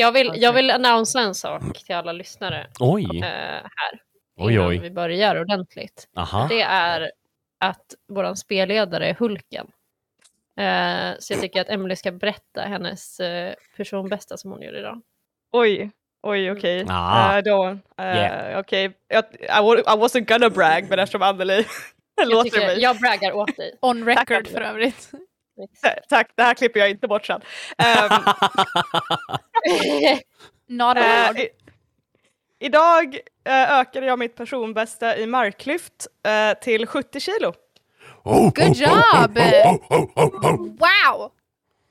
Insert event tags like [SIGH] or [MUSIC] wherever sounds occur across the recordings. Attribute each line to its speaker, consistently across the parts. Speaker 1: Jag vill, jag vill annonsera en sak till alla lyssnare eh,
Speaker 2: Oj,
Speaker 1: här
Speaker 2: oj, Ah.
Speaker 1: innan
Speaker 2: oj.
Speaker 1: vi börjar ordentligt.
Speaker 2: Aha.
Speaker 1: Det är att vår spelledare är Hulken. Eh, så jag tycker att Emily ska berätta hennes eh, personbästa som hon gjorde idag.
Speaker 3: Oj, oj okej.
Speaker 2: Ah.
Speaker 3: Eh, då, eh,
Speaker 2: Yeah.
Speaker 3: Okej, jag, I, wa- I wasn't gonna brag men eftersom Anneli [LAUGHS]
Speaker 1: Jag,
Speaker 3: låter
Speaker 1: tycker,
Speaker 3: mig.
Speaker 1: jag braggar åt
Speaker 3: [LAUGHS]
Speaker 1: dig.
Speaker 4: On record
Speaker 3: Tack. [LAUGHS]
Speaker 4: för övrigt.
Speaker 3: Tack, det här klipper jag inte bort sen. Ehm,
Speaker 4: Not
Speaker 3: Eh,
Speaker 4: allowed.
Speaker 3: i, idag eh, ökade jag mitt personbästa i marklyft eh, till 70 kilo.
Speaker 2: Oh,
Speaker 4: Good job! Wow!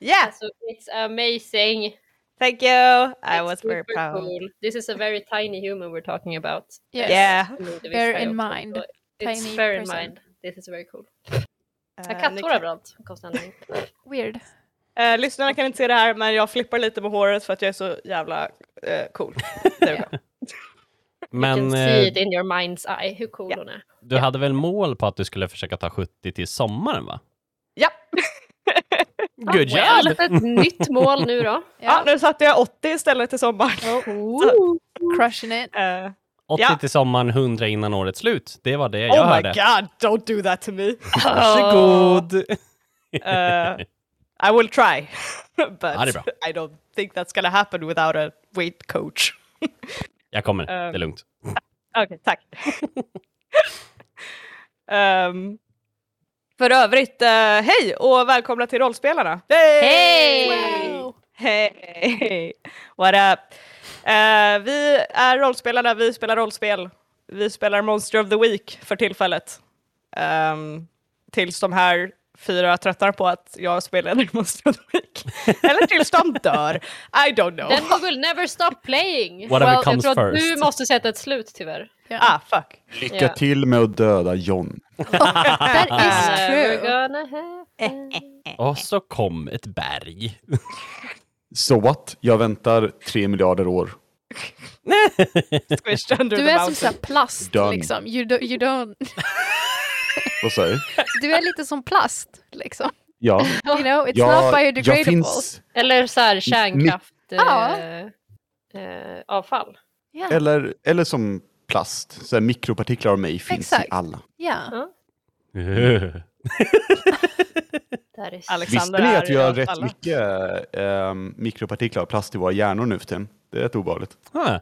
Speaker 3: Yeah,
Speaker 1: alltså, it's amazing.
Speaker 3: thank you! I
Speaker 1: It's
Speaker 3: was very
Speaker 1: super
Speaker 3: proud.
Speaker 1: cool. This is a very tiny human we're talking about.
Speaker 4: Yes.
Speaker 3: Yeah.
Speaker 4: Bear in mind.
Speaker 1: It's
Speaker 4: Tiny
Speaker 1: fair in
Speaker 4: person.
Speaker 1: mind. This is very cool. Jag har
Speaker 3: Eh, ni
Speaker 1: katthår
Speaker 3: kan,
Speaker 1: överallt. konstig anledning.
Speaker 4: Weird.
Speaker 3: eh, lyssnarna kan inte se det här men jag flippar lite med håret för att jag är så jävla eh, cool. There we go.
Speaker 1: You
Speaker 2: Men
Speaker 1: can see
Speaker 2: eh,
Speaker 1: it in your mind's eye, hur cool hon är.
Speaker 2: du hade väl mål på att du skulle försöka ta 70 till sommaren, va?
Speaker 3: Ja,
Speaker 2: [LAUGHS]
Speaker 3: Ah,
Speaker 2: Good
Speaker 1: Ah, well,
Speaker 2: job!
Speaker 1: Ett nytt mål nu då.
Speaker 4: Oh,
Speaker 3: ja, Ah, nu satte jag 80 istället till sommaren. [LAUGHS]
Speaker 4: Crushing it.
Speaker 3: Eh,
Speaker 2: 80
Speaker 3: Ja.
Speaker 2: till sommaren, 100 innan årets slut. Det var det jag
Speaker 3: oh my
Speaker 2: hörde.
Speaker 3: god, don't do that to me!
Speaker 2: [LAUGHS]
Speaker 1: [LAUGHS]
Speaker 2: Varsågod!
Speaker 3: [LAUGHS] Eh, I will try, [LAUGHS] but
Speaker 2: Ja, det är bra.
Speaker 3: I don't think that's gonna happen without a weight coach.
Speaker 2: Jag kommer,
Speaker 3: eh,
Speaker 2: det är lugnt.
Speaker 3: Okej,
Speaker 4: [LAUGHS]
Speaker 3: tack. Ehm, för övrigt, eh, hej och välkomna till Rollspelarna!
Speaker 1: Hej!
Speaker 4: Wow.
Speaker 3: Hej! What up? Eh, vi är rollspelarna, vi spelar rollspel. Vi spelar Monster of the Week för tillfället. Ehm, tills de här fyra tröttnar på att jag spelar [LAUGHS] Monster of the Week. Eller tills de dör. I don't know.
Speaker 1: Then we will never stop playing.
Speaker 2: Whatever
Speaker 1: well,
Speaker 2: comes
Speaker 1: jag tror att du
Speaker 2: first.
Speaker 1: måste sätta ett slut tyvärr.
Speaker 3: Ah, fuck.
Speaker 5: Lycka
Speaker 1: Ja.
Speaker 5: till med att döda John.
Speaker 4: That is
Speaker 1: Never
Speaker 4: true.
Speaker 1: gonna happen.
Speaker 2: Och så kom ett berg.
Speaker 5: So what? Jag väntar tre miljarder år.
Speaker 3: Squished under
Speaker 4: Du
Speaker 3: the
Speaker 4: är som
Speaker 3: mountain.
Speaker 4: såhär plast
Speaker 5: Done.
Speaker 4: liksom. You, do, you don't...
Speaker 5: Vad säger du?
Speaker 4: Du är lite som plast liksom.
Speaker 5: Ja.
Speaker 4: You know, it's not
Speaker 5: Jag,
Speaker 4: biodegradable.
Speaker 5: jag finns...
Speaker 1: Eller så här kärnkraft.
Speaker 4: Ja.
Speaker 1: eh, eh, avfall.
Speaker 4: Yeah.
Speaker 5: Eller, eller som plast. Så här, mikropartiklar av mig finns
Speaker 4: Exakt.
Speaker 5: i alla.
Speaker 4: yeah.
Speaker 3: Mm.
Speaker 2: [LAUGHS]
Speaker 1: Där är
Speaker 3: Alex.
Speaker 5: Visste
Speaker 3: Alexander
Speaker 5: ni
Speaker 3: är
Speaker 5: att vi har
Speaker 3: i
Speaker 5: rätt
Speaker 3: alla.
Speaker 5: mycket ehm, mikropartiklar av plast i våra hjärnor nu för tiden? Det är rätt obehagligt.
Speaker 2: Ah,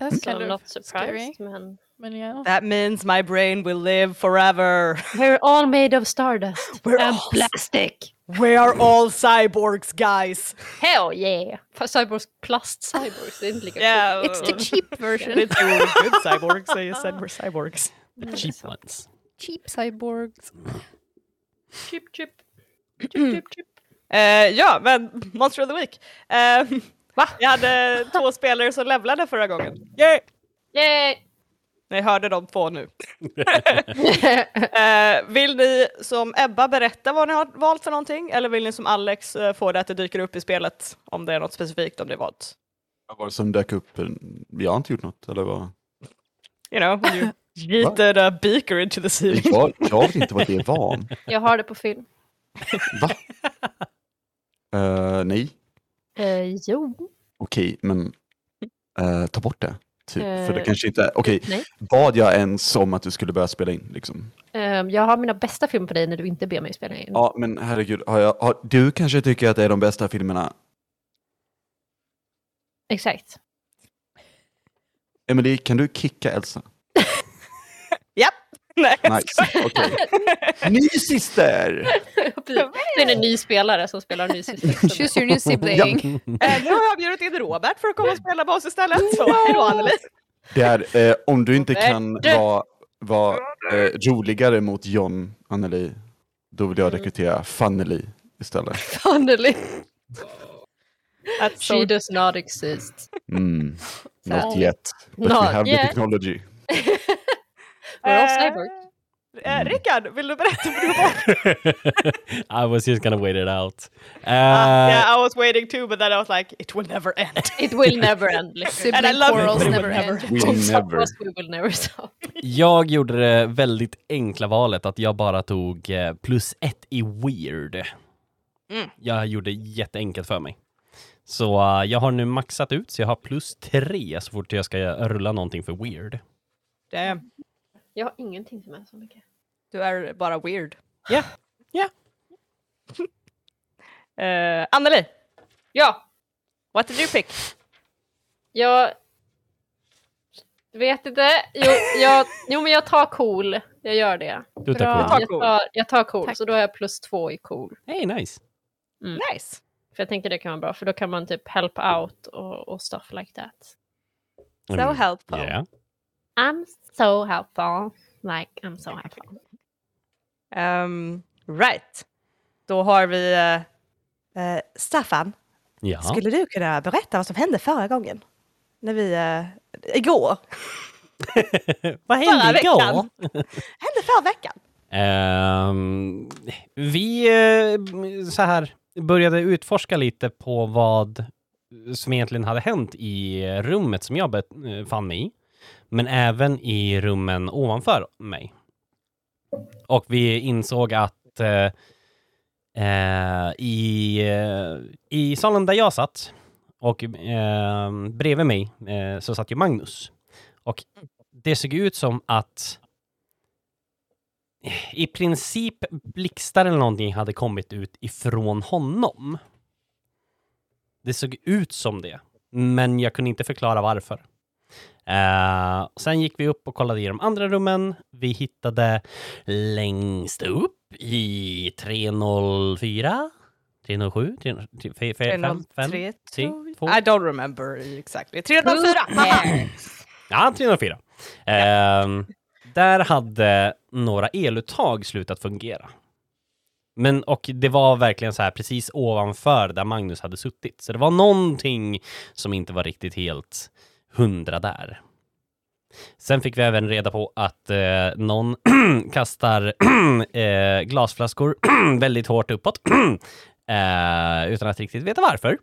Speaker 4: That's
Speaker 1: so I'm
Speaker 4: kind
Speaker 1: not
Speaker 4: of scary.
Speaker 1: surprised. Men...
Speaker 4: Men ja.
Speaker 3: That means my brain will live forever. [LAUGHS]
Speaker 1: We're all made of stardust
Speaker 3: We're
Speaker 4: Um,
Speaker 1: and
Speaker 3: all-
Speaker 1: [LAUGHS] plastic.
Speaker 3: We are all cyborgs guys.
Speaker 1: Hell yeah! Fast Cyborgs, plast-cyborgs, det är inte lika
Speaker 3: Yeah.
Speaker 4: It's the cheap version.
Speaker 3: Didn't say we [LAUGHS] were good cyborgs, I just said we're cyborgs.
Speaker 2: the cheap ones.
Speaker 4: cheap cyborgs.
Speaker 1: Chip, chip. Chip, chip, chip.
Speaker 3: Eh, ja, men Monster of the Week. Eh, va? Jag hade två spelare som levlade förra gången. Yay!
Speaker 1: Yay! [LAUGHS]
Speaker 3: Ni hörde de två nu. Eh, vill ni som Ebba berätta vad ni har valt för någonting? Eller vill ni som Alex eh, få det att det dyker upp i spelet? Om det är något specifikt om det är valt.
Speaker 5: Vad var det som dök upp? Jag har inte gjort något.
Speaker 4: [LAUGHS]
Speaker 5: Eller vad?
Speaker 3: You know, when [LAUGHS] you yeeted a beaker into the [LAUGHS] ceiling.
Speaker 5: Jag, jag vet inte vad det var.
Speaker 1: Jag har det på film.
Speaker 4: [LAUGHS]
Speaker 5: Va? Eh, nej.
Speaker 1: Eh, jo.
Speaker 5: Okej, men eh, ta bort det. Typ. För det
Speaker 1: Eh,
Speaker 5: kanske inte är... Okej,
Speaker 1: Nej.
Speaker 5: bad jag ens om att du skulle börja spela in? Liksom?
Speaker 1: Ehm, jag har mina bästa film på dig när du inte ber mig spela in.
Speaker 5: Ja, men herregud. Har jag, har, du kanske tycker att det är de bästa filmerna.
Speaker 1: [LAUGHS] Exakt.
Speaker 5: Emily, kan du kicka Elsa?
Speaker 3: Japp! Nej, jag
Speaker 5: Nice. Okej. Ny syster!
Speaker 1: Det är en ny spelare som spelar en ny syster.
Speaker 4: Choose your new sibling.
Speaker 3: Eh, nu har jag bjudit in Robert för att komma och spela med oss istället. Så hejdå Anneli.
Speaker 1: [LAUGHS]
Speaker 5: Det är, eh, om du inte kan
Speaker 1: Värde.
Speaker 5: vara vara, eh, roligare mot John, Anneli, då vill
Speaker 1: Mm.
Speaker 5: jag rekrytera Fanneli istället.
Speaker 1: Anneli.
Speaker 3: Att
Speaker 1: She does not exist. [LAUGHS]
Speaker 5: Mm. Not
Speaker 1: Sorry.
Speaker 5: yet, but we
Speaker 1: Not
Speaker 5: have
Speaker 1: yet.
Speaker 5: the technology.
Speaker 1: We're all
Speaker 3: Eh,
Speaker 1: cyborgs.
Speaker 3: eh, Rickard, vill du berätta? vad du-
Speaker 2: I was just gonna wait it out. Eh,
Speaker 3: yeah, I was waiting too, but then I was like, it will never end.
Speaker 1: It will never end. liksom.
Speaker 3: And I
Speaker 4: Sibling
Speaker 3: love
Speaker 4: quarrels
Speaker 3: it.
Speaker 4: never
Speaker 3: Whatever.
Speaker 4: end.
Speaker 5: We never.
Speaker 1: Us, We will never stop.
Speaker 2: Jag gjorde det väldigt enkla valet att jag bara tog eh, plus ett i weird.
Speaker 3: Mm.
Speaker 2: Jag gjorde jätteenkelt för mig. Så eh, jag har nu maxat ut, så jag har plus tre så fort jag ska rulla någonting för weird.
Speaker 3: [LAUGHS] Damn.
Speaker 1: Jag har ingenting som är så mycket.
Speaker 3: Du är bara weird.
Speaker 2: Ja.
Speaker 3: [LAUGHS] ja. uh, Anneli,
Speaker 1: Ja,
Speaker 3: what did you pick?
Speaker 1: jag vet inte. Jo, jag, jo men jag tar cool. Jag gör det.
Speaker 2: Du tar cool.
Speaker 4: Bra.
Speaker 3: tar
Speaker 1: Jag
Speaker 3: cool.
Speaker 1: tar, jag tar cool,
Speaker 4: Tack.
Speaker 1: så då har jag plus två i cool.
Speaker 2: Hey, nice.
Speaker 3: Nice.
Speaker 1: För jag tänker det kan vara bra, för då kan man typ help out och, och stuff like that.
Speaker 2: Mm,
Speaker 3: So helpful.
Speaker 2: Yeah.
Speaker 1: I'm so helpful. Like, I'm so helpful.
Speaker 3: Ehm, right. Då har vi eh, eh, Staffan.
Speaker 2: Ja.
Speaker 3: Skulle du kunna berätta vad som hände förra gången? När vi, eh, igår, [LAUGHS]
Speaker 2: Vad
Speaker 3: förra
Speaker 2: hände
Speaker 3: veckan.
Speaker 2: igår?
Speaker 3: [LAUGHS] hände förra veckan.
Speaker 2: Ehm, vi eh, så här, började utforska lite på vad som egentligen hade hänt i rummet som jag bet- eh, fann mig i, men även i rummen ovanför mig. Och vi insåg att eh, eh, i, eh, i salen där jag satt och eh, bredvid mig eh, så satt ju Magnus. Och det såg ut som att i princip blixtar eller någonting hade kommit ut ifrån honom. Det såg ut som det, men jag kunde inte förklara varför. Eh, sen gick vi upp och kollade i de andra rummen. Vi hittade längst upp i 304, 307, 305,
Speaker 3: Eh,
Speaker 2: 305,
Speaker 3: 303,
Speaker 2: 3,
Speaker 3: tror
Speaker 2: 2,
Speaker 3: jag. I don't remember exactly. 304!
Speaker 2: Ja, 304. Ehm, där hade några eluttag slutat fungera. Men, och det var verkligen så här precis ovanför där Magnus hade suttit. Så det var någonting som inte var riktigt helt hundra där. Sen fick vi även reda på att eh, någon [CLEARS THROAT] kastar [CLEARS THROAT] eh, glasflaskor [CLEARS THROAT] väldigt hårt uppåt [CLEARS THROAT] eh, utan att riktigt veta varför.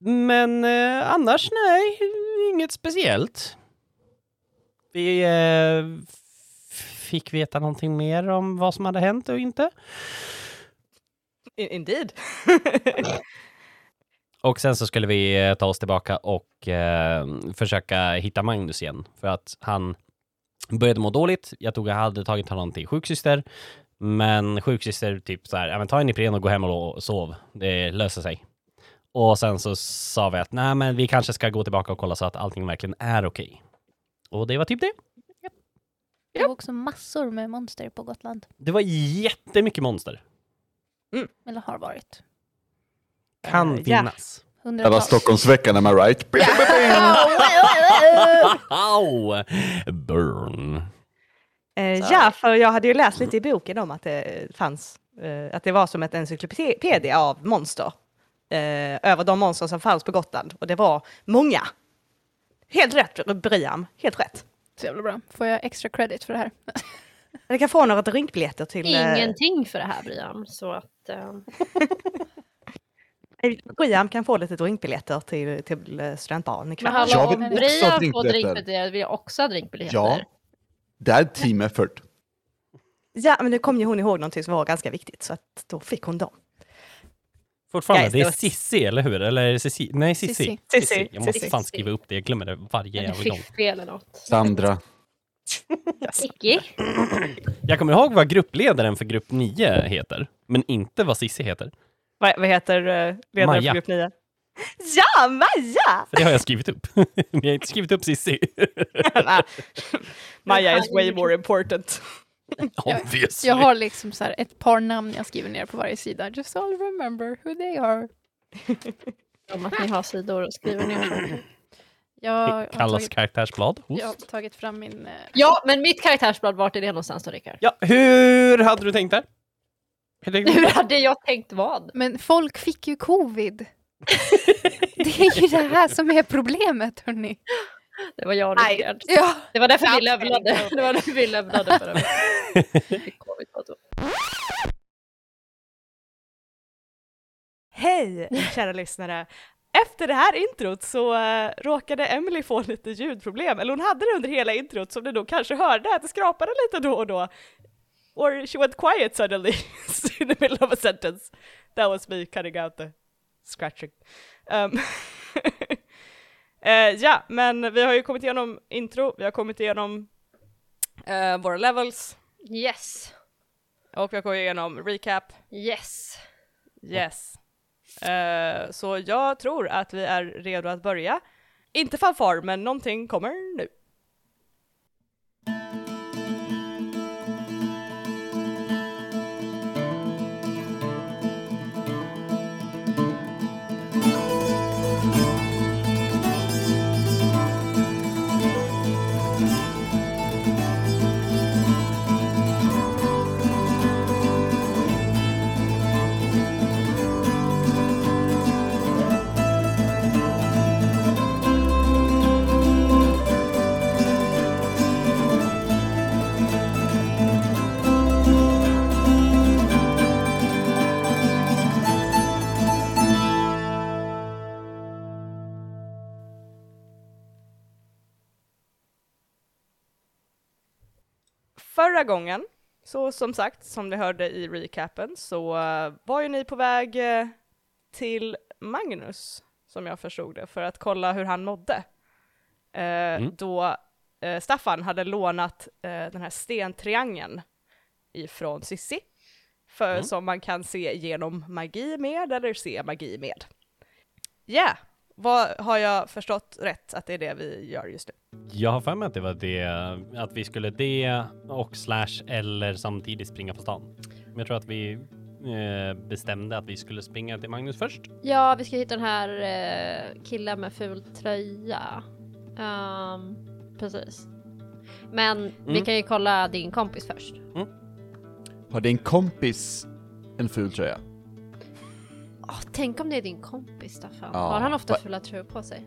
Speaker 2: Men eh, annars nej, inget speciellt. Vi eh, f- fick veta någonting mer om vad som hade hänt och inte.
Speaker 3: I- Indeed.
Speaker 2: Och sen så skulle vi eh, ta oss tillbaka och eh, försöka hitta Magnus igen för att han började må dåligt. Jag tog, jag hade tagit honom till sjuksyster, men sjuksyster typ så här, "Ja, men ta en Ipren och gå hem och lo- sov. Det löser sig. Och sen så sa vi att nej, men vi kanske ska gå tillbaka och kolla så att allting verkligen är okej. Och det var typ det.
Speaker 4: Det var också massor med monster på Gotland.
Speaker 2: Det var jättemycket monster.
Speaker 4: Eller har varit.
Speaker 2: Kan
Speaker 3: Eh, ja.
Speaker 2: finnas.
Speaker 5: Hela
Speaker 4: Hundratals. [LAUGHS]
Speaker 5: Stockholmsveckan, am I right?
Speaker 2: [LAUGHS] Au! Burn.
Speaker 3: [LAUGHS] Eh, ja, för jag hade ju läst lite i boken om att det fanns, eh, att det var som ett encyklopedia av monster. Eh, över de monster som fanns på Gotland. Och det var många. Helt rätt, Briam. Helt rätt.
Speaker 4: Så jävla bra. Får jag extra credit för det här?
Speaker 3: Ni kan få några drinkbiljetter till... eh,
Speaker 1: Ingenting för det här, Brian. Så att, eh,
Speaker 3: Briam kan få lite drinkbiljetter till, till eh, studentbaren
Speaker 1: men
Speaker 3: ikväll.
Speaker 1: hallå,
Speaker 4: Jag
Speaker 1: om
Speaker 4: vill
Speaker 5: också ha
Speaker 1: Brian får
Speaker 5: drinkbiljetter.
Speaker 1: drinkbiljetter vill jag också ha [LAUGHS] drinkbiljetter.
Speaker 5: Ja, det är team effort.
Speaker 3: Ja, men nu kom ju hon ihåg någonting som var ganska viktigt, så att då fick hon dem.
Speaker 2: Fortfarande,
Speaker 3: Guys,
Speaker 2: det
Speaker 3: det
Speaker 2: är
Speaker 3: var-
Speaker 2: Sissi, eller hur? Eller Sissi? Nej, Sissi.
Speaker 4: Sissi.
Speaker 3: Sissi,
Speaker 2: Jag måste
Speaker 3: Sissi.
Speaker 2: fan skriva upp det, jag glömmer det varje
Speaker 1: Eller
Speaker 2: jävla gång.
Speaker 1: fiffi eller något.
Speaker 5: Sandra.
Speaker 1: Sticky.
Speaker 2: Jag kommer ihåg vad gruppledaren för grupp 9 heter, men inte vad Sissi heter.
Speaker 3: Vad, vad heter eh, ledaren
Speaker 2: Maja.
Speaker 3: för grupp 9? Ja, Maja!
Speaker 2: För det har jag skrivit upp. [LAUGHS] men jag har inte skrivit upp Sissi.
Speaker 3: Nej. [LAUGHS] Maja is way more important.
Speaker 2: Obviously.
Speaker 4: [LAUGHS] Jag har liksom så här ett par namn jag skriver ner på varje sida. Just so I'll remember who they are.
Speaker 1: Om att ni har sidor och skriver ner saker.
Speaker 4: Jag har,
Speaker 2: Det kallas
Speaker 4: tagit,
Speaker 2: karaktärsblad. Host.
Speaker 4: jag har tagit fram min... eh,
Speaker 1: Ja, men mitt karaktärsblad, vart är det någonstans då, Rickard? [LAUGHS]
Speaker 2: Ja, hur hade du tänkt där? Hur tänkte du?
Speaker 1: Hur hade jag tänkt vad?
Speaker 4: Men folk fick ju covid. det är ju det här som är problemet, hörni.
Speaker 1: Det var jag och
Speaker 3: Nej.
Speaker 1: Rickard.
Speaker 4: Ja.
Speaker 1: Det var därför vi levlade. Det var därför vi levlade förra veckan. Vi fick covid på ett år.
Speaker 3: Hej, kära lyssnare. Efter det här introt så eh, råkade Emily få lite ljudproblem, eller hon hade det under hela introt som ni då kanske hörde, att det skrapade lite då och då. [LAUGHS] Or she went quiet suddenly in the middle of a sentence. That was me cutting out the scratching. Ehm, [LAUGHS] eh, ja, men vi har ju kommit igenom intro, vi har kommit igenom eh, våra levels
Speaker 1: Yes,
Speaker 3: och vi har kommit igenom recap.
Speaker 1: yes.
Speaker 3: Yes. Eh, så jag tror att vi är redo att börja. Inte fanfar, men någonting kommer nu. Förra gången, så som sagt, som ni hörde i recapen, så eh, var ju ni på väg eh, till Magnus, som jag förstod det, för att kolla hur han mådde. Eh, Då eh, Staffan hade lånat eh, den här stentriangeln ifrån Sissi, för,
Speaker 2: Mm.
Speaker 3: som man kan se genom magi med, eller se magi med. Ja, vad har jag förstått rätt att det är det vi gör just nu?
Speaker 2: Jag har för mig att det var det, att vi skulle det och slash eller samtidigt springa på stan. Men jag tror att vi eh, bestämde att vi skulle springa till Magnus först.
Speaker 1: Ja, vi ska hitta den här eh, killen med ful tröja. Ehm, precis. Men vi
Speaker 2: Mm.
Speaker 1: kan ju kolla din kompis först.
Speaker 5: Har din kompis en ful tröja?
Speaker 1: Åh, tänk om det är din kompis Staffan.
Speaker 5: Ja.
Speaker 1: Har han ofta
Speaker 5: Va-
Speaker 1: fula tröjor på sig?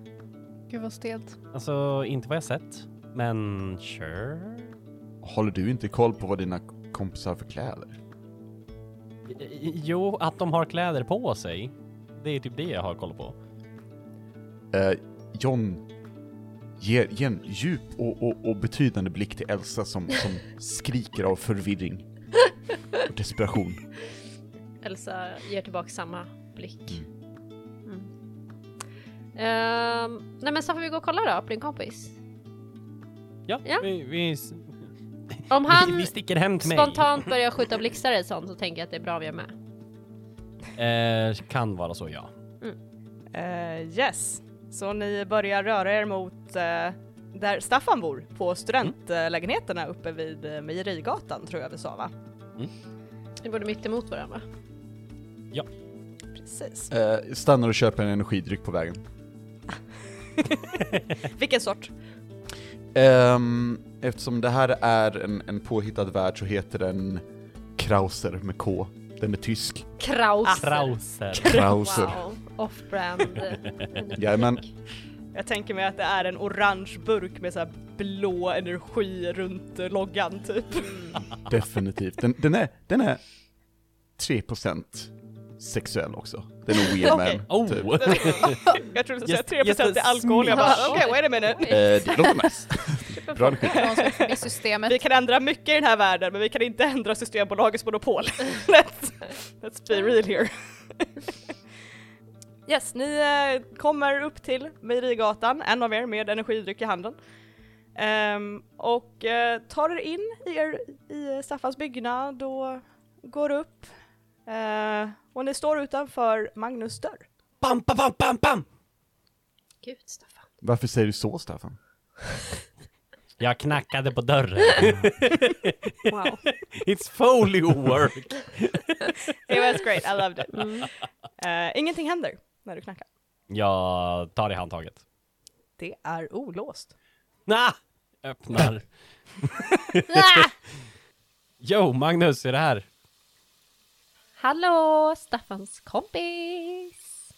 Speaker 4: Gud vad stelt.
Speaker 2: Alltså, inte vad jag sett, men sure.
Speaker 5: Håller du inte koll på vad dina kompisar har för kläder?
Speaker 2: Jo, att de har kläder på sig. Det är typ det jag har koll på.
Speaker 5: Eh, John ger, ger en djup och, och, och betydande blick till Elsa som, som skriker av förvirring och desperation.
Speaker 1: Elsa ger tillbaka samma blick. Mm. Ehm, nej men Staffan vi går och kollar då på din kompis.
Speaker 2: Ja,
Speaker 1: Ja.
Speaker 2: Vi, vi, [LAUGHS]
Speaker 1: Om han
Speaker 2: vi sticker hem till
Speaker 1: spontant börjar skjuta blixtar eller sånt så tänker jag att det är bra vi är med.
Speaker 2: mig. Eh, kan vara så, ja.
Speaker 3: Eh, yes, så ni börjar röra er mot eh, där Staffan bor, på studentlägenheterna uppe vid eh, Mejerigatan tror jag vi sa va?
Speaker 1: Vi borde mitt emot varandra.
Speaker 3: Precis.
Speaker 5: Eh, stannar och köper en energidryck på vägen.
Speaker 3: Vilken sort?
Speaker 5: Ehm, eftersom det här är en, en påhittad värld så heter den Krauser med K. Den är tysk.
Speaker 2: Ah,
Speaker 1: Kraus.
Speaker 2: Trauser.
Speaker 5: Krauser.
Speaker 1: Wow. Off-brand.
Speaker 5: Jajamän.
Speaker 3: Jag tänker mig att det är en orange burk med så här blå energi runt eh, loggan typ.
Speaker 5: Definitivt. Den, den, är, den är 3% sexuell också. Den är weird man.
Speaker 3: Okej.
Speaker 2: Oh!
Speaker 5: typ.
Speaker 3: jag trodde du
Speaker 2: Just-
Speaker 3: skulle säga 3%
Speaker 2: just
Speaker 3: är
Speaker 2: a
Speaker 3: alkohol, jag bara
Speaker 2: smidge.
Speaker 3: okej wait a minute.
Speaker 5: Eh, det låter nice. Bra energi.
Speaker 4: Någon som får det
Speaker 3: [LAUGHS] Vi
Speaker 4: systemet.
Speaker 3: kan ändra mycket i den här världen men vi kan inte ändra Systembolagets monopol. let's, let's be real here. [LAUGHS] yes, ni eh, kommer upp till Mejerigatan, en av er med energidryck i handen. Ehm, och eh, tar er in i, er, i Staffans byggnad och går upp. Eh, och ni står utanför Magnus dörr.
Speaker 2: Bam, bam, bam, bam, bam!
Speaker 1: Gud Staffan.
Speaker 5: Varför säger du så, Staffan?
Speaker 2: Jag knackade på dörren.
Speaker 1: Wow.
Speaker 2: [LAUGHS] It's Foley work.
Speaker 3: It was great, I loved it. Eh, ingenting händer när du knackar.
Speaker 2: Jag tar i handtaget.
Speaker 3: Det är olåst.
Speaker 2: Na! Öppnar.
Speaker 1: Ah!
Speaker 2: Jo, Magnus, är det här?
Speaker 1: Hallå Staffans kompis.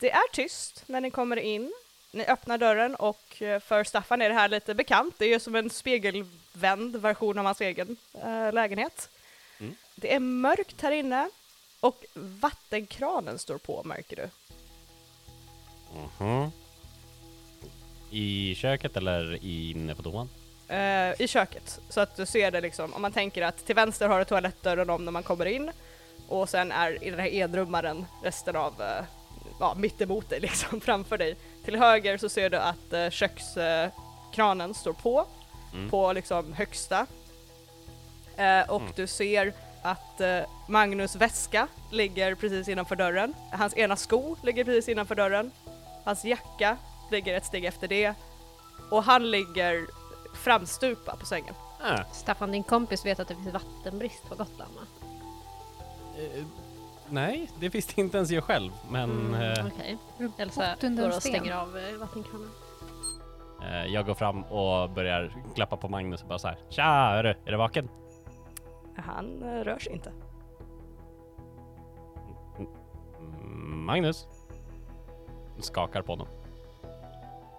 Speaker 3: Det är tyst när ni kommer in. Ni öppnar dörren och eh, för Staffan är det här lite bekant. Det är ju som en spegelvänd version av hans egen eh, lägenhet. Det är mörkt här inne och vattenkranen står på märker du.
Speaker 2: Mhm. I köket eller inne på toan?
Speaker 3: eh, i köket. Så att du ser det liksom, om man tänker att till vänster har du toalettdörren om när man kommer in och sen är i den här edrummaren resten av eh, ja, mittemot dig [LAUGHS] liksom, framför dig. Till höger så ser du att eh, kökskranen står på,
Speaker 2: Mm.
Speaker 3: på liksom högsta. Eh, och
Speaker 2: Mm.
Speaker 3: du ser att eh, Magnus väska ligger precis innanför dörren. Hans ena sko ligger precis innanför dörren. Hans jacka ligger ett steg efter det. Och han ligger framstupa på sängen.
Speaker 2: Ah,
Speaker 1: Staffan, din kompis vet att det finns vattenbrist på Gotland va?
Speaker 2: eh, nej, det visste inte ens jag själv. Men eh,
Speaker 1: Okej.
Speaker 4: Mm.
Speaker 1: Elsa
Speaker 4: Bort under
Speaker 1: går
Speaker 4: en
Speaker 1: och
Speaker 4: sten.
Speaker 1: stänger av eh, vattenkranen.
Speaker 2: eh, jag går fram och börjar klappa på Magnus och bara så här. Tja, hörru, är du vaken?
Speaker 3: Han eh, rör sig inte.
Speaker 2: Mm, Magnus? Skakar på honom.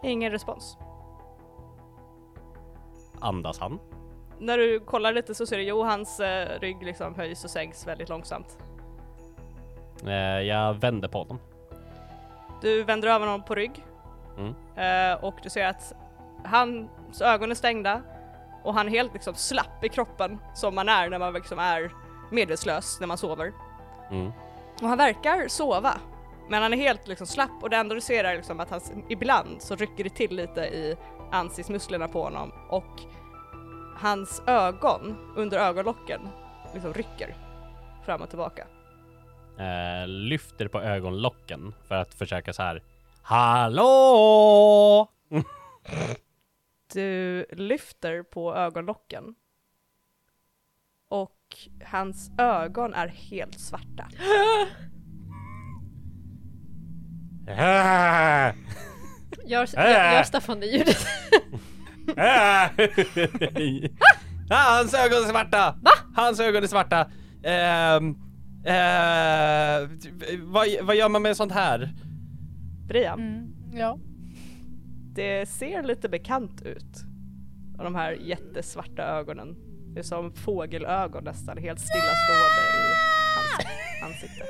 Speaker 3: Ingen respons.
Speaker 2: Andas han?
Speaker 3: När du kollar lite så ser du Johans eh, rygg liksom höjs och sänks väldigt långsamt.
Speaker 2: Eh, jag vänder på honom.
Speaker 3: Du vänder över honom på rygg
Speaker 2: Mm.
Speaker 3: eh, och du ser att hans ögon är stängda och han är helt liksom slapp i kroppen som man är när man liksom är medvetslös när man sover.
Speaker 2: Mm.
Speaker 3: Och han verkar sova men han är helt liksom slapp och det enda du ser är liksom att han ibland så rycker det till lite i ansiktsmusklerna på honom och hans ögon under ögonlocken liksom rycker fram och tillbaka.
Speaker 2: Eh, lyfter på ögonlocken för att försöka så här. Hallå!
Speaker 3: Du lyfter på ögonlocken. Och hans ögon är helt svarta.
Speaker 2: Ah!
Speaker 1: Gör, gör, gör Staffan det [LAUGHS] ljudet?
Speaker 2: Ah! [LAUGHS] Ah, Hans ögon är svarta! Va? Hans ögon är svarta. Ehm, eh, vad, vad gör man med sånt här?
Speaker 3: Brian,
Speaker 4: Mm. Ja.
Speaker 3: det ser lite bekant ut. Och de här jättesvarta ögonen. Det är som fågelögon nästan, helt stillastående i hans ansikte.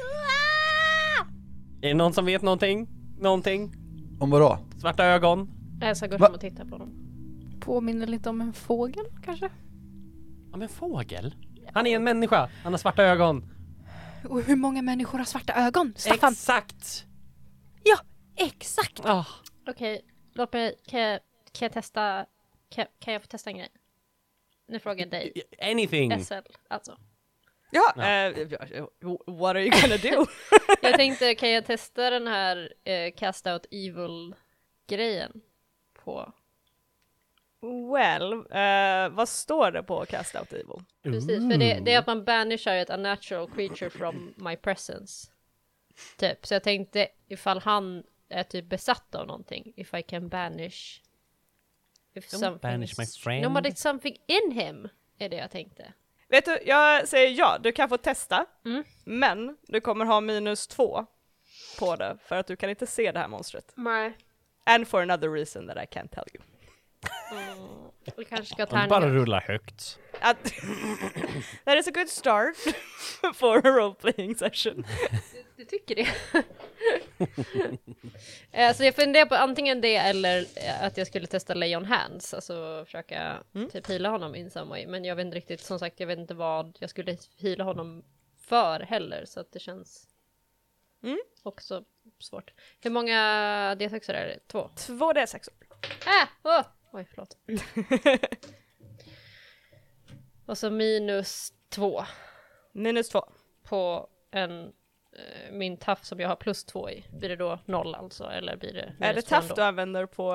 Speaker 2: Är det någon som vet någonting? Någonting?
Speaker 5: Om vadå?
Speaker 2: Svarta ögon?
Speaker 1: Elsa går
Speaker 5: Va?
Speaker 1: fram och tittar på honom.
Speaker 4: Påminner lite om en fågel kanske?
Speaker 2: Ja men fågel? Han är en människa, han har svarta ögon.
Speaker 4: Och hur många människor har svarta ögon? Staffan!
Speaker 2: Exakt!
Speaker 4: ja, exakt!
Speaker 2: Ah.
Speaker 1: Okej, låt mig, kan jag, kan jag testa, kan, kan jag få testa en grej? Nu frågar jag dig,
Speaker 2: Eh, Anything!
Speaker 1: SL alltså.
Speaker 3: Ja, eh, what are you gonna do?
Speaker 1: Jag tänkte, kan jag testa den här eh, cast out evil-grejen på,
Speaker 3: [LAUGHS] well, eh, vad står det på Cast Out Evil?
Speaker 1: precis, för det, det är att man banishar ett unnatural creature from my presence. Typ, så jag tänkte ifall han är typ besatt av någonting, if I can banish. If
Speaker 2: Don't
Speaker 1: something
Speaker 2: banish
Speaker 1: is-
Speaker 2: my friend.
Speaker 1: No, but it's something in him, är det jag tänkte.
Speaker 3: Vet du, jag säger ja, du kan få testa.
Speaker 1: Mm.
Speaker 3: Men du kommer ha minus två på det för att du kan inte se det här monstret.
Speaker 1: Nej.
Speaker 3: And for another reason that I can't tell you.
Speaker 1: Mm. Vi kanske ska
Speaker 2: Han bara
Speaker 1: tärningar.
Speaker 2: rullar högt.
Speaker 3: Att [LAUGHS] that is a good start [LAUGHS] for a role playing session.
Speaker 1: Du tycker det? [LAUGHS] Eh, så jag funderar på antingen det eller eh, att jag skulle testa Leon Hands, alltså försöka typ hila honom in some way. Men jag vet inte riktigt, som sagt, jag vet inte vad jag skulle hila honom för heller, så att det känns
Speaker 3: Mm.
Speaker 1: också svårt. Hur många D6 är det? Två?
Speaker 3: Två D6.
Speaker 1: Ah! Oh! Oj, förlåt. Och så minus två
Speaker 3: Minus två.
Speaker 1: på en, eh, min taff som jag har plus två i, blir det då noll alltså? Eller blir det minus
Speaker 3: Är det
Speaker 1: två
Speaker 3: taff
Speaker 1: ändå?
Speaker 3: du använder på...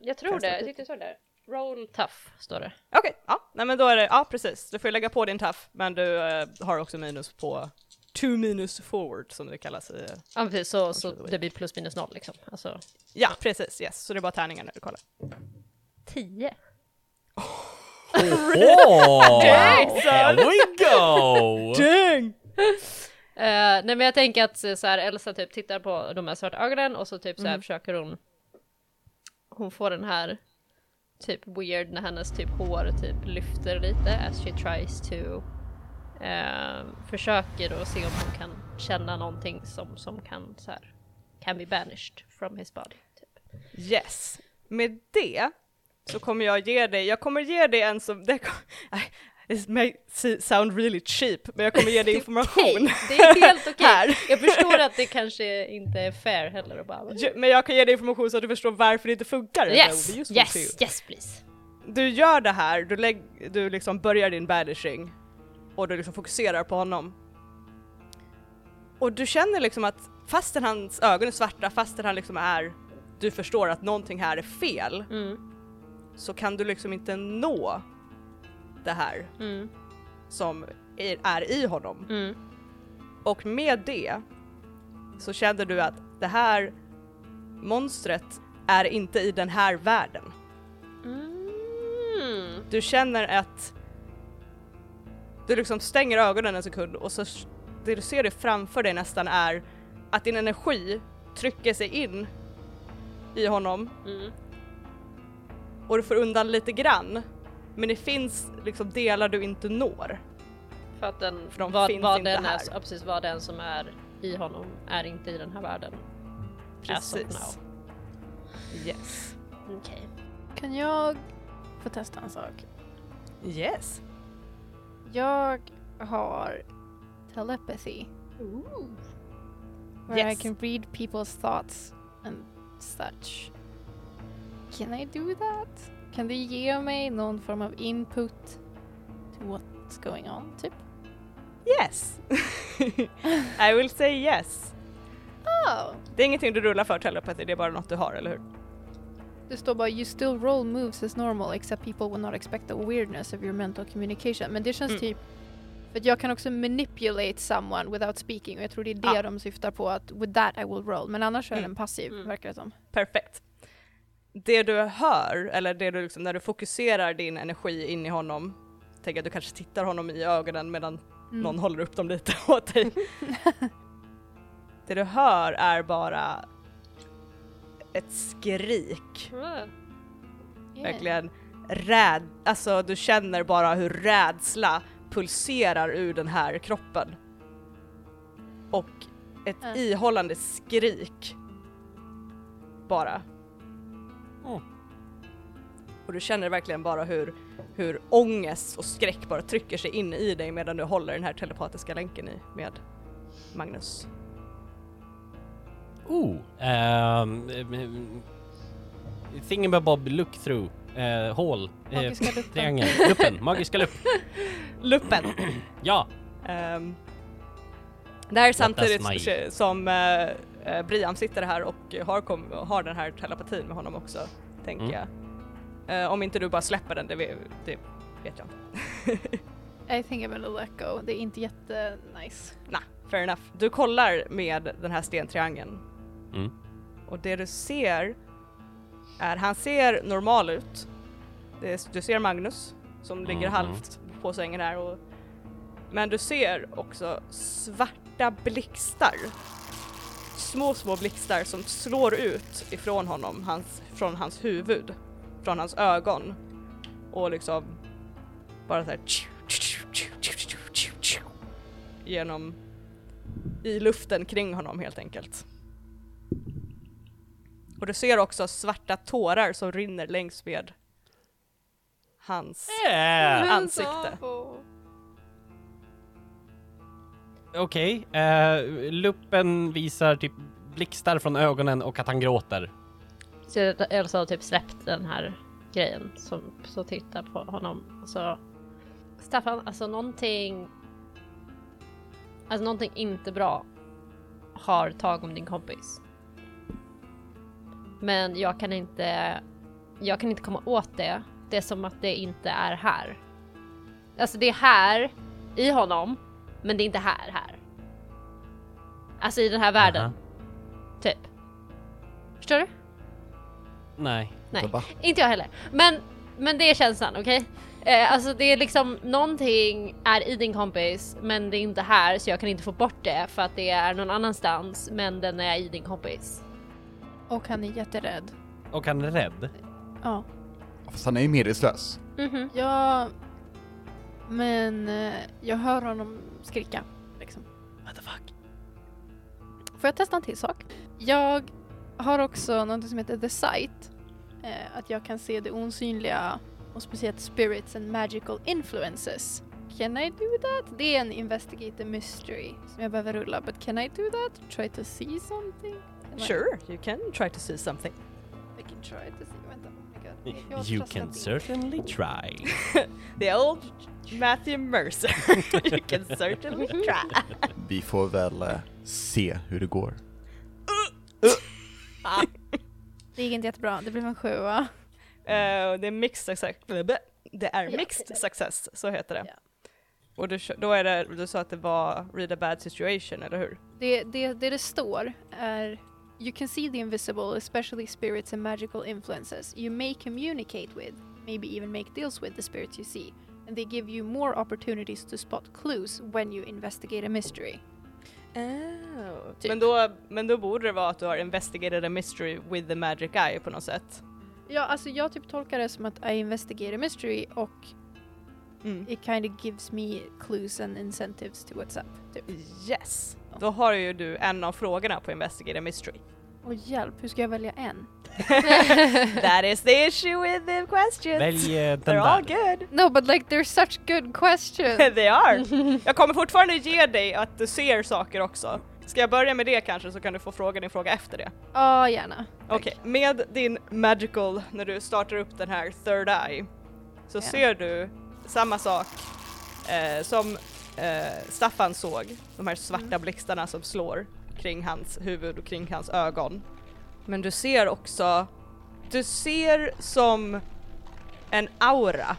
Speaker 1: Jag tror det, jag tyckte det stod där. Roll tough står det.
Speaker 3: Okej, ja. Nej men då är det, ja precis. Du får lägga på din taff men du eh, har också minus på... Two minus forward som det kallas i...
Speaker 1: Ja precis, så, så det blir plus minus noll liksom. Alltså
Speaker 3: Ja precis, yes. Så det är bara tärningar när du kollar.
Speaker 1: tio.
Speaker 2: [LAUGHS] Oh!
Speaker 3: Dang,
Speaker 2: There we [LAUGHS] go!
Speaker 3: Dang!
Speaker 1: Eh, nej men jag tänker att eh, så här, Elsa typ tittar på de här svarta ögonen och så typ
Speaker 3: Mm.
Speaker 1: så här försöker hon hon får den här typ weird när hennes typ hår typ lyfter lite as she tries to eh, försöker och se om hon kan känna någonting som, som kan så här can be banished from his body. Typ.
Speaker 3: Yes. Med det så kommer jag ge dig, jag kommer ge dig en som, det, kom- [LAUGHS] Nej, It may se- sound really cheap, men jag kommer
Speaker 1: [LAUGHS]
Speaker 3: ge dig information.
Speaker 1: Okej, det är helt okej.
Speaker 3: Här.
Speaker 1: Jag förstår att det kanske inte är fair heller att bara...
Speaker 3: Ju- Men jag kan ge dig information så att du förstår varför det inte funkar. and that will
Speaker 1: Yes,
Speaker 3: be useful to you.
Speaker 1: yes, yes please.
Speaker 3: Du gör det här, du, lägg, du liksom börjar din banishing och du liksom fokuserar på honom. Och du känner liksom att fastän hans ögon är svarta, fastän han liksom är, du förstår att någonting här är fel,
Speaker 1: Mm,
Speaker 3: så kan du liksom inte nå det här
Speaker 1: mm,
Speaker 3: som är, är i honom.
Speaker 1: mm.
Speaker 3: Och med det så kände du att det här monstret är inte i den här världen.
Speaker 1: Mm.
Speaker 3: Du känner att du liksom stänger ögonen en sekund och så s- det du ser det framför dig nästan är att din energi trycker sig in i honom
Speaker 1: Mm.
Speaker 3: och du får undan lite grann. Men det finns liksom delar du inte når.
Speaker 1: För att den,
Speaker 3: För de
Speaker 1: vad,
Speaker 3: finns
Speaker 1: vad
Speaker 3: inte
Speaker 1: den
Speaker 3: här.
Speaker 1: Är, ja, precis, vad den som är i honom är inte i den här världen. As of
Speaker 3: Precis. Yes.
Speaker 1: now. Okej.
Speaker 4: Kan jag få testa en sak?
Speaker 3: Yes.
Speaker 4: Jag har telepathy. Where I
Speaker 3: Yes.
Speaker 4: can read people's thoughts and such. Can I do that? Kan du ge mig någon form av input to what's going on, typ?
Speaker 3: Yes. [LAUGHS] I will say yes.
Speaker 4: Oh!
Speaker 3: Det är ingenting du rullar för telepati, det är bara något du har, eller hur?
Speaker 4: Det står bara “You still roll moves as normal except people will not expect the weirdness of your mental communication”. Men det känns
Speaker 3: Mm.
Speaker 4: typ... För att jag kan också manipulate someone without speaking och jag tror det är det
Speaker 3: Ah.
Speaker 4: de syftar på att “with that I will roll” men annars är
Speaker 3: Mm.
Speaker 4: den passiv,
Speaker 1: Mm.
Speaker 4: verkar det som.
Speaker 3: Perfekt. Det du hör, eller det du liksom, när du fokuserar din energi in i honom, tänk att du kanske tittar honom i ögonen medan
Speaker 4: Mm.
Speaker 3: någon håller upp dem lite [LAUGHS] åt dig. det du hör är bara ett skrik.
Speaker 1: Okay.
Speaker 4: Yeah.
Speaker 3: Verkligen räd... Alltså du känner bara hur rädsla pulserar ur den här kroppen. Och ett
Speaker 4: Äh.
Speaker 3: ihållande skrik. Bara.
Speaker 2: Mm.
Speaker 3: Och du känner verkligen bara hur, hur ångest och skräck bara trycker sig in i dig medan du håller den här telepatiska länken i med Magnus.
Speaker 2: Ooh. Um, thinking about Bob, look through. Uh, hål. eh, [LAUGHS]
Speaker 4: Magiska luppen.
Speaker 2: Triangel. Luppen. Magiska lupp.
Speaker 3: Luppen!
Speaker 2: Ja.
Speaker 3: Ehm, det här är
Speaker 2: my-
Speaker 3: samtidigt s- som eh, eh, Brian sitter här och har, kom, har den här telepatin med honom också, tänker
Speaker 2: Mm.
Speaker 3: jag. Eh, om inte du bara släpper den, det, ve- det vet jag inte.
Speaker 4: I think I'm gonna let go. Det är inte jättenice.
Speaker 3: Nah, fair enough. Du kollar med den här stentriangeln
Speaker 2: Mm.
Speaker 3: och det du ser är, han ser normal ut. Det, är- du ser Magnus som ligger
Speaker 2: Mhm.
Speaker 3: halvt på sängen här och men du ser också svarta blixtar. Små, små blixtar som slår ut ifrån honom, hans, från hans huvud, från hans ögon och liksom bara så här genom i luften kring honom helt enkelt. Och du ser också svarta tårar som rinner längs med hans...
Speaker 2: Yeah.
Speaker 3: ansikte.
Speaker 2: Okej. eh, luppen visar typ blixtar från ögonen och att han gråter.
Speaker 1: Så Elsa har typ släppt den här grejen som så tittar på honom och så Staffan, alltså någonting Alltså någonting inte bra har tag om din kompis. Men jag kan inte Jag kan inte komma åt det. Det är som att det inte är här. Alltså det är här i honom, men det är inte här här. Alltså i den här världen,
Speaker 2: Aha.
Speaker 1: typ. Förstår du?
Speaker 2: Nej.
Speaker 1: Nej,
Speaker 5: Va?
Speaker 1: inte jag heller. Men, men det är känslan, okej? Eh, alltså det är liksom någonting är i din kompis men det är inte här så jag kan inte få bort det för att det är någon annanstans men den är i din kompis.
Speaker 4: Och han är jätterädd.
Speaker 2: Och han är rädd.
Speaker 4: Ja.
Speaker 5: Fast han är ju medvetslös.
Speaker 1: Mhm.
Speaker 4: Ja. Men eh, jag hör honom skrika. Liksom.
Speaker 2: What the fuck?
Speaker 4: Får jag testa en till sak? Jag har också något som heter The Sight. Eh, att jag kan se det osynliga Och speciellt spirits and magical influences. Can I do that? Det är en investigate a mystery som jag behöver rulla. But can I do that? Try to see something? Can I-
Speaker 3: Sure, you can try to see something.
Speaker 4: I can try to see. Vänta, oh my god. Jag
Speaker 2: You
Speaker 4: fastnade
Speaker 2: can
Speaker 4: i-
Speaker 2: certainly try.
Speaker 3: The old Matthew Mercer. [LAUGHS] you can certainly try.
Speaker 5: Vi får väl eh, se hur det går.
Speaker 4: Det gick inte jättebra. Det blev en sjua.
Speaker 3: Eh, och det är mixed success. Det är mixed success, så heter det.
Speaker 4: Ja.
Speaker 3: Och du, kö- då är det, du sa att det var read a bad situation, eller hur?
Speaker 4: Det, det, det det står är You can see the invisible, especially spirits and magical influences you may communicate with, maybe even make deals with the spirits you see. And they give you more opportunities to spot clues when you investigate a mystery. typ.
Speaker 3: Men, då, men då borde det vara att du har investigated a mystery with the magic eye på något sätt.
Speaker 4: Ja, alltså jag typ tolkar det som att I investigate a mystery och it kind of gives me clues and incentives to what's up. Typ.
Speaker 3: Yes! Då har ju du en av frågorna på investigate a mystery.
Speaker 4: Och hjälp, hur ska jag välja en?
Speaker 3: That is the issue with the questions!
Speaker 2: Välj eh, den
Speaker 3: They're all
Speaker 2: där.
Speaker 3: good!
Speaker 4: No, but like they're such
Speaker 3: [LAUGHS]
Speaker 4: good questions!
Speaker 3: They are! Jag kommer fortfarande ge dig att du ser saker också. Ska jag börja med det kanske så kan du få fråga din fråga efter det.
Speaker 4: Ja, gärna.
Speaker 3: Okej, med din magical, när du startar upp den här third eye, så
Speaker 4: Ja.
Speaker 3: ser du samma sak eh, som eh, Staffan såg, de här svarta blixtarna som slår kring hans huvud och kring hans ögon. Men du ser också, du ser som en aura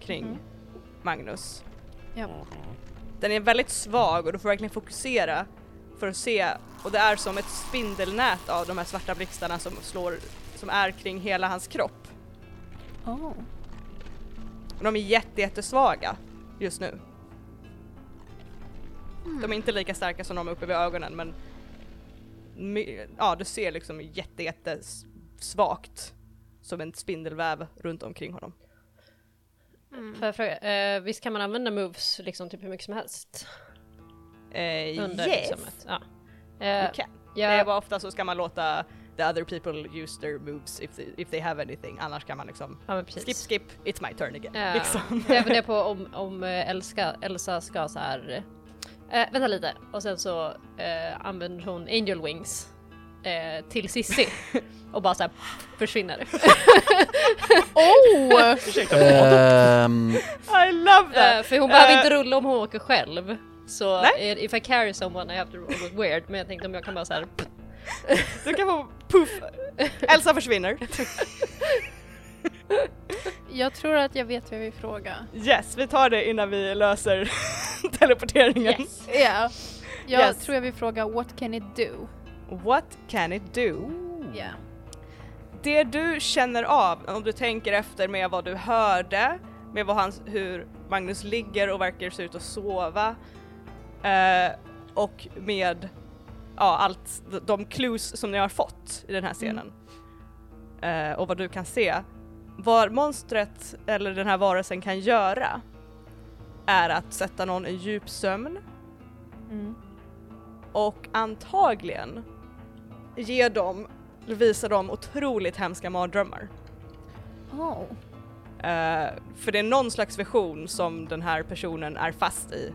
Speaker 3: kring Magnus.
Speaker 4: Ja.
Speaker 3: Den är väldigt svag och du får verkligen fokusera för att se och det är som ett spindelnät av de här svarta blixtarna som slår, som är kring hela hans kropp.
Speaker 4: Oh.
Speaker 3: Och de är jätte, jättesvaga just nu. De är inte lika starka som de uppe vid ögonen men my- ja, du ser liksom jätte, jätte s- svagt som en spindelväv runt omkring honom.
Speaker 4: Mm.
Speaker 1: Får jag fråga, eh, visst kan man använda moves liksom typ hur mycket som helst?
Speaker 3: Eh,
Speaker 1: Under
Speaker 3: yes!
Speaker 1: liksom ett, ja. Eh,
Speaker 3: You can. Det
Speaker 1: jag,
Speaker 3: var ofta så ska man låta the other people use their moves if they, if they have anything, annars kan man liksom
Speaker 1: ja, men precis.
Speaker 3: skip skip, it's my turn again.
Speaker 1: Ja.
Speaker 3: Liksom.
Speaker 1: Jag funderar på om, om eh, Elsa, Elsa ska så här. Eh, vänta lite och sen så eh, använder hon angel wings eh, till Sissi och bara så här [LAUGHS] försvinner.
Speaker 4: oh!
Speaker 3: [LAUGHS]
Speaker 5: Ehm,
Speaker 3: I love that!
Speaker 1: Eh, för hon behöver
Speaker 3: Eh.
Speaker 1: inte rulla om hon åker själv. Så
Speaker 3: Nej.
Speaker 1: eh, if I carry someone I have to roll with weird men jag tänkte om jag kan bara så [LAUGHS] här.
Speaker 3: Du kan få
Speaker 1: [LAUGHS]
Speaker 3: puff! Elsa försvinner.
Speaker 4: Jag tror att jag vet vad jag vill fråga.
Speaker 3: Yes, vi tar det innan vi löser [LAUGHS] teleporteringen.
Speaker 1: Yes.
Speaker 4: Ja. Jag
Speaker 3: Yes.
Speaker 4: tror jag vill fråga what can it do?
Speaker 3: What can it do?
Speaker 4: Ja.
Speaker 3: Det du känner av, om du tänker efter med vad du hörde, med vad hans, hur Magnus ligger och verkar se ut att sova, eh, och med ja, allt, de clues som ni har fått i den här scenen. Eh, och vad du kan se. Vad monstret, eller den här varelsen, kan göra är att sätta någon i djup sömn och antagligen ge dem, visa dem otroligt hemska mardrömmar.
Speaker 4: Oh.
Speaker 3: Eh, för det är någon slags vision som den här personen är fast i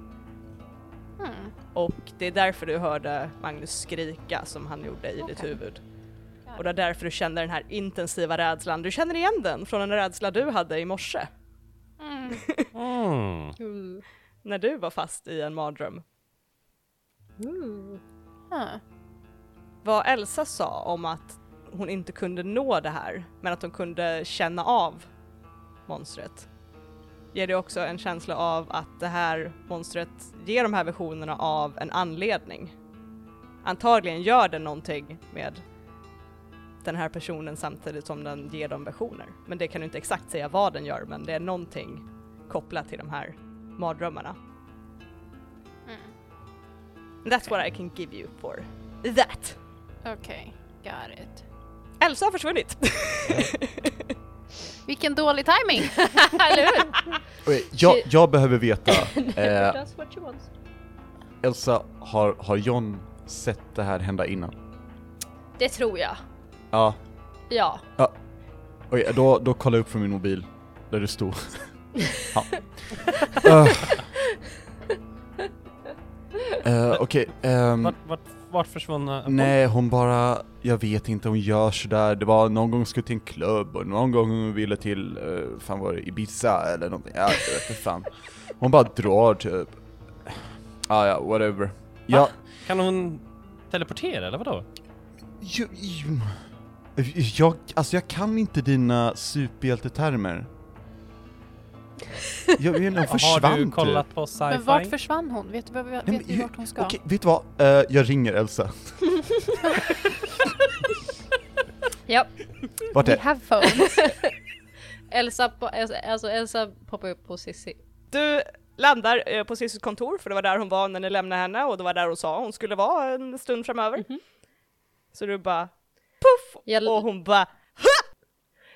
Speaker 4: Hmm.
Speaker 3: och det är därför du hörde Magnus skrika som han gjorde i ditt
Speaker 4: Okej.
Speaker 3: huvud. Och det är därför du känner den här intensiva rädslan. Du känner igen den från en rädsla du hade i morse
Speaker 4: Mm.
Speaker 2: Mm.
Speaker 3: [LAUGHS] när du var fast i en mardröm.
Speaker 1: Mm.
Speaker 4: Huh.
Speaker 3: Vad Elsa sa om att hon inte kunde nå det här men att hon kunde känna av monstret ger det också en känsla av att det här monstret ger de här visionerna av en anledning. Antagligen gör den någonting med den här personen samtidigt som den ger dem visioner. Men det kan du inte exakt säga vad den gör men det är någonting kopplat till de här mardrömmarna.
Speaker 1: Mm.
Speaker 3: That's what I can give you for that.
Speaker 4: Okej, got it.
Speaker 3: Elsa har försvunnit. [LAUGHS]
Speaker 4: Vilken dålig timing.
Speaker 1: Eller hur?
Speaker 5: [LAUGHS] Okej, Jag, jag behöver veta, eh,
Speaker 1: That's what she wants.
Speaker 5: Elsa, har, har John sett det här hända innan?
Speaker 1: Det tror jag.
Speaker 5: Ja.
Speaker 1: Ja.
Speaker 5: ja. Okej, då, då kollar jag upp från min mobil. där du stod. Öh. Eh, Okej, ehm,
Speaker 2: Vart, vart, vart försvunna?
Speaker 5: nej hon bara, jag vet inte, hon gör sådär. Det var någon gång skulle till en klubb och någon gång hon ville till, eh, fan var det Ibiza eller någonting? Ja, jag vet inte fan. Hon bara drar typ. Ah, ja, whatever. Ja,
Speaker 2: Kan hon teleportera eller vadå?
Speaker 5: ju, ju, jag, alltså jag kan inte dina superhjältetermer. Jag vet inte, hon
Speaker 2: [LAUGHS]
Speaker 5: försvann
Speaker 2: Har du
Speaker 5: typ.
Speaker 2: kollat på sci-fi?
Speaker 4: Men vart försvann hon? Vet du vad- vet
Speaker 5: men
Speaker 4: ni
Speaker 5: ju-
Speaker 4: vart hon ska?
Speaker 5: Okej, vet du vad? Eh, jag ringer Elsa.
Speaker 1: Ja,
Speaker 5: Vart
Speaker 6: We
Speaker 5: är
Speaker 6: have phones.
Speaker 1: Elsa, po- Elsa- alltså Elsa poppar upp på Cissi.
Speaker 3: Du landar eh, på Cissis kontor för det var där hon var när ni lämnade henne och det var där hon sa hon skulle vara en stund framöver.
Speaker 4: Mhm.
Speaker 3: Så du bara puff
Speaker 1: Jag-
Speaker 3: och hon bara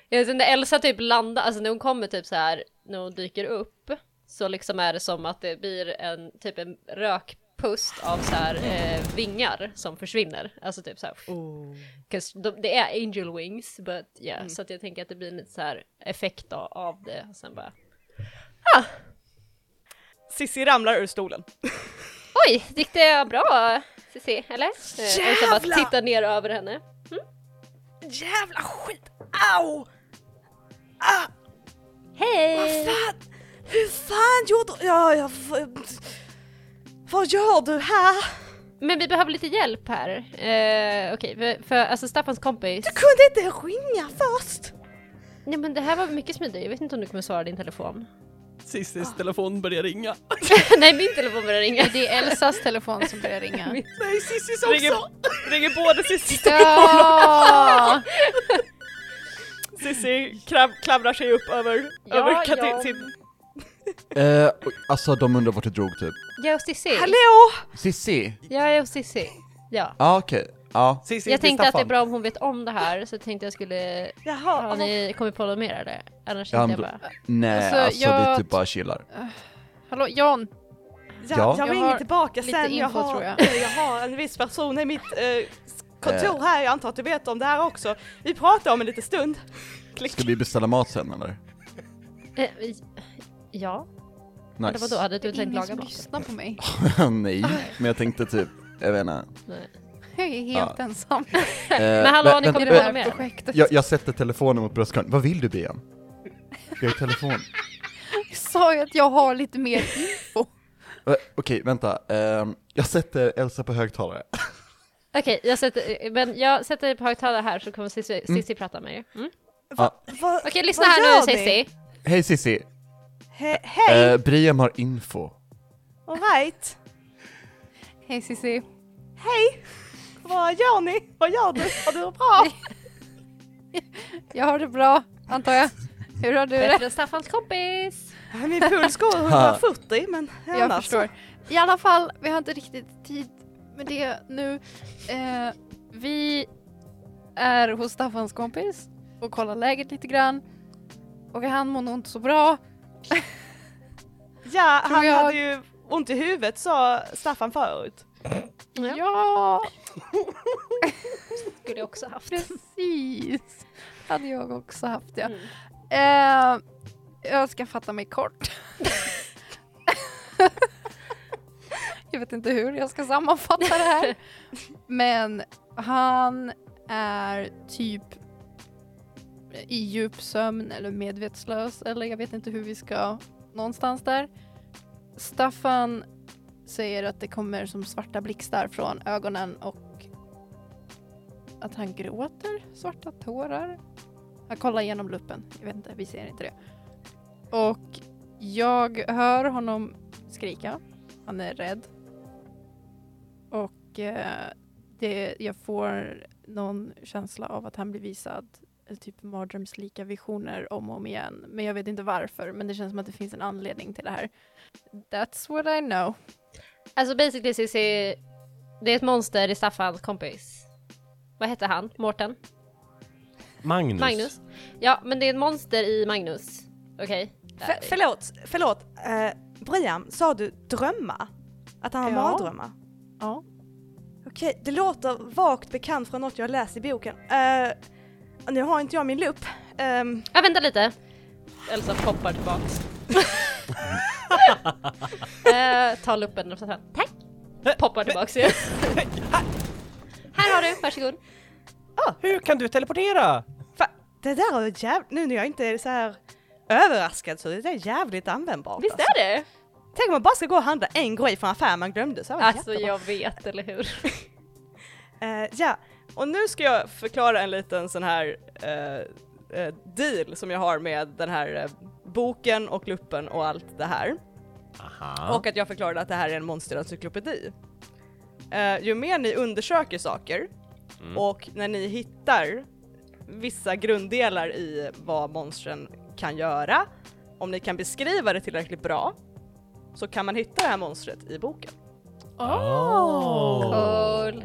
Speaker 1: Jag vet inte, Elsa typ landar, alltså när hon kommer typ så här när hon dyker upp så liksom är det som att det blir en typ en rökpust av så här eh, vingar som försvinner. Alltså typ så här. 'Cause de, det är angel wings, but yeah, så att jag tänker att det blir lite så här effekt då, av det. Och sen bara
Speaker 3: Sissi ramlar ur stolen.
Speaker 1: Oj, gick det bra Cissi? Eller? Eh, Elsa bara tittar ner över henne.
Speaker 3: Jävla skit! Au!
Speaker 1: Hej!
Speaker 3: Fan! Hur fan gjorde... Ja, jag... Vad gör du här?
Speaker 1: Men vi behöver lite hjälp här. Eh, Okej, för, för alltså Staffans kompis.
Speaker 3: Kunde inte ringa först?
Speaker 1: Nej men det här var mycket smidigare, jag vet inte om du kommer svara din
Speaker 3: [LAUGHS]
Speaker 1: telefon. [LAUGHS]
Speaker 2: Cissis telefon börjar ringa.
Speaker 1: Nej min telefon börjar ringa.
Speaker 4: Det är Elsas telefon som börjar
Speaker 1: [LAUGHS]
Speaker 4: ringa.
Speaker 3: Nej, Sissis också! Ringer, ringer både Sissis
Speaker 4: Ja!
Speaker 3: Sissi krabb, klamrar sig upp över,
Speaker 1: Ja,
Speaker 3: över kati-
Speaker 1: jag-
Speaker 3: sin...
Speaker 5: [LAUGHS] Eh, oj, alltså de undrar vart du drog typ.
Speaker 1: Jag är hos Cissi.
Speaker 3: Hallå!
Speaker 5: Sissi? Ja
Speaker 1: Jag är hos Cissi. Ja.
Speaker 5: ah, okej, ja.
Speaker 2: Cissi,
Speaker 1: Jag
Speaker 2: till
Speaker 1: tänkte att det är
Speaker 2: Staffan.
Speaker 1: bra om hon vet om det här så jag tänkte jag skulle...
Speaker 3: Jaha,
Speaker 1: Har
Speaker 3: vad-
Speaker 1: ni kommit på något mer eller? Annars
Speaker 5: Ja,
Speaker 1: tänkte jag
Speaker 5: men
Speaker 1: bara...
Speaker 5: Nej
Speaker 4: Alltså,
Speaker 5: alltså,
Speaker 4: jag-
Speaker 5: vi typ bara chillar.
Speaker 4: Hallå Jan!
Speaker 3: ja,
Speaker 5: Ja.
Speaker 3: jag
Speaker 4: Jag
Speaker 3: ringer
Speaker 4: har
Speaker 3: tillbaka
Speaker 4: lite
Speaker 3: sen, jag
Speaker 4: info,
Speaker 3: har, [LAUGHS]
Speaker 4: tror
Speaker 3: jag.
Speaker 4: jag.
Speaker 3: har en viss person i mitt eh, kontor här, jag antar att du vet om det här också. Vi pratar om en liten stund. Klick.
Speaker 5: Ska vi beställa mat sen eller?
Speaker 1: Eh, Ja, eller vadå?
Speaker 5: Nice.
Speaker 1: Hade du tänkt
Speaker 4: Ingen
Speaker 1: laga
Speaker 4: som
Speaker 1: mat?
Speaker 4: lyssnar på mig.
Speaker 5: [LAUGHS] Ah. Nej, men jag tänkte typ, jag vet inte.
Speaker 1: Nej.
Speaker 4: Jag är helt ensam
Speaker 5: Eh,
Speaker 1: Men hallå, ni
Speaker 5: vä-
Speaker 1: kommer
Speaker 4: i
Speaker 5: vä-
Speaker 4: det här
Speaker 1: med?
Speaker 4: projektet.
Speaker 5: jag, jag sätter telefonen mot bröstkorgen. Vad vill du Bian? Jag är i telefon.
Speaker 4: Jag sa ju att jag har lite mer info.
Speaker 5: Eh, Okej, vänta. Ehm, jag sätter Elsa på högtalare.
Speaker 1: Okej, jag sätter... Men jag sätter dig på högtalare här så kommer Cissi, Cissi prata med er. Mm.
Speaker 3: Va-
Speaker 1: Okej, lyssna
Speaker 3: vad
Speaker 1: här nu
Speaker 3: gör ni?
Speaker 1: Cissi.
Speaker 5: Hej Sissi!
Speaker 3: He- Hej,
Speaker 5: Eh, Brian har info.
Speaker 3: alright.
Speaker 4: Hej Cissi.
Speaker 3: Hej! Vad gör ni? Vad gör du? Har du det bra?
Speaker 4: Jag har det bra, antar jag. Hur har du det?
Speaker 1: Bättre än Staffans kompis!
Speaker 3: Min puls [LAUGHS] går 140 men alltså.
Speaker 4: Jag förstår. I alla fall, vi har inte riktigt tid med det nu. Eh, vi är hos Staffans kompis och kollar läget lite grann. Och han mår nog inte så bra.
Speaker 3: Ja,
Speaker 4: Tror
Speaker 3: han
Speaker 4: jag-
Speaker 3: hade ju ont i huvudet sa Staffan förut.
Speaker 1: Ja.
Speaker 4: Ja,
Speaker 1: Skulle jag också haft.
Speaker 4: precis. Hade jag också haft ja.
Speaker 1: Mm.
Speaker 4: Eh, jag ska fatta
Speaker 1: [LAUGHS]
Speaker 4: mig kort. jag vet inte hur jag ska sammanfatta det här. Men han är typ i djup sömn eller medvetslös eller jag vet inte hur vi ska någonstans där. Staffan säger att det kommer som svarta blixtar från ögonen och att han gråter svarta tårar. Han kollar genom luppen. Jag vet inte, vi ser inte det. Och jag hör honom skrika. Han är rädd. Och eh, det, jag får någon känsla av att han blir visad eh, typ mardrömslika visioner om och om igen. Men jag vet inte varför, men det känns som att det finns en anledning till det här. That's what I know.
Speaker 1: Alltså basically Cissi, det är ett monster i Staffans kompis. Vad hette han? Mårten?
Speaker 2: Magnus.
Speaker 1: Magnus? Ja, men det är ett monster i Magnus. Okej?
Speaker 3: F- förlåt, förlåt. Uh, Brian, sa du drömma? Att han har
Speaker 4: Ja.
Speaker 3: mardrömmar?
Speaker 4: Ja.
Speaker 3: Okej, det låter vagt bekant från något jag läst i boken. Eh, nu har inte jag min lupp. Ehm,
Speaker 1: Ja, vänta lite. Elsa poppar tillbaks. eh, tar luppen och så här, tack! Poppar tillbaks igen. här har du, varsågod.
Speaker 2: Ah, hur kan du teleportera?
Speaker 3: Fa- det där är jävligt, nu när jag inte är så här överraskad så det där är jävligt användbart.
Speaker 1: Visst
Speaker 3: alltså.
Speaker 1: är det?
Speaker 3: Tänk om man bara ska gå och handla en grej från affären man glömde. Så här var det
Speaker 1: Alltså
Speaker 3: jättebra.
Speaker 1: jag vet, eller hur?
Speaker 3: Eh, ja, och nu ska jag förklara en liten sån här eh, eh, deal som jag har med den här eh, boken och luppen och allt det här.
Speaker 2: Aha.
Speaker 3: Och att jag förklarade att det här är en monsterencyklopedi. Eh, ju mer ni undersöker saker och när ni hittar vissa grunddelar i vad monstren kan göra, om ni kan beskriva det tillräckligt bra, så kan man hitta det här monstret i boken.
Speaker 2: Oh.
Speaker 1: Cool.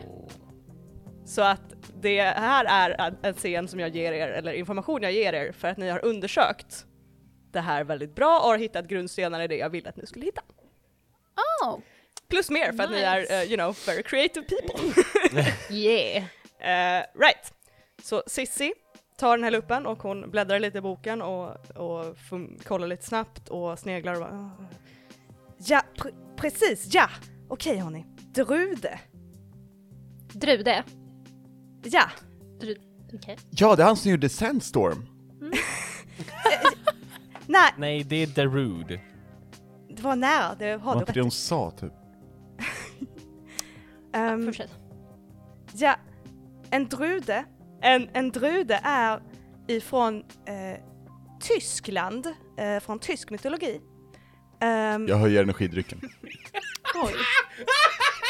Speaker 3: Så att det här är en- en scen som jag ger er, eller information jag ger er, för att ni har undersökt det här väldigt bra och har hittat grundstenar i det jag ville att ni skulle hitta.
Speaker 4: Oh.
Speaker 3: Plus mer för att ni är, eh, you know, very creative people.
Speaker 1: Yeah.
Speaker 3: Eh, right. Så Sissi tar den här luppen och hon bläddrar lite i boken och, och fun- kollar lite snabbt och sneglar och bara, "Ah." Ja, pre- precis, ja! Okej hörni. Drude.
Speaker 1: Drude.
Speaker 3: Ja.
Speaker 1: Okej.
Speaker 5: Ja, det är han som gjorde Sandstorm.
Speaker 3: Nej,
Speaker 2: Nej, det är Darude.
Speaker 3: det var nära. Det har
Speaker 5: Var
Speaker 3: du
Speaker 5: inte det
Speaker 3: rätt.
Speaker 5: hon sa typ?
Speaker 3: Ehm,
Speaker 1: Fortsätt.
Speaker 3: ja, en drude. En, en drude är ifrån eh, Tyskland, eh, från tysk mytologi. Ehm,
Speaker 5: Jag höjer energidrycken.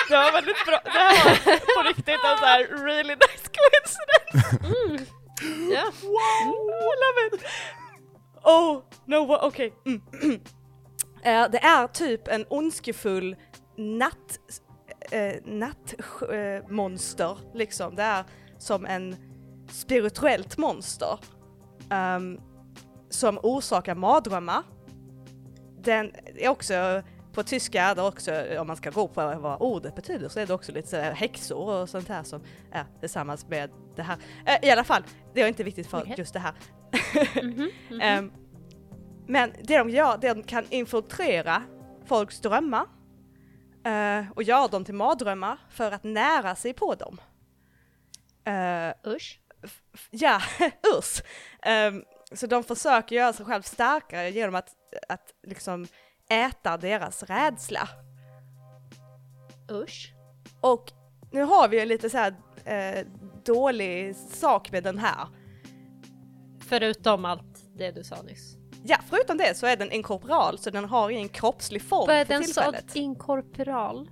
Speaker 3: Det var väldigt bra. Det här var på riktigt en sån här really nice coincidence.
Speaker 1: Ja.
Speaker 3: Wow, I love it! Oh, no, wa- okej. Mm. [CLEARS THROAT] Eh, det är typ en ondskefull natt, eh, nattmonster eh, monster, liksom. Det är som en spirituellt monster ehm, som orsakar mardrömmar. Den är också på tyska, det är också, om man ska gå på vad ordet betyder, så är det också lite så här häxor och sånt här som är tillsammans med det här. Eh, I alla fall, det är inte viktigt för
Speaker 1: Okej.
Speaker 3: just det här. [LAUGHS]
Speaker 1: Mhm, mhm.
Speaker 3: Ehm, men det de gör, det de kan infiltrera folks drömmar eh, och göra dem till mardrömmar för att nära sig på dem. Eh,
Speaker 1: Usch.
Speaker 3: ja, [LAUGHS] usch! Ehm, så de försöker göra sig själv starkare genom att, att liksom äta deras rädsla.
Speaker 1: Usch.
Speaker 3: Och nu har vi ju lite så här eh, dålig sak med den här.
Speaker 1: Förutom allt det du sa nyss.
Speaker 3: Ja, förutom det så är den inkorporal så den har ingen kroppslig form
Speaker 1: Vad är
Speaker 3: för
Speaker 1: den så
Speaker 3: tillfället.
Speaker 1: inkorporal?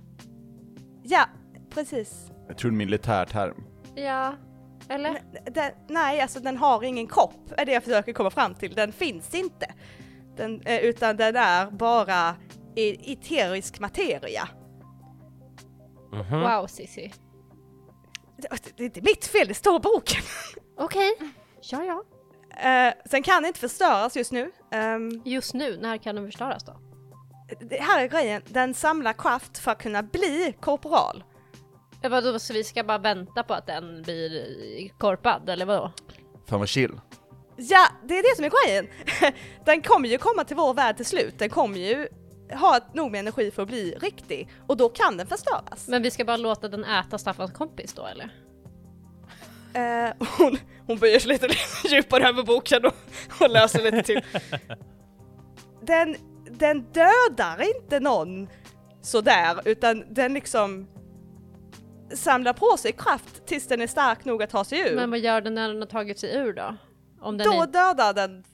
Speaker 3: Ja, precis.
Speaker 5: Jag tror det är en militärterm.
Speaker 1: Ja. Eller?
Speaker 3: Mm. Den, nej, alltså den har ingen kropp är det jag försöker komma fram till. Den finns inte. Den, eh, utan den är bara i- eterisk materia.
Speaker 2: Mhm.
Speaker 1: Wow Cissi.
Speaker 3: Det, det är inte mitt fel, det står i boken. [LAUGHS]
Speaker 1: Okej. Ja, ja.
Speaker 3: Eh, sen kan den inte förstöras just nu. Ehm,
Speaker 1: Just nu, när kan den förstöras då?
Speaker 3: det här är grejen, den samlar kraft för att kunna bli korporal.
Speaker 1: Eh, Vadå, så vi ska bara vänta på att den blir eh, korpad, eller vadå?
Speaker 5: Fan vad chill.
Speaker 3: Ja, det är det som är grejen! [LAUGHS] Den kommer ju komma till vår värld till slut, den kommer ju ha nog med energi för att bli riktig och då kan den förstöras.
Speaker 1: Men vi ska bara låta den äta Staffans kompis då, eller?
Speaker 3: Eh, [LAUGHS] hon, hon böjer sig lite [LAUGHS] djupare över boken och, och läser
Speaker 1: [LAUGHS]
Speaker 3: lite till. Den, den dödar inte någon sådär, utan den liksom samlar på sig kraft tills den är stark nog att ta sig ur.
Speaker 1: Men vad gör den när den har tagit sig ur då? Om den
Speaker 3: då
Speaker 1: är...
Speaker 3: dödar den...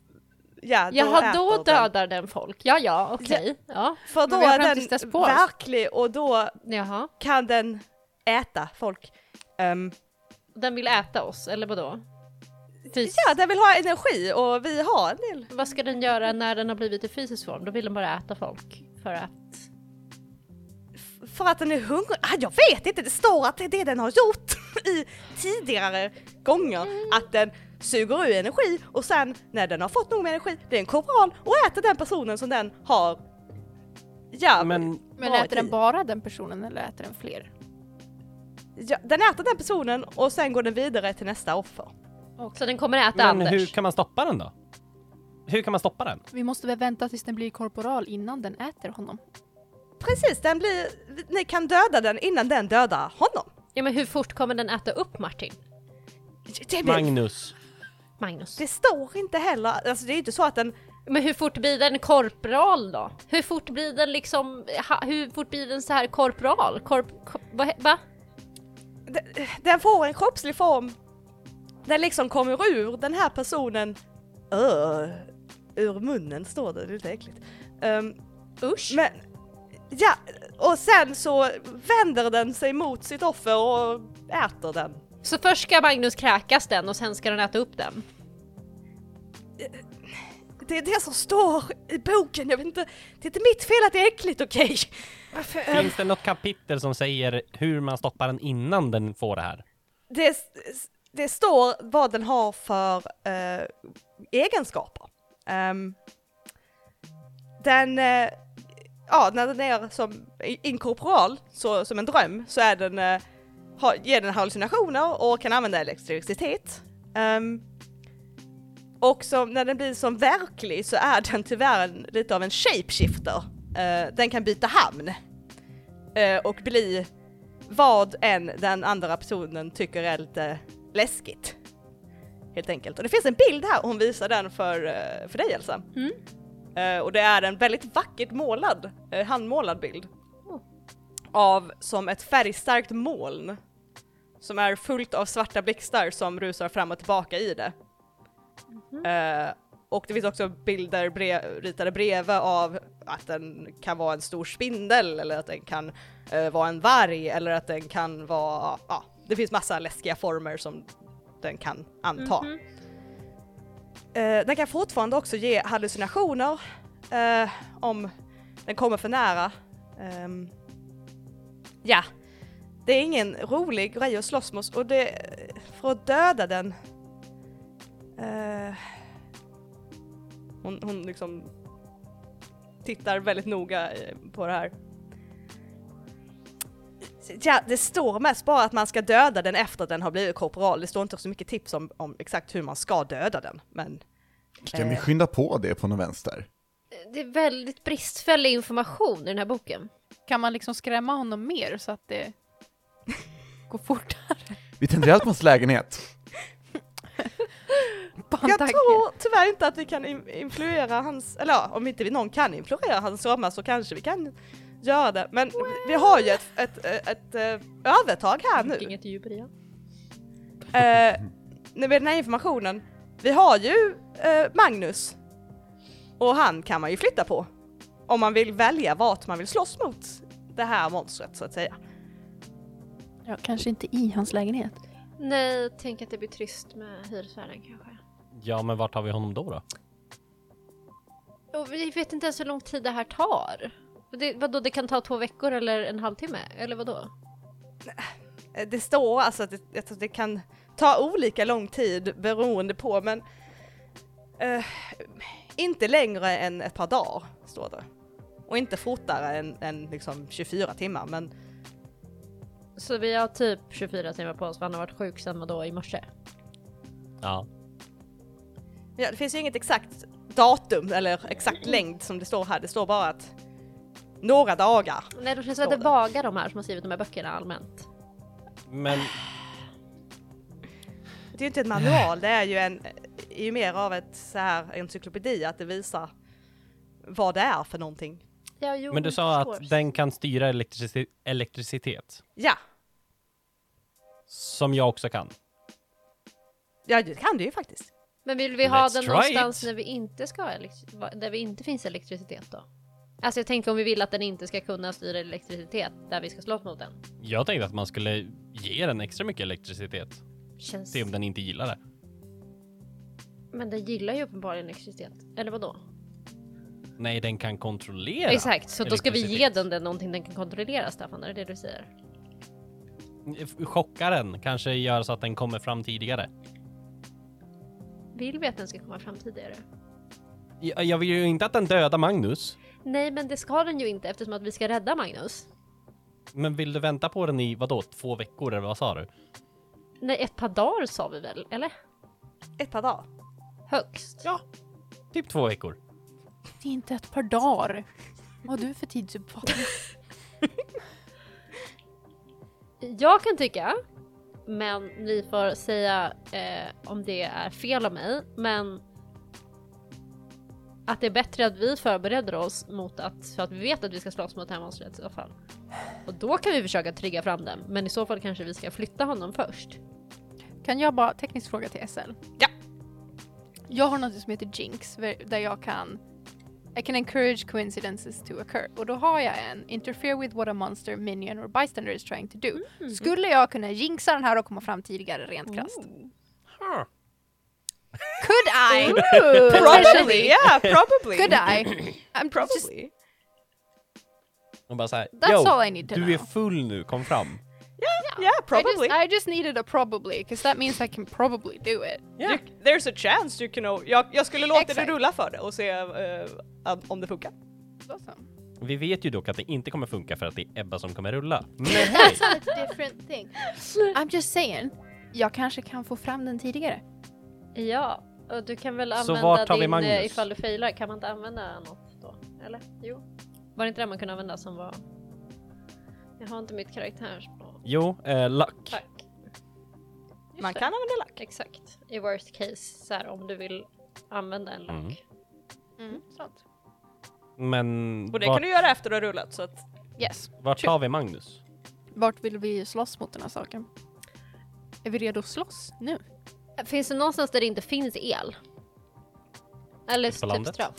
Speaker 3: Ja, då
Speaker 1: Jaha,
Speaker 3: äter
Speaker 1: då
Speaker 3: den.
Speaker 1: dödar den folk. Ja, ja, okej. Ja.
Speaker 3: För
Speaker 1: Men
Speaker 3: då
Speaker 1: vi har fram
Speaker 3: är
Speaker 1: tills dess
Speaker 3: den
Speaker 1: på oss.
Speaker 3: verklig och då
Speaker 1: Jaha.
Speaker 3: kan den äta folk. Ehm,
Speaker 1: Den vill äta oss, eller vadå? Fys-
Speaker 3: ja, den vill ha energi och vi har en del.
Speaker 1: Vad ska den göra när den har blivit i fysisk form? Då vill den bara äta folk. För att...
Speaker 3: För att den är hungrig? Ah, jag vet inte, det står att det är det den har gjort [LAUGHS] i tidigare gånger. Att den suger ur energi och sen när den har fått nog med energi, det är en korporal och äter den personen som den har. Ja,
Speaker 2: Men
Speaker 4: Men
Speaker 3: Vad
Speaker 4: äter den
Speaker 3: i?
Speaker 4: bara den personen eller äter den fler?
Speaker 3: ja, den äter den personen och sen går den vidare till nästa offer.
Speaker 1: Så den kommer äta
Speaker 2: Men
Speaker 1: Anders.
Speaker 2: hur kan man stoppa den då? hur kan man stoppa den?
Speaker 4: Vi måste väl vänta tills den blir korporal innan den äter honom.
Speaker 3: Precis, den blir, ni kan döda den innan den dödar honom.
Speaker 1: Ja men hur fort kommer den äta upp Martin?
Speaker 3: Det, blir,
Speaker 2: Magnus.
Speaker 1: Magnus.
Speaker 3: det står inte heller, alltså det är ju inte så att den,
Speaker 1: Men hur fort blir den korpral då? Hur fort blir den liksom, ha, hur fort blir den så här korpral? Korp, korp va, va?
Speaker 3: den, den får en kroppslig form. Den liksom kommer ur den här personen, öh, ur munnen står det, det är lite äckligt. Ehm,
Speaker 1: Usch.
Speaker 3: Men, ja, och sen så vänder den sig mot sitt offer och äter den.
Speaker 1: Så först ska Magnus kräkas den och sen ska den äta upp den.
Speaker 3: Det är det som står i boken, jag vet inte, det är inte mitt fel att det är äckligt, okej?
Speaker 2: Finns det något kapitel som säger hur man stoppar den innan den får det här?
Speaker 3: Det, det står vad den har för eh, egenskaper. Ehm, den, eh, ja, när den är som inkorporal, så, som en dröm, så är den, eh, ha, ger den hallucinationer och kan använda elektricitet. Ehm, och som, när den blir som verklig så är den tyvärr en, lite av en shapeshifter. Eh, den kan byta hamn eh, och bli vad än den andra personen tycker är lite läskigt. Helt enkelt. Och det finns en bild här, hon visar den för, eh, för dig Elsa.
Speaker 4: Mm.
Speaker 3: Eh, Och det är en väldigt vackert målad, eh, handmålad bild. Av som ett färgstarkt moln. Som är fullt av svarta blixtar som rusar fram och tillbaka i det. Eh, och det finns också bilder bre- ritade bredvid av att den kan vara en stor spindel eller att den kan eh, vara en varg eller att den kan vara, ja, det finns massa läskiga former som den kan anta. Eh, den kan fortfarande också ge hallucinationer eh, om den kommer för nära. Ehm, ja, det är ingen rolig grej att slåss mot och det, för att döda den eh, hon, hon liksom tittar väldigt noga eh, på det här. Ja, det står mest bara att man ska döda den efter att den har blivit korporal. Det står inte så mycket tips om, om exakt hur man ska döda den. Men
Speaker 5: Kan vi
Speaker 3: Eh.
Speaker 5: skynda på det på någon vänster?
Speaker 1: Det är väldigt bristfällig information i den här boken.
Speaker 4: Kan man liksom skrämma honom mer så att
Speaker 3: [LAUGHS]
Speaker 4: det går fortare?
Speaker 5: Vi tänder eld på hans lägenhet.
Speaker 4: Bara en
Speaker 3: jag
Speaker 4: tanke.
Speaker 3: tror tyvärr inte att vi kan in- influera hans, eller ja, om inte vi någon kan influera hans ramar så kanske vi kan göra det. Men vi har ju ett, ett, ett, ett eh, övertag här nu.
Speaker 1: Inget djup i den.
Speaker 3: Eh, nu med den här informationen, vi har ju eh, Magnus och han kan man ju flytta på om man vill välja vart man vill slåss mot det här monstret så att säga.
Speaker 4: Ja, kanske inte i hans lägenhet.
Speaker 1: Nej, tänk att det blir trist med hyresvärden kanske.
Speaker 2: Ja, men vart har vi honom då? då?
Speaker 1: Och vi vet inte ens hur lång tid det här tar. Det, vadå, det kan ta två veckor eller en halvtimme? Eller vadå?
Speaker 3: Eh, Det står alltså att det, att det kan ta olika lång tid beroende på men eh, inte längre än ett par dagar står det. Och inte fortare än, än liksom 24 timmar men
Speaker 1: Så vi har typ 24 timmar på oss för han har varit sjuk sen då i morse.
Speaker 2: Ja.
Speaker 3: Ja, det finns ju inget exakt datum eller exakt längd som det står här. Det står bara att några dagar.
Speaker 1: Nej, de känns väldigt
Speaker 3: Står
Speaker 1: vaga de här som har skrivit de här böckerna allmänt.
Speaker 2: Men
Speaker 3: Det är ju inte en manual, det är ju en, är ju mer av ett så här encyklopedi att det visar vad det är för någonting.
Speaker 1: Ja, jo,
Speaker 2: Men du
Speaker 1: jag
Speaker 2: sa
Speaker 1: förstår.
Speaker 2: att den kan styra elektrici- elektricitet,
Speaker 3: Ja,
Speaker 2: som jag också kan.
Speaker 3: ja det kan du ju faktiskt.
Speaker 1: Men vill vi ha
Speaker 2: Let's
Speaker 1: den
Speaker 2: try
Speaker 1: någonstans
Speaker 2: it.
Speaker 1: när vi inte ska ha elektri- va- där vi inte finns elektricitet då? Alltså jag tänker om vi vill att den inte ska kunna styra elektricitet där vi ska slåss mot den.
Speaker 2: Jag tänkte att man skulle ge den extra mycket elektricitet,
Speaker 1: Känns...
Speaker 2: se om den inte gillar det.
Speaker 1: Men den gillar ju uppenbarligen elektricitet. Eller vadå?
Speaker 2: Nej, den kan kontrollera.
Speaker 1: Exakt, så då ska vi ge
Speaker 2: elektricitet.
Speaker 1: den, den någonting den kan kontrollera Staffan, är det det du säger?
Speaker 2: F- Chocka den, kanske göra så att den kommer fram tidigare.
Speaker 1: Vill vi att den ska komma fram tidigare?
Speaker 2: Jag, jag vill ju inte att den dödar Magnus,
Speaker 1: Nej, men det ska den ju inte eftersom att vi ska rädda Magnus.
Speaker 2: men vill du vänta på den i vadå, två veckor eller vad sa du?
Speaker 1: Nej, ett par dagar sa vi väl, eller?
Speaker 3: Ett par dagar.
Speaker 1: Högst.
Speaker 2: Ja. Typ två veckor.
Speaker 4: Det är inte ett par dagar. Vad har du för tidsuppfattning?
Speaker 1: Jag kan tycka, men ni får säga eh, om det är fel av mig, men att det är bättre att vi förbereder oss mot att, för att vi vet att vi ska slåss mot det här monstret i alla fall. Och då kan vi försöka trigga fram den, men i så fall kanske vi ska flytta honom först.
Speaker 4: Kan jag bara teknisk fråga till SL?
Speaker 3: Ja.
Speaker 4: Jag har något som heter Jinx ver- där jag kan I can encourage coincidences to occur. Och då har jag en interfere with what a monster, minion or bystander is trying to do.
Speaker 3: Mm.
Speaker 4: Skulle jag kunna jinxa den här och komma fram tidigare rent krasst?
Speaker 2: Huh.
Speaker 4: Could I?
Speaker 3: Probably, yeah, probably. [CLEARS THROAT]
Speaker 4: Could I? I'm just,
Speaker 3: Probably.
Speaker 2: Och bara såhär,
Speaker 4: that's
Speaker 2: yo,
Speaker 4: all I need to
Speaker 2: du
Speaker 4: know.
Speaker 2: är full nu, kom fram.
Speaker 3: Yeah,
Speaker 4: I
Speaker 3: probably.
Speaker 4: just, I just needed a probably, because that means I can probably do it.
Speaker 3: You, there's a chance you can... o- Jag, jag skulle låta
Speaker 4: Exakt.
Speaker 3: det rulla för det och se eh, om- om det funkar.
Speaker 4: Awesome.
Speaker 2: Vi vet ju dock att det inte kommer funka för att det är Ebba som kommer rulla.
Speaker 1: [LAUGHS]
Speaker 2: Men hej!
Speaker 4: a different thing. I'm just saying, jag kanske kan få fram den tidigare.
Speaker 1: Ja, och du kan väl
Speaker 2: Så
Speaker 1: använda
Speaker 2: vart har vi
Speaker 1: din
Speaker 2: Magnus?
Speaker 1: eh, ifall du failar, kan man inte använda något då? Eller? Jo. Var det inte det man kunde använda som var... Jag har inte mitt karaktärsblad.
Speaker 2: Jo, eh, luck.
Speaker 1: Tack. Just
Speaker 3: Man
Speaker 1: det.
Speaker 3: kan använda lack.
Speaker 1: Exakt. I worst case, så här, om du vill använda en lock.
Speaker 2: Mm.
Speaker 4: Mm, sånt.
Speaker 2: Men
Speaker 3: Och det
Speaker 2: vart,
Speaker 3: kan du göra efter du har rullat så att...
Speaker 4: Yes.
Speaker 2: vart tar vi Magnus?
Speaker 4: Vart vill vi slåss mot den här saken? Är vi redo att slåss nu?
Speaker 1: Finns det någonstans där det inte finns el? Eller
Speaker 2: På
Speaker 1: typ
Speaker 2: landet?
Speaker 1: ström?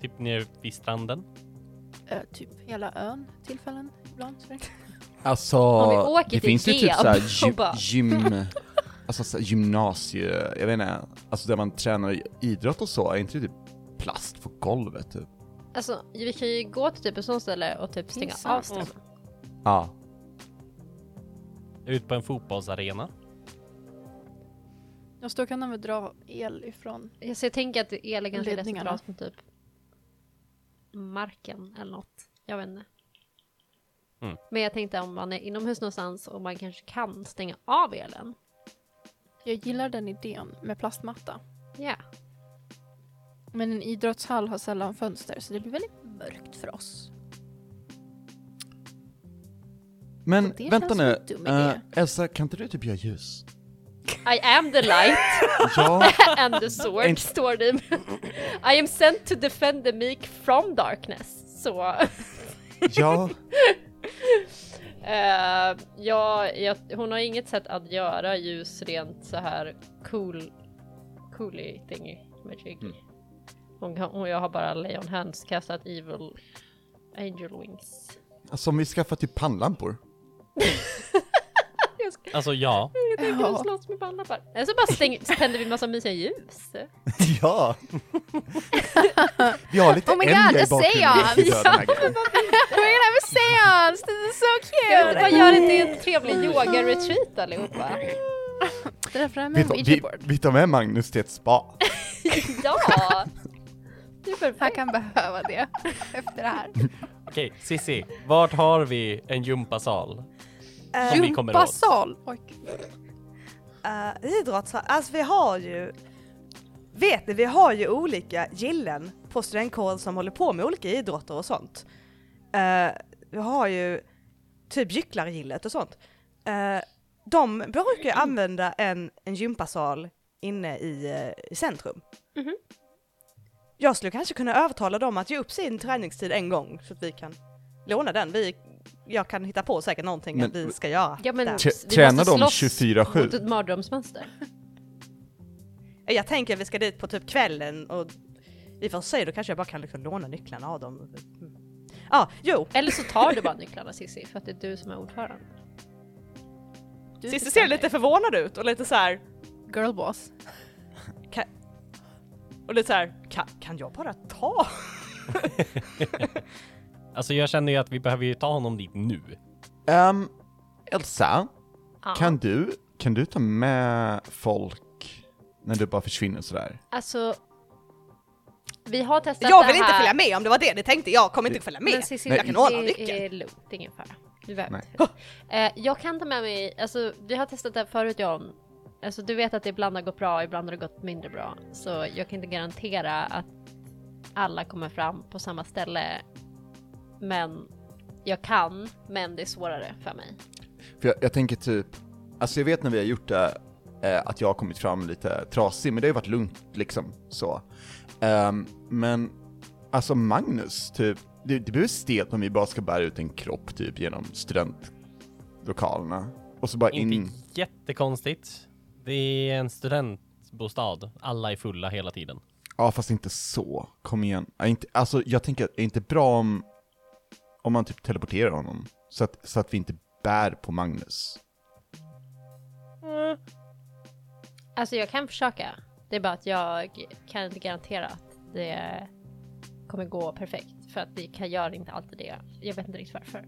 Speaker 2: Typ nere vid stranden?
Speaker 4: Ö, typ hela ön tillfällen ibland. sorry. [LAUGHS]
Speaker 5: Alltså,
Speaker 1: Om vi åker till
Speaker 5: det finns ju typ
Speaker 1: Ikea
Speaker 5: såhär
Speaker 1: och
Speaker 5: gy-
Speaker 1: bara-
Speaker 5: gym... Alltså så här gymnasie, jag vet inte, alltså där man tränar i- idrott och så, är inte det typ plast på golvet typ?
Speaker 1: Alltså, vi kan ju gå till typ ett sånt ställe och typ stänga
Speaker 4: Finns
Speaker 1: av
Speaker 4: sant.
Speaker 2: Mm.
Speaker 1: strömmen.
Speaker 5: Ja.
Speaker 2: Ut på en fotbollsarena?
Speaker 4: Just då kan de väl dra el ifrån.
Speaker 1: Jag, så jag tänker att el är ganska lätt att
Speaker 4: Ledningarna.
Speaker 1: dra från typ marken eller något. Jag vet inte.
Speaker 2: Mm.
Speaker 1: Men jag tänkte om man är inomhus någonstans och man kanske kan stänga av elen.
Speaker 4: Jag gillar den idén med plastmatta.
Speaker 1: Ja.
Speaker 4: Men en idrottshall har sällan fönster så det blir väldigt mörkt för oss.
Speaker 5: Men
Speaker 4: Det
Speaker 5: vänta
Speaker 4: känns
Speaker 5: nu,
Speaker 4: som en dum idé.
Speaker 5: eh, Elsa kan inte du typ göra ljus?
Speaker 1: I am the light
Speaker 4: [LAUGHS]
Speaker 5: Ja,
Speaker 1: and the sword
Speaker 5: Inte-
Speaker 1: står det. [LAUGHS] I am sent to defend the meek from darkness. Så
Speaker 5: ja.
Speaker 1: eh, ja, jag, hon har inget sätt att göra ljus rent så här cool, cooly thingy magic.
Speaker 5: Mm.
Speaker 1: Hon, kan- och jag har bara Leon Hands kastat evil angel wings.
Speaker 5: Alltså om vi skaffar typ pannlampor.
Speaker 1: Jag ska-
Speaker 2: Alltså ja.
Speaker 1: jag tänker
Speaker 4: Ja.
Speaker 1: att slåss med pannlappar. Eller så bara stäng, så tänder vi massa mysiga ljus.
Speaker 5: ja! Vi har lite
Speaker 4: Oh my
Speaker 5: Enya
Speaker 4: god,
Speaker 5: i
Speaker 4: det
Speaker 5: bakgrunden.
Speaker 4: ser jag.
Speaker 5: när vi gör
Speaker 4: [LAUGHS]
Speaker 5: den här grejen.
Speaker 4: We're gonna have a seance! This is so
Speaker 1: Jag
Speaker 4: cute!
Speaker 1: bara gör det till en trevlig yoga-retreat allihopa.
Speaker 4: Det där framme är
Speaker 5: Vi
Speaker 4: en
Speaker 5: tar,
Speaker 4: Ouija
Speaker 5: vi,
Speaker 4: board.
Speaker 5: vi tar med Magnus till ett spa.
Speaker 1: Ja! Det är perfekt.
Speaker 4: Han kan behöva det [LAUGHS] efter det här.
Speaker 2: Okej, Sissi. Vart har vi en gympasal?
Speaker 7: Eh,
Speaker 2: Som vi kommer åt?
Speaker 4: Basal! Oj,
Speaker 7: eh, idrottshall, alltså vi har ju... Vet ni, vi har ju olika gillen på studentkåren som håller på med olika idrotter och sånt. Eh, vi har ju typ gycklargillet och sånt. Eh, de brukar ju använda en, en gympasal inne i, eh, i centrum.
Speaker 1: Mhm.
Speaker 7: Jag skulle kanske kunna övertala dem att ge upp sin träningstid en gång så att vi kan låna den. Vi, jag kan hitta på säkert någonting
Speaker 5: Men-
Speaker 7: att vi ska göra.
Speaker 1: Ja, men
Speaker 7: där.
Speaker 1: vi måste
Speaker 5: tränar de
Speaker 1: slåss
Speaker 5: 24/7?
Speaker 1: mot ett mardrömsmönster.
Speaker 7: Jag tänker att vi ska dit på typ kvällen och i och för sig då kanske jag bara kan liksom låna nycklarna av dem. Mm. Ja, jo,
Speaker 1: Eller så tar du bara nycklarna Cissi, för att det är du som är ordförande.
Speaker 4: du
Speaker 3: Cissi ser lite förvånad ut och lite så här.
Speaker 4: girlboss.
Speaker 3: Och lite så här. Kan, kan jag bara ta?
Speaker 2: Alltså jag känner ju att vi behöver ju ta honom dit nu.
Speaker 5: Ehm, Elsa,
Speaker 1: Ja.
Speaker 5: kan du, kan du ta med folk när du bara försvinner sådär?
Speaker 1: Alltså... Vi har testat
Speaker 7: jag
Speaker 1: det
Speaker 7: vill inte
Speaker 1: här.
Speaker 7: följa med om det var det ni tänkte. Jag kommer inte följa
Speaker 1: Men eh,
Speaker 7: med.
Speaker 1: Cissi,
Speaker 5: Nej.
Speaker 7: Jag kan ordna
Speaker 1: det
Speaker 7: nyckeln.
Speaker 1: är lugnt, det är ingen fara. Du behöver
Speaker 5: Nej.
Speaker 1: inte. Eh, jag kan ta med mig, alltså vi har testat det här förut jag och alltså du vet att det ibland har gått bra, ibland har det gått mindre bra. Så jag kan inte garantera att alla kommer fram på samma ställe. Men jag kan, men det är svårare för mig.
Speaker 5: För jag, jag tänker typ, alltså jag vet när vi har gjort det, eh, att jag har kommit fram lite trasig, men det har ju varit lugnt liksom så. Ehm, men alltså Magnus, typ, det, det blir stelt om vi bara ska bära ut en kropp typ genom studentlokalerna. Och så bara in.
Speaker 2: Inte jättekonstigt. Det är en studentbostad. Alla är fulla hela tiden.
Speaker 5: Ja fast inte så, kom igen. Ja, inte, alltså jag tänker, att det är inte bra om, om man typ teleporterar honom? Så att, så att vi inte bär på Magnus.
Speaker 1: Alltså jag kan försöka. Det är bara att jag kan inte garantera att det kommer gå perfekt. För att det kan göra inte alltid det. Jag vet inte riktigt varför.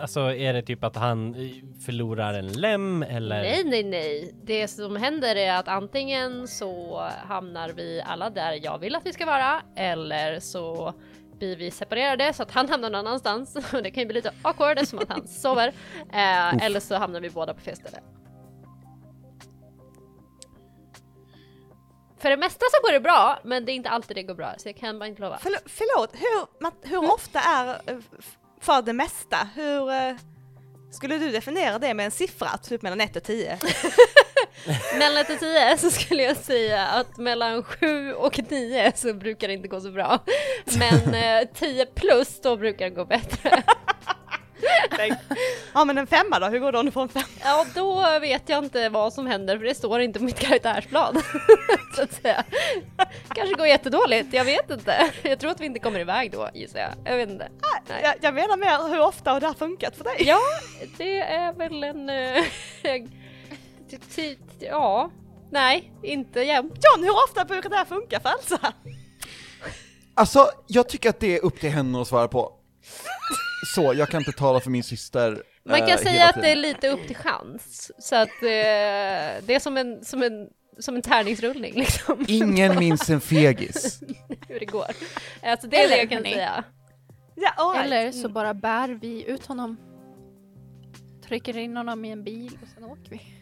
Speaker 2: Alltså är det typ att han eh, förlorar en lem eller?
Speaker 1: Nej, nej, nej. Det som händer är att antingen så hamnar vi alla där jag vill att vi ska vara eller så blir vi separerade så att han hamnar någon annanstans. [LAUGHS] Och det kan ju bli lite awkward eftersom att han sover. Eh, eller så hamnar vi båda på fel ställe. För det mesta så går det bra, men det är inte alltid det går bra, så jag kan bara inte lova.
Speaker 7: Förl- förlåt, hur, Matt-
Speaker 1: Mm.
Speaker 7: hur ofta är eh, f- för det mesta? Hur eh, skulle du definiera det med en siffra, typ mellan 1 och
Speaker 1: [LAUGHS]
Speaker 7: 10?
Speaker 1: Mellan 1 och 10 så skulle jag säga att mellan 7 och 9 så brukar det inte gå så bra. [LAUGHS] Men eh, 10 plus då brukar det gå bättre.
Speaker 7: Tänk. ja men en femma då, hur går det om du får en femma?
Speaker 1: Ja då vet jag inte vad som händer för det står inte på mitt karaktärsblad. [LAUGHS] så att säga. Kanske går jättedåligt, jag vet inte. Jag tror att vi inte kommer iväg då gissar jag. Jag vet inte. Nej.
Speaker 7: Jag, jag menar mer hur ofta har det här funkat för dig?
Speaker 1: Ja, det är väl en... eh, [LAUGHS] t- t- ja, nej, inte jämt.
Speaker 7: John, hur ofta brukar det här funka för Elsa?
Speaker 5: Alltså, jag tycker att det är upp till henne att svara på. Så, jag kan inte tala för min syster.
Speaker 1: Man kan
Speaker 5: eh,
Speaker 1: säga
Speaker 5: hela
Speaker 1: att det är
Speaker 5: tiden.
Speaker 1: lite upp till chans. Så att eh, det är som en, som en, som en tärningsrullning [LAUGHS] liksom.
Speaker 5: Ingen minns
Speaker 1: [LAUGHS]
Speaker 5: en fegis.
Speaker 1: Hur det går. Alltså det är
Speaker 4: Eller,
Speaker 1: det jag kan
Speaker 4: hörni.
Speaker 1: säga.
Speaker 7: Ja, all right.
Speaker 4: Eller så bara bär vi ut honom. Trycker in honom i en bil och sen åker vi.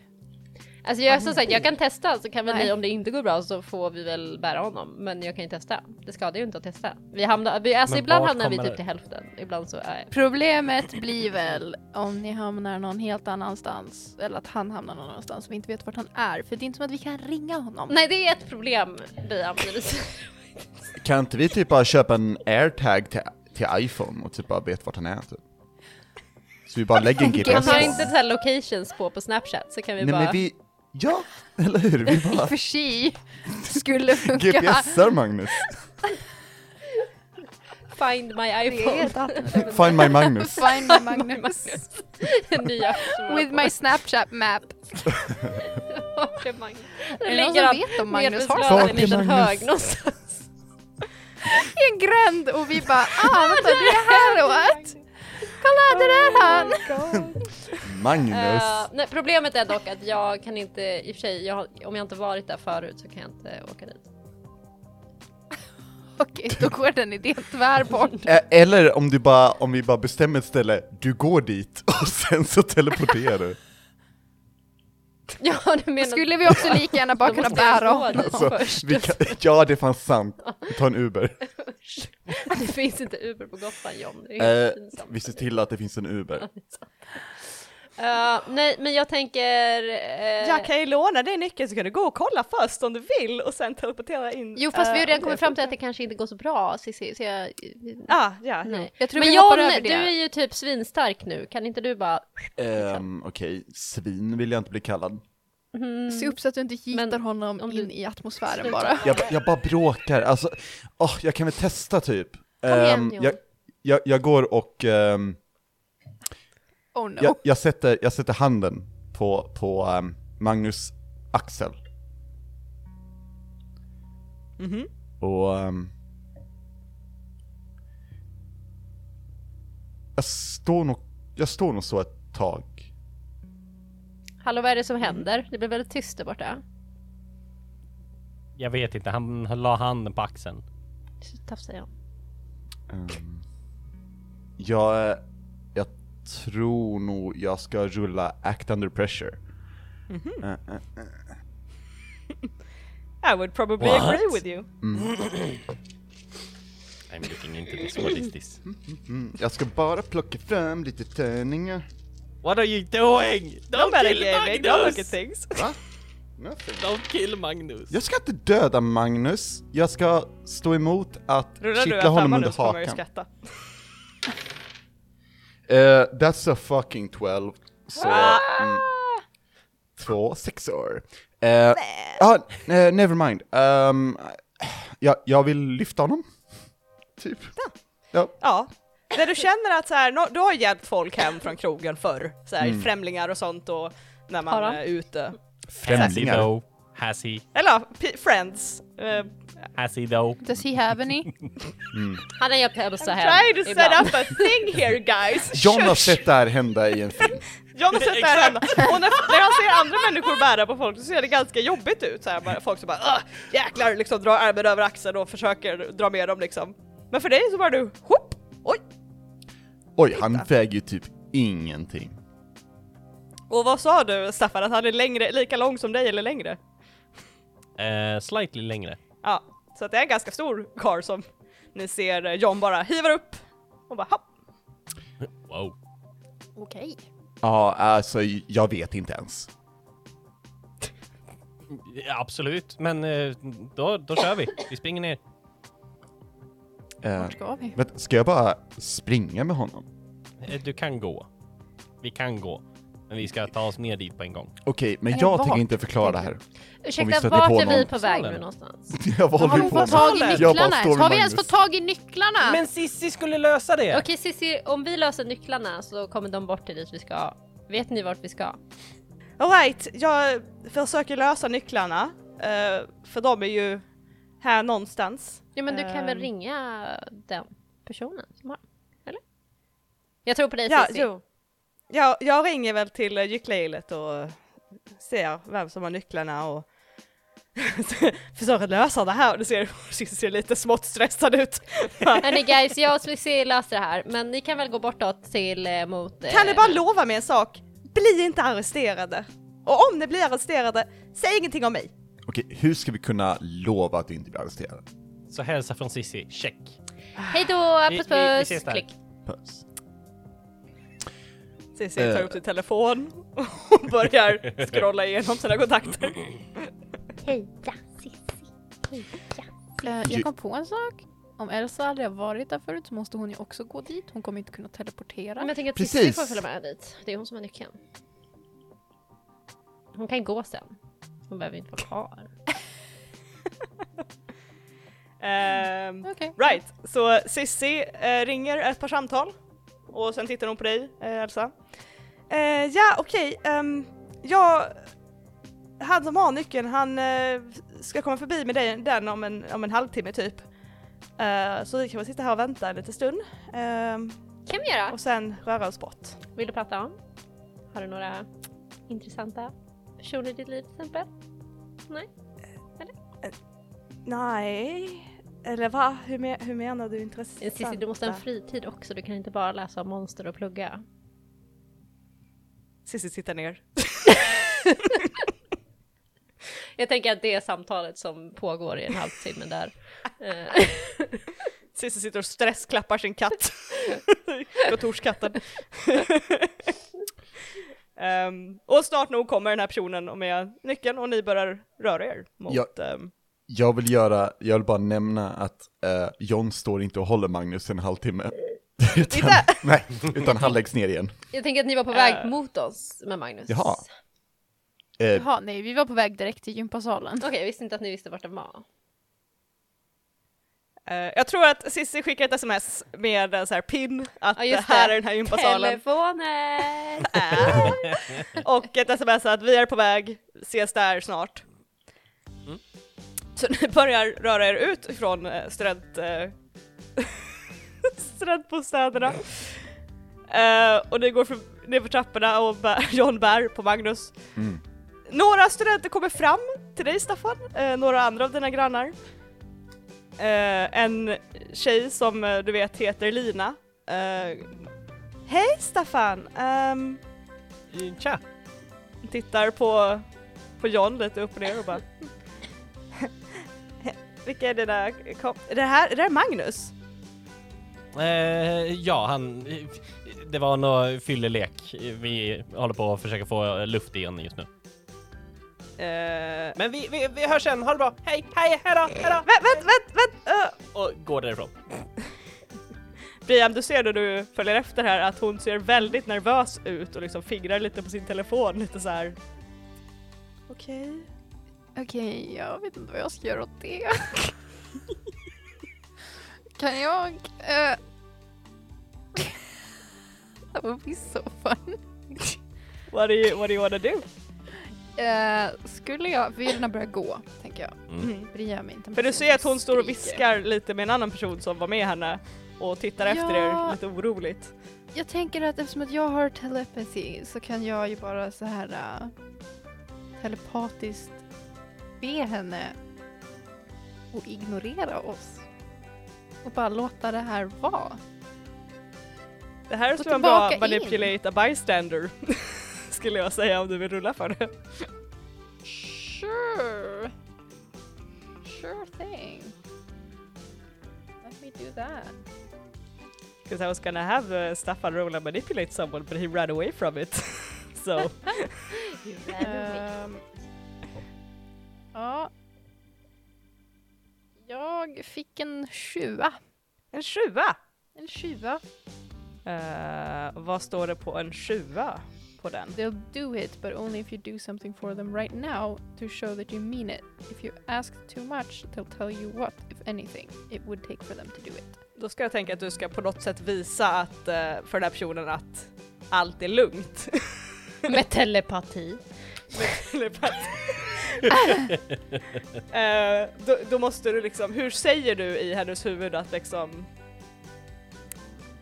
Speaker 1: Alltså jag, som sagt, jag kan testa så kan väl
Speaker 4: Nej.
Speaker 1: ni om det inte går bra så får vi väl bära honom. Men jag kan ju testa. Det skadar ju inte att testa. Vi hamnar, vi, alltså
Speaker 2: Men
Speaker 1: ibland
Speaker 2: vart
Speaker 1: hamnar vi
Speaker 2: kommer
Speaker 1: typ
Speaker 2: det?
Speaker 1: till hälften. Ibland så är
Speaker 4: Problemet blir väl om ni hamnar någon helt annanstans eller att han hamnar någon annanstans och vi inte vet vart han är. För det är inte som att vi kan ringa honom.
Speaker 1: Nej det är ett problem Bian.
Speaker 5: [LAUGHS]
Speaker 1: precis.
Speaker 5: Kan inte vi typ bara köpa en airtag till, till iPhone och typ bara vet vart han är typ? Så vi bara lägger en
Speaker 1: Han
Speaker 5: GPS på
Speaker 1: har
Speaker 5: honom.
Speaker 1: inte så här locations på på snapchat så kan vi
Speaker 5: Alltså- Nej
Speaker 1: bara...
Speaker 5: men vi, ja, [LAUGHS] eller hur? Vi
Speaker 4: I och
Speaker 5: bara
Speaker 4: för sig skulle funka.
Speaker 5: GPSar Magnus.
Speaker 1: Find my iPhone. [LAUGHS]
Speaker 5: Find my Magnus.
Speaker 4: Find my Magnus.
Speaker 1: Nya
Speaker 4: With my Snapchat map.
Speaker 1: Vart är Magnus?
Speaker 4: Är det någon
Speaker 1: Ligger
Speaker 4: som
Speaker 1: han
Speaker 4: vet om Magnus har
Speaker 1: nedbeslösad i en liten
Speaker 5: Vart är Magnus?
Speaker 1: hög någonstans?
Speaker 4: i en gränd och vi bara ah vänta det är här och what? Kolla där är
Speaker 3: Oh
Speaker 4: han!
Speaker 5: Magnus.
Speaker 1: Eh, nej, problemet är dock att jag kan inte, i och för sig, jag, har- om jag inte varit där förut så kan jag inte åka dit. [LAUGHS]
Speaker 4: Okej då går den idén tvär bort.
Speaker 5: Eh, Eller om, du bara, om vi bara bestämmer ett ställe, du går dit och [LAUGHS] sen så teleporterar du.
Speaker 1: Ja, du menar...
Speaker 4: Skulle vi också lika gärna bara
Speaker 1: Då
Speaker 4: kunna
Speaker 1: måste jag
Speaker 4: bära
Speaker 1: gå
Speaker 4: honom?
Speaker 1: dit
Speaker 5: Alltså,
Speaker 1: [LAUGHS] först.
Speaker 5: vi kan, ja, det är fan sant. Vi tar en
Speaker 1: [LAUGHS]
Speaker 5: Uber.
Speaker 1: [LAUGHS] Det finns inte Uber på Gotland, John. Det är
Speaker 5: Eh,
Speaker 1: helt pinsamt.
Speaker 5: vi ser till att det finns en Uber.
Speaker 1: Eh, nej, men jag tänker... eh,
Speaker 7: Jag kan ju låna din nyckel så kan du gå och kolla först om du vill och sen teleportera in.
Speaker 1: Jo, fast vi har
Speaker 7: eh,
Speaker 1: redan
Speaker 7: om
Speaker 1: kommit fram till att det kanske inte går så bra, Cissi, så jag...
Speaker 7: Ah, ja, jo.
Speaker 1: Nej.
Speaker 4: Jag tror
Speaker 1: men
Speaker 4: vi hoppar
Speaker 1: John,
Speaker 4: över det.
Speaker 1: du är ju typ svinstark nu. Kan inte du bara...
Speaker 5: Ehm, Okej, svin vill jag inte bli kallad.
Speaker 4: Se upp så att du inte hittar
Speaker 1: Men
Speaker 4: honom
Speaker 1: om
Speaker 4: in
Speaker 1: du-
Speaker 4: i atmosfären
Speaker 1: Sluta.
Speaker 4: bara.
Speaker 5: Jag, jag bara bråkar, alltså, åh, jag kan väl testa typ.
Speaker 1: igen,
Speaker 5: Ehm,
Speaker 1: John.
Speaker 5: jag, jag, jag går och ehm,
Speaker 4: Oh no.
Speaker 5: jag, jag, sätter, jag sätter handen på, på ehm, Magnus axel.
Speaker 7: Mhm.
Speaker 5: Och... ehm, jag, står nog, jag står nog så ett tag.
Speaker 1: Hallå, vad är det som händer? Det blir väldigt tyst där borta.
Speaker 2: Jag vet inte. Han la handen på axeln.
Speaker 1: Tafsar jag.
Speaker 5: Ehm, jag, jag tror nog jag ska rulla Act Under Pressure. Eh, eh.
Speaker 3: I would probably
Speaker 2: What?
Speaker 3: agree with you.
Speaker 2: I'm looking into [LAUGHS] this. What is this?
Speaker 5: Mm, jag ska bara plocka fram lite tärningar.
Speaker 2: What are you doing? Don't
Speaker 3: Nobody
Speaker 2: kill
Speaker 3: gave me, don't look at
Speaker 2: Magnus!
Speaker 3: things.
Speaker 5: Va? Nothing.
Speaker 2: Don't kill Magnus!
Speaker 5: Jag ska inte döda Magnus, jag ska stå emot att
Speaker 3: Rullar du
Speaker 5: kittla
Speaker 3: en
Speaker 5: honom
Speaker 3: femma
Speaker 5: under
Speaker 3: nu så kommer jag ju
Speaker 5: hakan.
Speaker 3: skratta.
Speaker 5: Eh, that's a fucking 12. Så...
Speaker 3: Ah!
Speaker 5: Mm, två sexor. Uh, ah, eh, never mind. Ehm, jag, jag vill lyfta honom. Typ. Ja.
Speaker 3: Ja. När du känner att så här, nå- du har hjälpt folk hem från krogen förr, så
Speaker 5: Mm.
Speaker 3: här, främlingar och sånt och när man
Speaker 1: Har han?
Speaker 3: är ute.
Speaker 2: Friendly
Speaker 5: Främlingar.
Speaker 2: though. Has he?
Speaker 3: Eller ja, p- friends. Eh,
Speaker 2: Has he though?
Speaker 4: Does he have any?
Speaker 1: Han har hjälpt Elsa hem
Speaker 3: try to set
Speaker 1: ibland.
Speaker 3: up a thing here guys!
Speaker 5: John har sett det här hända i
Speaker 3: [LAUGHS]
Speaker 5: en film.
Speaker 3: John har sett typ det här hända. Och när, när han ser andra människor bära på folk så ser det ganska jobbigt ut. Så här, bara, folk som bara "Åh, jäklar liksom drar armen över axeln och försöker dra med dem liksom. Men för dig så bara du hopp! Oj!
Speaker 5: Oj, han väger ju typ ingenting.
Speaker 3: Och vad sa du Staffan, att han är längre, lika lång som dig eller längre?
Speaker 2: Eh, slightly längre.
Speaker 3: Ja, så att det är en ganska stor karl som ni ser eh, John bara hivar upp och bara hopp.
Speaker 2: Wow.
Speaker 1: Okej.
Speaker 5: Ja, alltså jag vet inte ens.
Speaker 2: Ja, absolut, men eh, då, då kör vi. Vi springer ner.
Speaker 5: Uh,
Speaker 4: Vart ska vi?
Speaker 5: Eh, vänta, ska jag bara springa med honom?
Speaker 2: Eh, Du kan gå. Vi kan gå. Men vi ska ta oss ner dit på en gång.
Speaker 5: Okej, men
Speaker 4: Eller
Speaker 5: jag
Speaker 4: vart?
Speaker 5: tänker inte förklara det här. Om vi
Speaker 1: Ursäkta,
Speaker 5: stöter
Speaker 1: vart
Speaker 5: på
Speaker 1: är vi
Speaker 5: någon.
Speaker 1: på väg
Speaker 2: Så är
Speaker 1: nu
Speaker 2: det.
Speaker 1: någonstans?
Speaker 5: [LAUGHS] Jag vad
Speaker 4: Har
Speaker 5: håller
Speaker 4: vi
Speaker 5: vi på
Speaker 4: fått
Speaker 5: med?
Speaker 4: tag i
Speaker 5: Jag bara
Speaker 4: nycklarna?
Speaker 5: står med
Speaker 4: ens? Har vi ens
Speaker 5: Magnus.
Speaker 4: fått tag i nycklarna?
Speaker 2: Men Sissi skulle lösa det!
Speaker 1: Okej Cissi, om vi löser nycklarna så kommer de bort till dit vi ska. Vet ni vart vi ska?
Speaker 3: Alright, jag försöker lösa nycklarna eh, för de är ju här någonstans.
Speaker 1: Ja men du kan väl
Speaker 3: Ehm.
Speaker 1: ringa den personen som har? Eller? Jag tror på dig
Speaker 3: Ja,
Speaker 1: Cissi.
Speaker 3: jo. Jag, jag ringer väl till eh, gycklehjulet och ser vem som har nycklarna och [LAUGHS] försöker lösa det här. Du ser, [LAUGHS] du ser lite smått stressad ut.
Speaker 1: [LAUGHS] Hörni guys, jag och Cissi löser det här. Men ni kan väl gå bortåt till eh, mot... eh,
Speaker 3: [LAUGHS] Kan ni bara lova mig en sak? Bli inte arresterade. Och om ni blir arresterade, säg ingenting om mig.
Speaker 5: Okej, hur ska vi kunna lova att du inte blir arresterad?
Speaker 2: Så hälsa från Sissi, check.
Speaker 1: Hej då,
Speaker 2: Vi-
Speaker 1: puss
Speaker 2: vi- vi
Speaker 1: puss!
Speaker 2: ses där.
Speaker 1: Klick.
Speaker 5: Puss.
Speaker 3: Cissi tar
Speaker 5: Eh.
Speaker 3: upp sin telefon [LAUGHS] och börjar scrolla igenom sina kontakter.
Speaker 1: Heja Cissi.
Speaker 4: Eh,
Speaker 5: Ju-
Speaker 4: jag kom på en sak. Om Elsa aldrig har varit där förut så måste hon ju också gå dit. Hon kommer inte kunna teleportera.
Speaker 1: Men jag tänker att
Speaker 5: Precis.
Speaker 1: Cissi får följa med dit. Det är hon som har nyckeln. Hon kan gå sen. Hon behöver inte vara kvar.
Speaker 3: Ehm,
Speaker 4: Okej.
Speaker 3: Right, så Sissi eh, ringer ett par samtal och sen tittar hon på dig eh, Elsa. Eh, ja okej, ehm, jag... Han som har nyckeln han eh, ska komma förbi med dig, den om en, om en halvtimme typ. Eh, så vi kan väl sitta här och vänta en liten stund ehm,
Speaker 1: Kan vi göra?
Speaker 3: och sen röra oss bort.
Speaker 1: Vill du prata om? Har du några intressanta personer i ditt liv till exempel?
Speaker 3: Nej, eller va? Hur, me- hur menar du
Speaker 1: Eh, Cissi,
Speaker 3: intressant?
Speaker 1: du måste ha en fritid också. Du kan inte bara läsa om monster och plugga.
Speaker 3: Cissi sitter ner.
Speaker 1: Jag tänker att det är samtalet som pågår i en halvtimme [LAUGHS] där. Eh,
Speaker 3: Cissi sitter och stressklappar
Speaker 1: [LAUGHS]
Speaker 3: sin katt. Kontorskatten. Ehm, och snart nog kommer den här personen med nyckeln och ni börjar röra er mot...
Speaker 5: Ja.
Speaker 3: ehm,
Speaker 5: Jag vill göra, jag vill bara nämna att eh, John står inte och håller Magnus en halvtimme. [LAUGHS] utan,
Speaker 3: Inte?
Speaker 5: nej, utan han läggs ner igen.
Speaker 1: Jag tänker att ni var på väg
Speaker 3: Eh.
Speaker 1: mot oss med Magnus.
Speaker 5: Jaha.
Speaker 1: Okej,
Speaker 5: Eh,
Speaker 4: Jaha, nej, vi var på väg direkt till gympasalen.
Speaker 1: jag visste inte att ni visste vart den [LAUGHS] var.
Speaker 3: eh, jag tror att Cissi skickar ett sms med en så här pin att
Speaker 1: Ja, just
Speaker 3: eh, här
Speaker 1: det.
Speaker 3: är den här gympasalen.
Speaker 1: Telefonen!
Speaker 3: Ah. [LAUGHS] och ett sms att vi är på väg, ses där snart. Så ni börjar röra er ut ifrån eh, student, eh, [LAUGHS] studentbostäderna. Eh, och ni går för, ner för trapporna och bär, [LAUGHS] John bär på Magnus.
Speaker 5: Mm.
Speaker 3: Några studenter kommer fram till dig Staffan, eh, några andra av dina grannar. Eh, en tjej som eh, du vet heter Lina. Eh, Hej Staffan! ehm,
Speaker 2: Tja!
Speaker 3: tittar på, på John lite upp och ner och
Speaker 2: [LAUGHS]
Speaker 3: bara Vilka är dina komp... Det här, det här är Magnus?
Speaker 2: Eh, ja, han... eh, Det var någon fyllelek. Vi håller på att försöka få luft i honom just nu.
Speaker 3: Eh,
Speaker 2: Men vi, vi, vi hörs sen, ha det bra! Hej, hej, hej då, hej
Speaker 3: Vänt, vänt, vänt, vänt! eh,
Speaker 2: då! Och går därifrån.
Speaker 3: Brian, du ser när du följer efter här att hon ser väldigt nervös ut och liksom fingrar lite på sin telefon lite så här. Okej.
Speaker 4: Okej, jag vet inte vad jag ska göra åt det. [LAUGHS] kan jag... [LAUGHS] Uh... That would be so fun.
Speaker 3: What do you, what do you wanna do?
Speaker 4: Eh, skulle jag... Vi vill gärna börja gå, tänker jag.
Speaker 3: Mm.
Speaker 4: Bryr mig inte. om
Speaker 3: För du
Speaker 4: att
Speaker 3: ser att hon står och
Speaker 4: skriker.
Speaker 3: viskar lite med en annan person som var med henne och tittar efter
Speaker 4: Ja.
Speaker 3: er lite oroligt.
Speaker 4: Jag tänker att eftersom att jag har telepathy så kan jag ju bara så här äh, telepatiskt be henne och ignorera oss. Och bara låta det här vara.
Speaker 3: Det här
Speaker 4: Gå
Speaker 3: skulle vara bra
Speaker 4: tillbaka in.
Speaker 3: manipulate a bystander [LAUGHS] skulle jag säga om du vill rulla för det.
Speaker 4: Sure. Sure thing. Let me do that.
Speaker 3: Because I was gonna have uh, Staffan roll and manipulate someone but he ran away from it. [LAUGHS] so
Speaker 4: Ehm, [LAUGHS] ja. Jag fick en sjua.
Speaker 3: en sjua!
Speaker 4: En sjua.
Speaker 3: Eh, vad står det på en sjua på den?
Speaker 4: They'll do it, but only if you do something for them right now to show that you mean it. If you ask too much, they'll tell you what, if anything, it would take for them to do it.
Speaker 3: Då ska jag tänka att du ska på något sätt visa att, eh, för den här personen att allt är lugnt.
Speaker 1: Med telepati.
Speaker 3: Eller på att- [LAUGHS] Eh, då, då måste du liksom, hur säger du i hennes huvud att liksom [LAUGHS]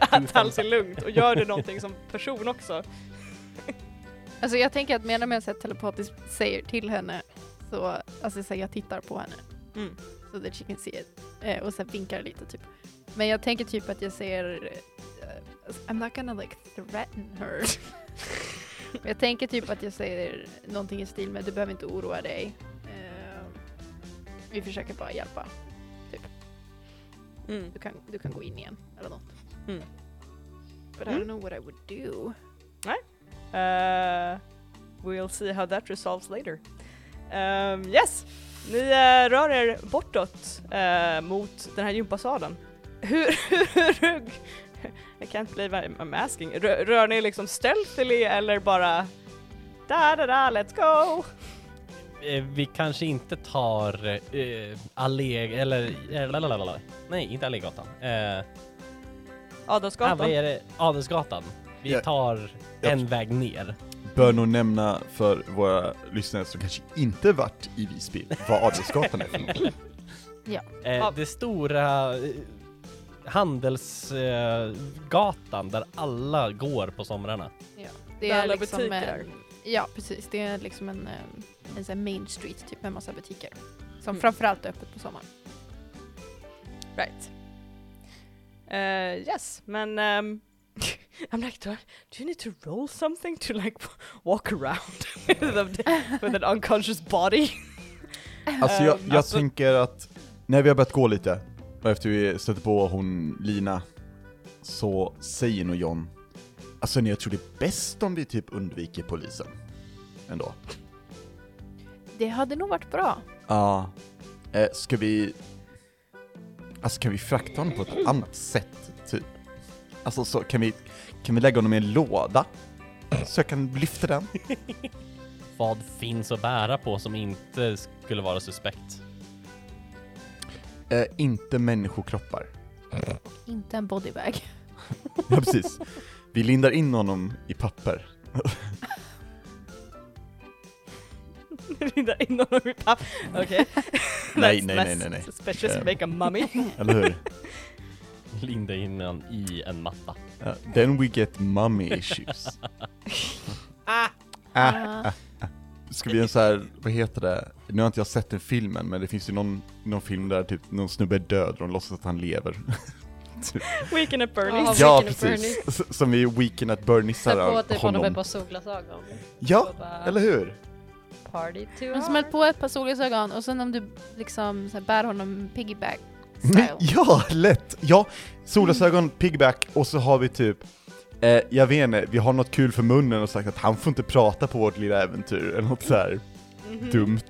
Speaker 3: att allt är lugnt och gör du någonting som person också?
Speaker 4: Alltså jag tänker att medan jag så här telepatiskt säger till henne, så, alltså så här, jag tittar på henne.
Speaker 3: Mm.
Speaker 4: So that she can see it. Eh, och sen vinkar lite typ. Men jag tänker typ att jag säger eh, I'm not gonna like threaten her. Men jag tänker typ att jag säger någonting i stil med du behöver inte oroa dig. Eh, vi försöker bara hjälpa. Du kan, du kan gå in igen eller något.
Speaker 3: Mm.
Speaker 4: But I
Speaker 3: Mm.
Speaker 4: don't know what I would do.
Speaker 3: Eh, we'll see how that resolves later. Ehm, yes, ni eh, rör er bortåt eh, mot den här gympasalen. [LAUGHS] Hur, hur, hur, I can't believe I'm I'm asking. Rör, rör ni liksom stealthily eller bara da da da let's go?
Speaker 2: Eh, Vi kanske inte tar eh, allé... eller... eh, lalalala. Nej, inte Allégatan. Eh, ah, vad
Speaker 3: Adolfsgatan.
Speaker 2: är det? Adelsgatan. Vi
Speaker 5: Jag-
Speaker 2: tar
Speaker 5: jag-
Speaker 2: en väg ner.
Speaker 5: Bör nog nämna för våra lyssnare som kanske inte varit i Visby
Speaker 4: [LAUGHS]
Speaker 5: vad Adelsgatan är för något.
Speaker 2: Eh,
Speaker 3: Ja.
Speaker 2: Det stora eh, handelsgatan där alla går på somrarna.
Speaker 4: Det
Speaker 3: Där
Speaker 4: är
Speaker 3: alla
Speaker 4: liksom
Speaker 3: butiker.
Speaker 4: en, Ja precis, det är liksom en, eh, en sån här main street typ med massa butiker. Som
Speaker 3: Mm.
Speaker 4: framförallt är öppet på sommaren.
Speaker 3: Right. Eh, yes, men ehm, [LAUGHS] I'm like, do, I, do you need to roll something to like [LAUGHS] walk around [LAUGHS] with, a- with an unconscious body?
Speaker 5: Alltså jag, jag
Speaker 2: Alltså-
Speaker 5: tänker att när vi har börjat gå lite, och efter vi stötte på hon Lina, så säger nog John, alltså nej, jag tror det är bäst om vi typ undviker polisen. Ändå.
Speaker 4: Det hade nog varit bra.
Speaker 5: Ja. Eh, ska vi... Alltså kan vi frakta honom på ett annat sätt, typ? Alltså så kan vi, kan vi lägga honom i en låda? Så jag kan lyfta den?
Speaker 2: Vad finns att bära på som inte skulle vara suspekt?
Speaker 5: Eh, inte människokroppar.
Speaker 4: Inte en bodybag.
Speaker 5: Ja, precis. Vi lindar in honom i papper.
Speaker 3: [LAUGHS] Rinda in honom i papp. Okej.
Speaker 5: Nej,
Speaker 3: That's
Speaker 5: [LAUGHS] nej, nej,
Speaker 3: less
Speaker 5: nej, nej.
Speaker 3: Suspicious
Speaker 5: Eh.
Speaker 3: make a mummy.
Speaker 5: [LAUGHS] Eller hur?
Speaker 2: Linda in den i en matta.
Speaker 5: Ja, then we get mummy issues. [LAUGHS] Ah.
Speaker 4: Ah.
Speaker 5: Ska vi göra så här, vad heter det? Nu har inte jag sett den filmen, men det finns ju någon, någon film där typ någon snubbe är död och de låtsas att han lever.
Speaker 3: Weekend at Bernie's.
Speaker 1: Ja,
Speaker 5: Ja,
Speaker 1: Weekend at
Speaker 5: precis. S- Som vi Weekend at Berniesar
Speaker 1: Sätt på
Speaker 5: av
Speaker 1: typ honom ett
Speaker 5: honom.
Speaker 1: par solglasögon.
Speaker 5: Ja,
Speaker 1: Och bara,
Speaker 5: eller hur?
Speaker 1: Party too
Speaker 4: Men
Speaker 1: hard.
Speaker 4: smält på ett par solglasögon och sen om du liksom så här, bär honom piggyback
Speaker 5: Men,
Speaker 4: style.
Speaker 5: [LAUGHS] ja, lätt! Ja, solglasögon, pigback och så har vi typ Eh, jag vet inte, vi har något kul för munnen och sagt att han får inte prata på vårt lilla äventyr, eller något så här
Speaker 3: Mhm.
Speaker 5: dumt.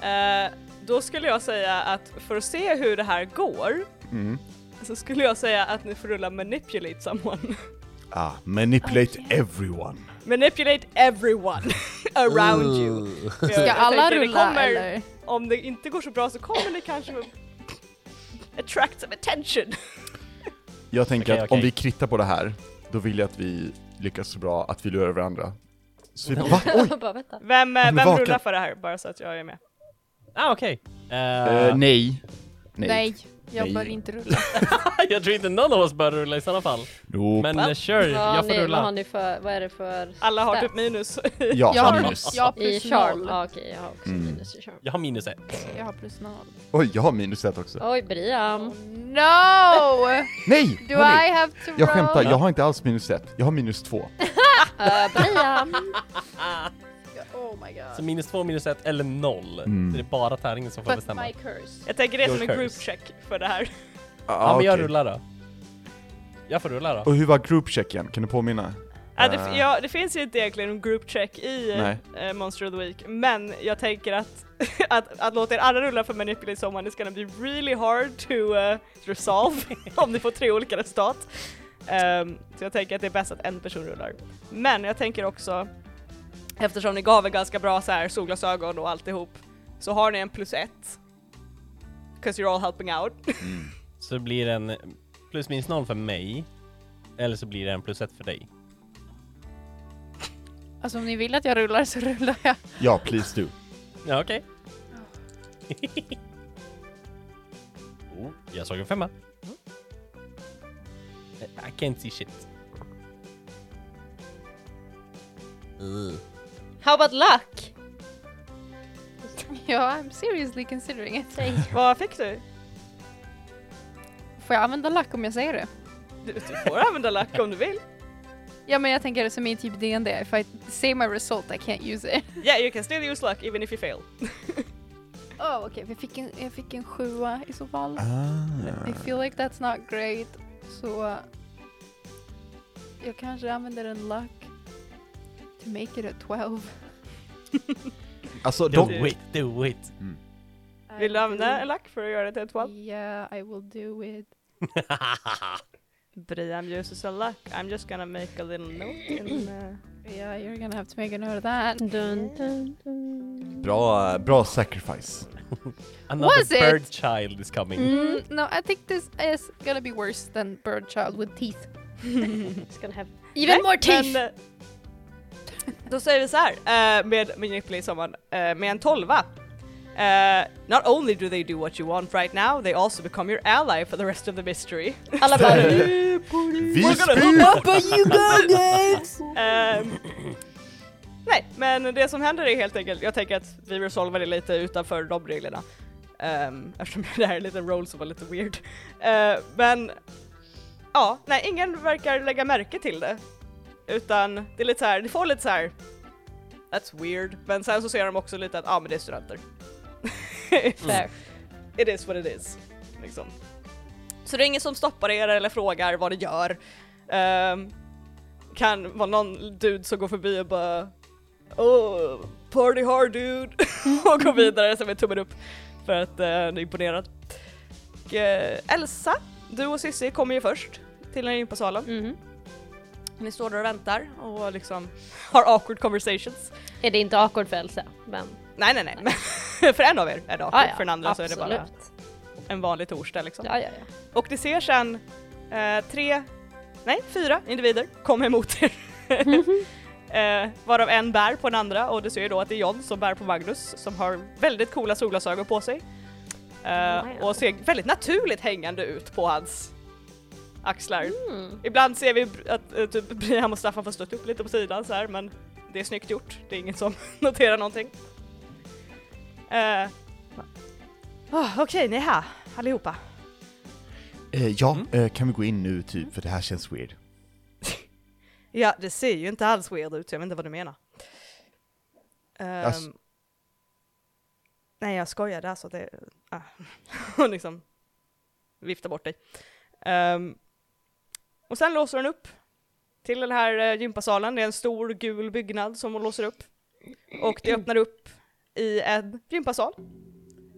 Speaker 3: Eh, då skulle jag säga att för att se hur det här går
Speaker 5: Mm.
Speaker 3: så skulle jag säga att ni får rulla manipulate someone. [LAUGHS]
Speaker 5: Ah, manipulate everyone.
Speaker 3: Manipulate everyone [LAUGHS] around you. Jag-
Speaker 4: Ska
Speaker 3: jag
Speaker 4: alla
Speaker 3: tänkte, det
Speaker 4: rulla
Speaker 3: kommer,
Speaker 4: eller?
Speaker 3: Om det inte går så bra så kommer det kanske attract some attention.
Speaker 5: Jag tänker
Speaker 2: Okej,
Speaker 5: att om
Speaker 2: okej.
Speaker 5: vi krittar på det här, då vill jag att vi lyckas så bra att vi lurar varandra. Så vi
Speaker 2: Ja.
Speaker 5: va?
Speaker 4: [LAUGHS]
Speaker 5: Oj!
Speaker 1: bara vänta.
Speaker 3: Vem, eh,
Speaker 5: men
Speaker 3: vem
Speaker 5: vaka-
Speaker 3: rullar för det här bara så att jag är med?
Speaker 2: Ah, okej.
Speaker 5: Eh, nej. Nej.
Speaker 4: Nej, jag
Speaker 5: Nej.
Speaker 4: bör inte rulla.
Speaker 2: [LAUGHS] jag tror inte någon av oss bör rulla i sådana fall.
Speaker 5: Nope.
Speaker 2: Men
Speaker 3: Va?
Speaker 2: eh, sure,
Speaker 1: Vad har,
Speaker 2: jag får
Speaker 1: ni, vad har
Speaker 2: rulla.
Speaker 1: ni för, vad är det för?
Speaker 3: Alla har
Speaker 1: Där.
Speaker 3: typ minus.
Speaker 5: Ja,
Speaker 4: jag, har,
Speaker 5: minus.
Speaker 4: jag har
Speaker 1: I
Speaker 4: plus
Speaker 1: charm?
Speaker 4: noll.
Speaker 1: Ah, Okej, jag har också
Speaker 5: Mm.
Speaker 1: minus i charm.
Speaker 2: Jag har minus ett.
Speaker 4: Jag har plus noll.
Speaker 5: Oj, jag har minus ett också.
Speaker 1: Oj, Briam.
Speaker 4: No!
Speaker 5: Nej!
Speaker 4: Do
Speaker 5: hörni!
Speaker 4: I have to roll?
Speaker 5: Jag skämtar, jag har inte alls minus ett. Jag har
Speaker 4: [LAUGHS]
Speaker 5: minus två.
Speaker 3: Eh,
Speaker 1: Uh, Briam.
Speaker 4: Oh my god.
Speaker 2: Så minus två, minus ett eller noll.
Speaker 5: Mm.
Speaker 2: Så det är bara tärningen som får
Speaker 4: But
Speaker 2: bestämma.
Speaker 4: my curse.
Speaker 3: Jag tänker det är
Speaker 2: Your
Speaker 3: som en
Speaker 2: curse.
Speaker 3: group check för det här.
Speaker 2: Ja, men jag
Speaker 5: okej.
Speaker 2: rullar då. Jag får rulla då.
Speaker 5: Och hur var groupchecken? Kan du påminna?
Speaker 3: Ja, det, f-
Speaker 5: Eh.
Speaker 3: ja, det finns ju inte egentligen en group check i eh, Monster of the Week, men jag tänker att, [LAUGHS] att, att låta er alla rulla för Manipulate Someone is gonna be really hard to eh, resolve [LAUGHS] om ni får tre olika resultat. Ehm, så jag tänker att det är bäst att en person rullar. Men jag tänker också, eftersom ni gav er ganska bra så här, solglasögon och alltihop, så har ni en plus ett. 'Cause you're all helping out.
Speaker 2: Så det blir en plus minus noll för mig. Eller så blir det en plus ett för dig.
Speaker 4: Alltså om ni vill att jag rullar så rullar jag. [LAUGHS]
Speaker 5: Ja, please do.
Speaker 2: Ja, okej. [LAUGHS] oh, jag såg en femma. I can't see shit. Ugh.
Speaker 1: [LAUGHS] How about luck?
Speaker 4: Ja, I'm seriously considering it.
Speaker 3: Vad fick du?
Speaker 4: Får jag använda lack om jag säger det?
Speaker 3: Du, du får använda lack om du vill.
Speaker 4: Ja men jag tänker som i typ D&D, if I say my result I can't use it.
Speaker 3: Yeah, you can still use luck even if you fail.
Speaker 4: Oh okej, okay. jag, fick en- jag fick en sjua i så fall.
Speaker 5: Ah.
Speaker 4: I feel like that's not great. Så eh, jag kanske använder en luck to make it a 12.
Speaker 5: Alltså,
Speaker 2: Do
Speaker 5: dock...
Speaker 2: it, do it.
Speaker 4: I
Speaker 3: Vill du använda
Speaker 4: will-
Speaker 3: en lack för att göra det till ett valp?
Speaker 4: Yeah, I will do it.
Speaker 3: Brian uses a luck. I'm just gonna make a little note in... Uh...
Speaker 4: Yeah, you're gonna have to make a note of that.
Speaker 1: Dun, dun, dun.
Speaker 5: Bra, bra sacrifice.
Speaker 2: Another
Speaker 4: Was it?
Speaker 2: bird child is coming.
Speaker 4: Mm, no, I think this is gonna be worse than Bird Child with teeth.
Speaker 1: It's gonna have...
Speaker 3: Nej, men, eh, Då säger vi så här eh, med Manipulate Someone, eh, med en tolva. Eh, not only do they do what you want right now, they also become your ally for the rest of the mystery.
Speaker 1: Alla bara...
Speaker 5: Vi
Speaker 3: We're gonna
Speaker 5: spyr!
Speaker 3: Ehm, nej, men det som händer är helt enkelt, jag tänker att vi resolvar det lite utanför de reglerna. Ehm, eftersom det här är en liten roll som var lite weird. Ehm, men ja, nej ingen verkar lägga märke till det. Utan det är lite så här, det får lite så här. That's weird. Men sen så ser de också lite att, ja ah, men det är studenter.
Speaker 1: Fair.
Speaker 3: [LAUGHS] It is what it is. Liksom. Så det är ingen som stoppar er eller frågar vad ni gör. Ehm, kan vara någon dude som går förbi och bara Oh, party hard dude! [LAUGHS] och går vidare som en tummen upp för att uh, ni är imponerad. Och, eh, Elsa, du och Sissi kommer ju först till den här gympasalen.
Speaker 1: Mhm.
Speaker 3: Ni står där och väntar och liksom [LAUGHS] har awkward conversations.
Speaker 1: Är det inte awkward för Elsa? Men...
Speaker 3: Nej nej [LAUGHS] nej, men för en av er är det awkward,
Speaker 1: ja,
Speaker 3: för den andra
Speaker 1: absolut.
Speaker 3: så är det bara en vanlig torsdag liksom.
Speaker 1: Ja,
Speaker 3: [LAUGHS]
Speaker 1: ja, ja.
Speaker 3: Och ni ser sen eh, tre, nej fyra individer komma emot er. [LAUGHS] eh, varav en bär på den andra och du ser ju då att det är John som bär på Magnus som har väldigt coola solglasögon på sig. Eh,
Speaker 1: Wow.
Speaker 3: Och ser väldigt naturligt hängande ut på hans axlar.
Speaker 1: Mm.
Speaker 3: Ibland ser vi att eh, typ Brian och Staffan får stötta upp lite på sidan så här men det är snyggt gjort, det är ingen som [LAUGHS] noterar någonting. ah, Eh, oh, Okej, ni är här allihopa.
Speaker 5: Eh, ja,
Speaker 2: Mm.
Speaker 5: eh, kan vi gå in nu typ, för det här känns weird.
Speaker 3: Ja, det ser ju inte alls weird ut, så jag vet inte vad du menar. Ehm,
Speaker 5: Alltså-
Speaker 3: Nej, jag skojade alltså. Det, ah. [LAUGHS] Hon liksom viftar bort dig. Ehm, och sen låser hon upp till den här eh, gympasalen. Det är en stor gul byggnad som hon låser upp. Och det öppnar upp i en gympasal.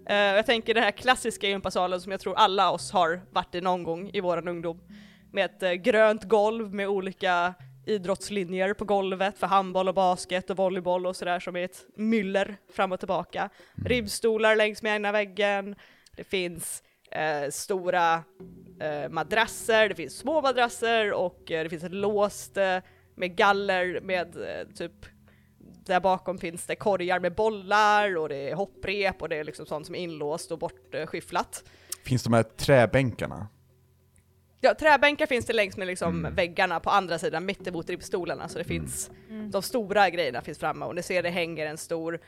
Speaker 3: Eh, jag tänker den här klassiska gympasalen som jag tror alla oss har varit i någon gång i våran ungdom. Med ett eh, grönt golv med olika idrottslinjer på golvet för handboll och basket och volleyboll och sådär som är ett myller fram och tillbaka. Ribbstolar längs med ena väggen, det finns eh, stora eh, madrasser, det finns små madrasser och eh, det finns ett låst eh, med galler med eh, typ där bakom finns det korgar med bollar och det är hopprep och det är liksom sånt som är inlåst och bortskyfflat.
Speaker 5: Finns de här träbänkarna?
Speaker 3: Ja, träbänkar finns det längs med liksom väggarna på andra sidan, mittemot ribbstolarna. Så det finns,
Speaker 1: Mm.
Speaker 3: de stora grejerna finns framme och ni ser det hänger en stor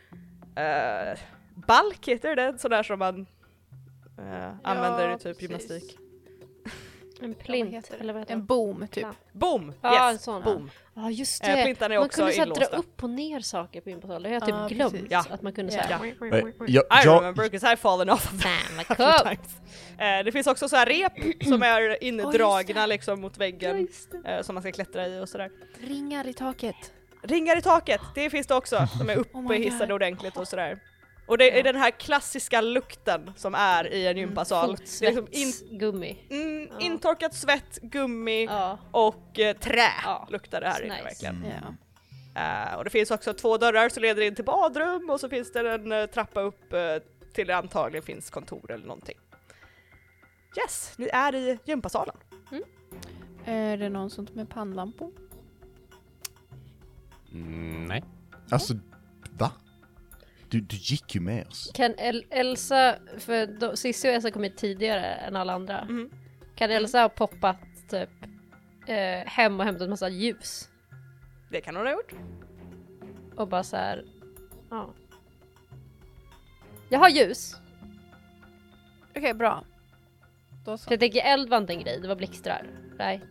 Speaker 3: eh, balk, heter det, sån där som man eh, använder i typ
Speaker 4: precis.
Speaker 3: gymnastik.
Speaker 1: En
Speaker 4: vad
Speaker 1: plint,
Speaker 4: heter det?
Speaker 1: eller vad heter
Speaker 4: En
Speaker 1: det?
Speaker 4: boom typ.
Speaker 1: Ja.
Speaker 3: Boom!
Speaker 1: Ja, en
Speaker 3: yes,
Speaker 1: sån, ja.
Speaker 3: boom.
Speaker 1: Ja just
Speaker 3: Eh,
Speaker 1: det.
Speaker 3: plintarna är
Speaker 1: Man
Speaker 3: också
Speaker 1: kunde så här
Speaker 3: inlåsta.
Speaker 1: dra upp och ner saker på gympasalen. Det har jag typ
Speaker 4: Ja,
Speaker 1: glömt.
Speaker 4: precis.
Speaker 3: Ja.
Speaker 1: Att man kunde
Speaker 4: Ja.
Speaker 1: säga
Speaker 3: Ja.
Speaker 2: Mm.
Speaker 5: Eh, jag,
Speaker 3: I
Speaker 5: jag,
Speaker 3: remember because I've fallen off of that.
Speaker 1: Fan vad
Speaker 3: a few
Speaker 1: coolt!
Speaker 3: times. Eh, det finns också så här rep
Speaker 1: [CLEARS THROAT]
Speaker 3: som är indragna liksom mot
Speaker 1: Ja,
Speaker 3: väggen
Speaker 1: just det.
Speaker 3: eh, som man ska klättra i och sådär.
Speaker 4: Ringar i taket.
Speaker 3: Ringar i taket, det finns det också. De är
Speaker 4: Oh my
Speaker 3: uppe
Speaker 4: God.
Speaker 3: hissade ordentligt och sådär. Och det är den här klassiska lukten som är i en gympasal. Det är liksom in,
Speaker 1: Fotsvetsgummi.
Speaker 3: mm,
Speaker 1: Ja.
Speaker 3: intorkat svett, gummi
Speaker 1: Ja,
Speaker 3: och eh, trä
Speaker 1: Ja.
Speaker 3: luktar det här inne
Speaker 1: Nice.
Speaker 3: verkligen.
Speaker 4: Ja.
Speaker 3: Eh, och det finns också två dörrar som leder in till badrum och så finns det en eh, trappa upp eh, till det antagligen finns kontor eller någonting. Yes, ni är i gympasalen.
Speaker 4: Är det någon som med pannlampor?
Speaker 2: Mm, nej.
Speaker 5: alltså, va? Du, du gick ju med oss.
Speaker 1: Kan El- Elsa, för de- Cissi och Elsa kom hit tidigare än alla andra.
Speaker 3: Mhm.
Speaker 1: Kan Elsa ha poppat typ eh, hem och hämtat massa ljus?
Speaker 3: Det kan hon ha gjort.
Speaker 1: Och bara så här. Ja. Jag har ljus!
Speaker 4: Okej, bra. Då så.
Speaker 1: För jag tänker eld var inte en grej, det var blixtrar. Right?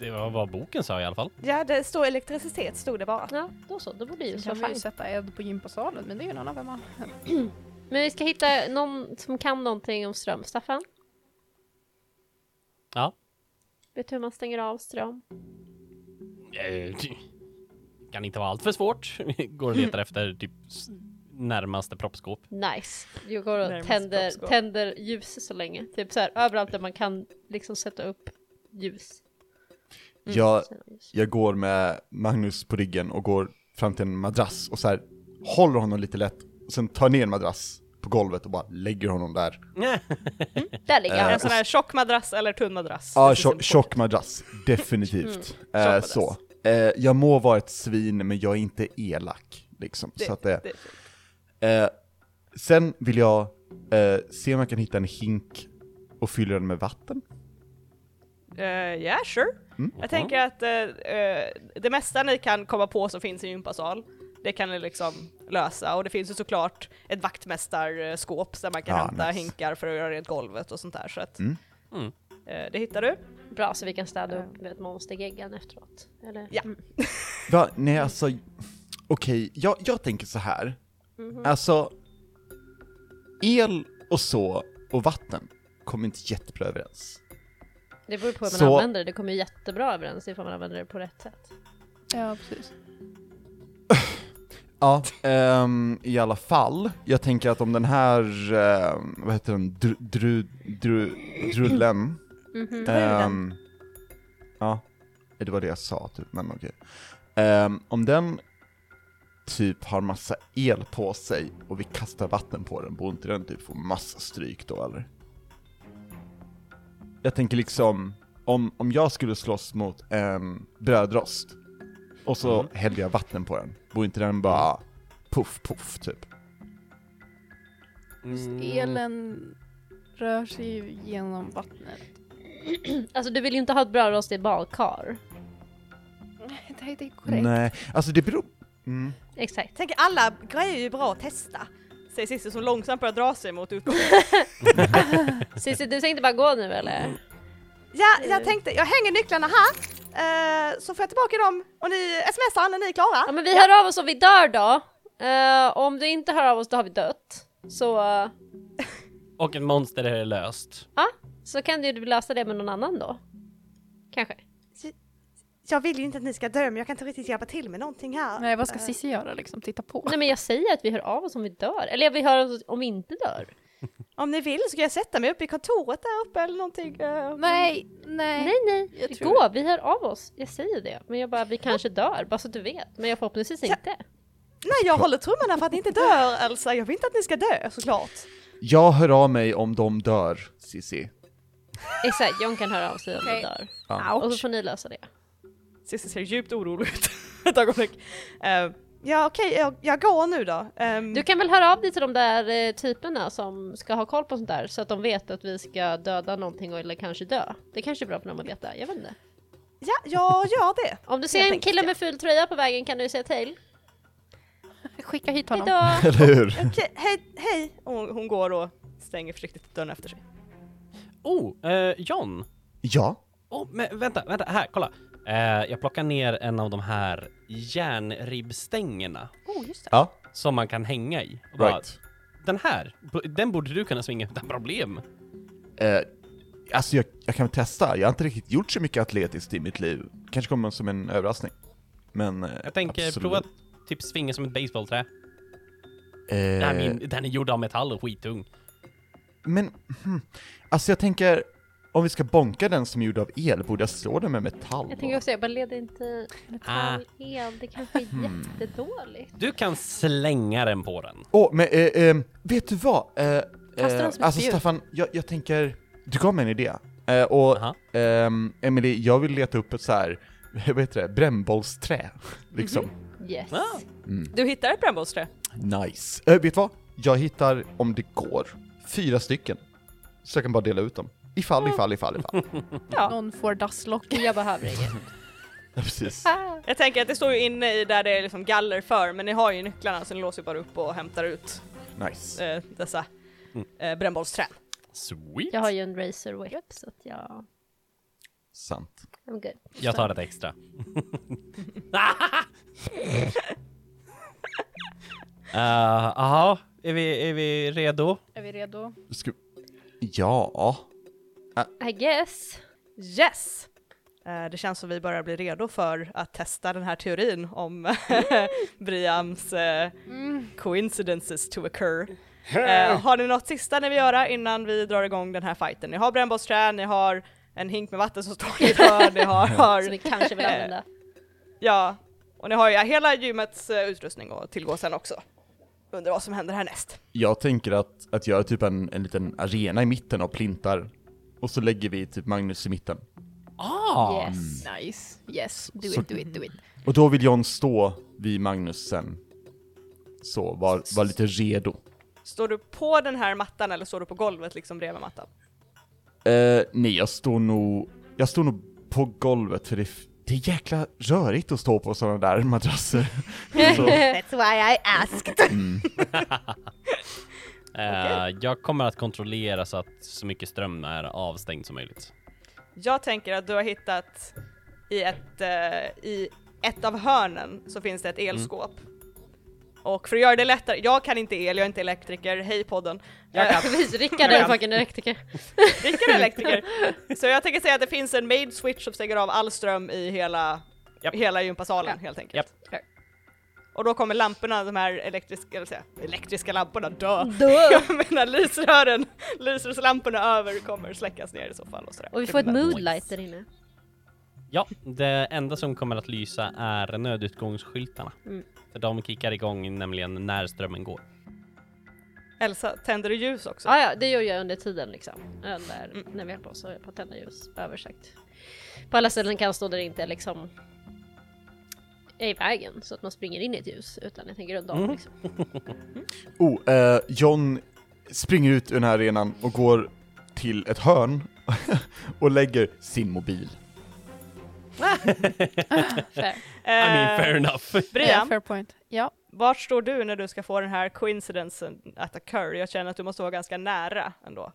Speaker 2: Det var vad boken sa i alla fall.
Speaker 3: Ja, det står elektricitet, stod det bara.
Speaker 1: Ja, då så, då borde ljus
Speaker 4: kan
Speaker 1: vara
Speaker 4: vi ju
Speaker 1: fine.
Speaker 4: sätta eld på gympasalen, men det är ju en annan femma.
Speaker 1: Men vi ska hitta någon som kan någonting om ström. Staffan?
Speaker 2: Ja.
Speaker 1: Vet du hur man stänger av ström?
Speaker 2: Eh, Kan inte vara allt för svårt. [LAUGHS] Går och
Speaker 4: [LAUGHS]
Speaker 2: letar efter typ s- närmaste proppskåp.
Speaker 1: Nice! Jag går och
Speaker 3: Närmast
Speaker 1: tänder,
Speaker 3: proppskåp.
Speaker 1: tänder ljus så länge. Typ så här, överallt där man kan liksom sätta upp ljus. [LAUGHS]
Speaker 3: Mm.
Speaker 5: Jag, jag går med Magnus på ryggen och går fram till en madrass och så här håller honom lite lätt, och sen tar ner en madrass på golvet och bara lägger honom där.
Speaker 1: Där ligger
Speaker 3: En
Speaker 1: han!
Speaker 3: sån här tjock madrass eller tunn madrass.
Speaker 5: Ja,
Speaker 3: Det finns
Speaker 5: Ah, tjock,
Speaker 3: en-
Speaker 5: tjock madrass, definitivt. Eh,
Speaker 3: Mm. madrass.
Speaker 5: så. Eh, jag må vara ett svin, men jag är inte elak. Liksom.
Speaker 3: Det-
Speaker 5: så att det,
Speaker 3: det-
Speaker 5: Eh, sen vill jag eh, se om jag kan hitta en hink och fylla den med vatten.
Speaker 3: Eh, yeah, sure.
Speaker 5: Mm.
Speaker 3: Jag tänker att eh, eh, det mesta ni kan komma på som finns i en gympasal, det kan ni liksom lösa. Och det finns ju såklart ett vaktmästarskåp där man kan
Speaker 5: Ah,
Speaker 3: hämta
Speaker 5: nice.
Speaker 3: hinkar för att göra rent golvet och sånt där. Så att,
Speaker 5: Mm.
Speaker 2: Mm.
Speaker 3: eh, det hittar du.
Speaker 7: Mm.
Speaker 1: Bra, så vi kan städa upp med ett monstergeggan efteråt. Eller?
Speaker 3: Ja.
Speaker 5: Va? Nej alltså, okej, jag, jag tänker så här.
Speaker 1: Mhm.
Speaker 5: Alltså, el och så och vatten kommer inte jättebra överens.
Speaker 1: Det beror på hur man
Speaker 5: Så-
Speaker 1: använder det, det kommer ju jättebra överens ifall man använder det på rätt sätt.
Speaker 4: Ja, precis.
Speaker 5: Ja, ehm, i alla fall. Jag tänker att om den här, ehm, vad heter den, dru, dru, dru, drullen. Ehm, ja, det var det jag sa typ, men okej. Ehm, om den typ har massa el på sig och vi kastar vatten på den, borde inte den typ få massa stryk då eller? Jag tänker liksom, om, om jag skulle slåss mot en brödrost och så
Speaker 2: Mm.
Speaker 5: hällde jag vatten på den, borde inte den bara puff puff typ? Mm.
Speaker 2: Mm.
Speaker 4: Elen rör sig ju genom vattnet.
Speaker 1: Alltså du vill ju inte ha ett brödrost i badkar.
Speaker 4: Nej, det är korrekt.
Speaker 5: Nej, alltså det beror... Mm.
Speaker 1: Exakt.
Speaker 3: Jag tänker alla grejer är ju bra att testa. Säger Cissi som långsamt börjar dra sig mot utgången.
Speaker 1: Cissi, du tänkte bara gå nu eller?
Speaker 7: Ja, jag tänkte, jag hänger nycklarna här, eh, så får jag tillbaka dem och ni smsar när ni är klara.
Speaker 1: Ja men vi hör av oss om vi dör då. Eh, om du inte hör av oss då har vi dött. Så, eh,
Speaker 2: Och en monster är löst.
Speaker 1: så kan du ju lösa det med någon annan då. Kanske.
Speaker 7: Jag vill ju inte att ni ska dö, men jag kan inte riktigt hjälpa till med någonting här. Eh.
Speaker 4: Nej, vad ska Cissi göra liksom? Titta på?
Speaker 1: Nej men jag säger att vi hör av oss om vi dör. Eller vi hör av oss om vi inte dör.
Speaker 7: Om ni vill så kan jag sätta mig uppe i kontoret där uppe eller någonting. eh.
Speaker 4: Nej, nej.
Speaker 1: Nej nej,
Speaker 4: Jag
Speaker 1: vi
Speaker 4: tror
Speaker 1: går, vi hör av oss. Jag säger det. Men jag bara, vi kanske dör, bara så att du vet. Men jag förhoppningsvis inte.
Speaker 7: Nej, jag håller tummarna för att ni inte dör Elsa. Jag vill inte att ni ska dö såklart.
Speaker 5: Jag hör av mig om de dör, Sissi.
Speaker 1: Exakt, John kan höra av sig om vi
Speaker 4: Okej.
Speaker 1: dör. Och Mm. så
Speaker 7: Ouch.
Speaker 1: får ni lösa det.
Speaker 3: Cissi ser djupt
Speaker 7: [LAUGHS]
Speaker 3: orolig ut ett ögonblick. Eh,
Speaker 7: Ja okej, jag, jag går nu då. Ehm,
Speaker 1: Du kan väl höra av dig till de där eh, typerna som ska ha koll på sånt där så att de vet att vi ska döda någonting eller kanske dö. Det kanske är bra för dem att veta, jag vet inte.
Speaker 7: Ja, jag gör det.
Speaker 1: Om du ser
Speaker 7: Helt
Speaker 1: en kille
Speaker 7: enkelt,
Speaker 1: med ful tröja på vägen kan du säga till.
Speaker 4: Skicka hit honom.
Speaker 1: Hejdå!
Speaker 5: Eller hur?
Speaker 7: Okej, hej, hej. Och Hon, hon går och stänger försiktigt dörren efter sig.
Speaker 2: Oh, eh, John.
Speaker 5: Ja.
Speaker 2: Oh, men vänta, vänta, här, kolla. Eh, jag plockar ner en av de här järnribbstängerna
Speaker 4: Oh, just det.
Speaker 5: Ja.
Speaker 2: som man kan hänga i. Och bara,
Speaker 5: Right.
Speaker 2: Den här, b- den borde du kunna svinga utan problem.
Speaker 5: Eh, alltså jag, jag kan väl testa, jag har inte riktigt gjort så mycket atletiskt i mitt liv. Kanske kommer som en överraskning. Men eh,
Speaker 2: Jag tänker
Speaker 5: absolut.
Speaker 2: prova att typ svinga som ett baseballträ. Den, här
Speaker 5: Eh,
Speaker 2: min, den är gjord av metall och skittung.
Speaker 5: Men, hmm, alltså jag tänker, om vi ska bonka den som är gjord av el, borde jag slå den med metall?
Speaker 1: [LAUGHS] Jag tänker också, jag bara leder inte
Speaker 2: Ah. Hmm.
Speaker 1: metall, el, det kanske är jättedåligt.
Speaker 2: Du kan slänga den på den.
Speaker 5: Åh, men eh, eh, vet du vad? Eh,
Speaker 4: Kasta
Speaker 5: eh,
Speaker 4: den som ett
Speaker 5: alltså
Speaker 4: spjut.
Speaker 5: Staffan, jag, jag tänker, du gav mig en idé. Eh, och
Speaker 2: Aha.
Speaker 5: ehm, Emily, jag vill leta upp ett så här, [LAUGHS] vad heter det, brännbollsträ. [LAUGHS] Liksom.
Speaker 1: Yes.
Speaker 2: Ah.
Speaker 3: Du hittar ett brännbollsträ.
Speaker 5: Nice. Eh, vet du vad? Jag hittar, om det går, fyra stycken. Så jag kan bara dela ut dem. Ifall, ifall, ifall, ifall.
Speaker 4: Någon får dasslock.
Speaker 1: Jag behöver inget.
Speaker 5: [LAUGHS] Ja, precis.
Speaker 3: Jag tänker att det står ju inne i där det är liksom galler för, men ni har ju nycklarna så ni låser ju bara upp och hämtar ut
Speaker 5: Nice.
Speaker 3: eh, dessa
Speaker 2: Mm.
Speaker 3: eh, brännbollsträn.
Speaker 2: Sweet.
Speaker 1: Jag har ju en razor whip så att jag...
Speaker 5: Sant.
Speaker 1: I'm good.
Speaker 2: Jag tar ett [LAUGHS] extra. Jaha, Eh, är, vi, är vi redo?
Speaker 4: [LAUGHS] Är vi redo?
Speaker 5: Ska... Ja.
Speaker 1: I guess.
Speaker 3: Yes! Eh, Det känns som vi börjar bli redo för att testa den här teorin om [LAUGHS] Briams eh,
Speaker 1: Mm.
Speaker 3: coincidences to occur. Eh, Har ni något sista ni vill göra innan vi drar igång den här fighten? Ni har brännbollsträ, ni har en hink med vatten som står i ett hörn, ni
Speaker 1: [LAUGHS]
Speaker 3: har,
Speaker 1: Som vi
Speaker 3: har Eh,
Speaker 1: kanske vill använda.
Speaker 3: ja, och ni har ju hela gymmets eh, utrustning att tillgå sen också. Undrar vad som händer härnäst.
Speaker 5: Jag tänker att, att göra typ en, en liten arena i mitten av plintar. Och så lägger vi typ Magnus i mitten.
Speaker 2: Ah!
Speaker 1: Yes.
Speaker 4: Nice. Yes. Do
Speaker 5: Så-
Speaker 4: it, do it, do it.
Speaker 5: Och då vill John stå vid Magnus sen. Så, var, var lite redo.
Speaker 3: Står du på den här mattan eller står du på golvet liksom bredvid mattan?
Speaker 5: Eh, nej, jag står nog... Jag står nog på golvet för det, är f- det är jäkla rörigt att stå på sådana
Speaker 1: [LAUGHS]
Speaker 5: där madrasser. Så,
Speaker 7: That's why I asked.
Speaker 2: Eh, Jag kommer att kontrollera så att så mycket ström är avstängd som möjligt.
Speaker 3: Jag tänker att du har hittat i ett, eh, i ett av hörnen så finns det ett
Speaker 2: Mm.
Speaker 3: elskåp. Och för att göra det lättare, jag kan inte el, jag är inte elektriker, hej podden. [LAUGHS]
Speaker 2: Jag kan.
Speaker 1: Precis, Rickard är fucking elektriker.
Speaker 3: Rickard är elektriker. Så jag tänker säga att det finns en made switch som stänger av all ström i hela,
Speaker 2: Japp.
Speaker 3: hela gympasalen helt enkelt.
Speaker 2: Japp.
Speaker 3: Okej. Och då kommer lamporna, de här elektriska, eller säga, elektriska lamporna, dö! [LAUGHS]
Speaker 1: Dö!
Speaker 3: Jag menar lysrören, lysrörslamporna över kommer släckas ner i så fall och sådär.
Speaker 1: Och vi får ett
Speaker 3: Det blir
Speaker 1: moodlight där inne.
Speaker 2: Ja, det enda som kommer att lysa är nödutgångsskyltarna.
Speaker 1: Mm.
Speaker 2: För de kickar igång nämligen när strömmen går.
Speaker 3: Elsa, tänder du ljus också?
Speaker 1: Ah, ja, det gör jag under tiden liksom. Eller
Speaker 3: Mm.
Speaker 1: när vi höll på så höll jag på att tända ljus översagt. På alla ställen kan jag stå där det inte liksom är i vägen så att man springer in i ett ljus utan jag tänker runt om
Speaker 2: Mm.
Speaker 1: liksom.
Speaker 5: oh, eh, John springer ut ur den här arenan och går till ett hörn [LAUGHS] och lägger sin mobil.
Speaker 2: I mean,
Speaker 3: Eh,
Speaker 2: fair enough.
Speaker 4: Yeah,
Speaker 3: Brian,
Speaker 4: fair point. Ja.
Speaker 3: vart står du när du ska få den här coincidencen att occur? Jag känner att du måste vara ganska nära ändå.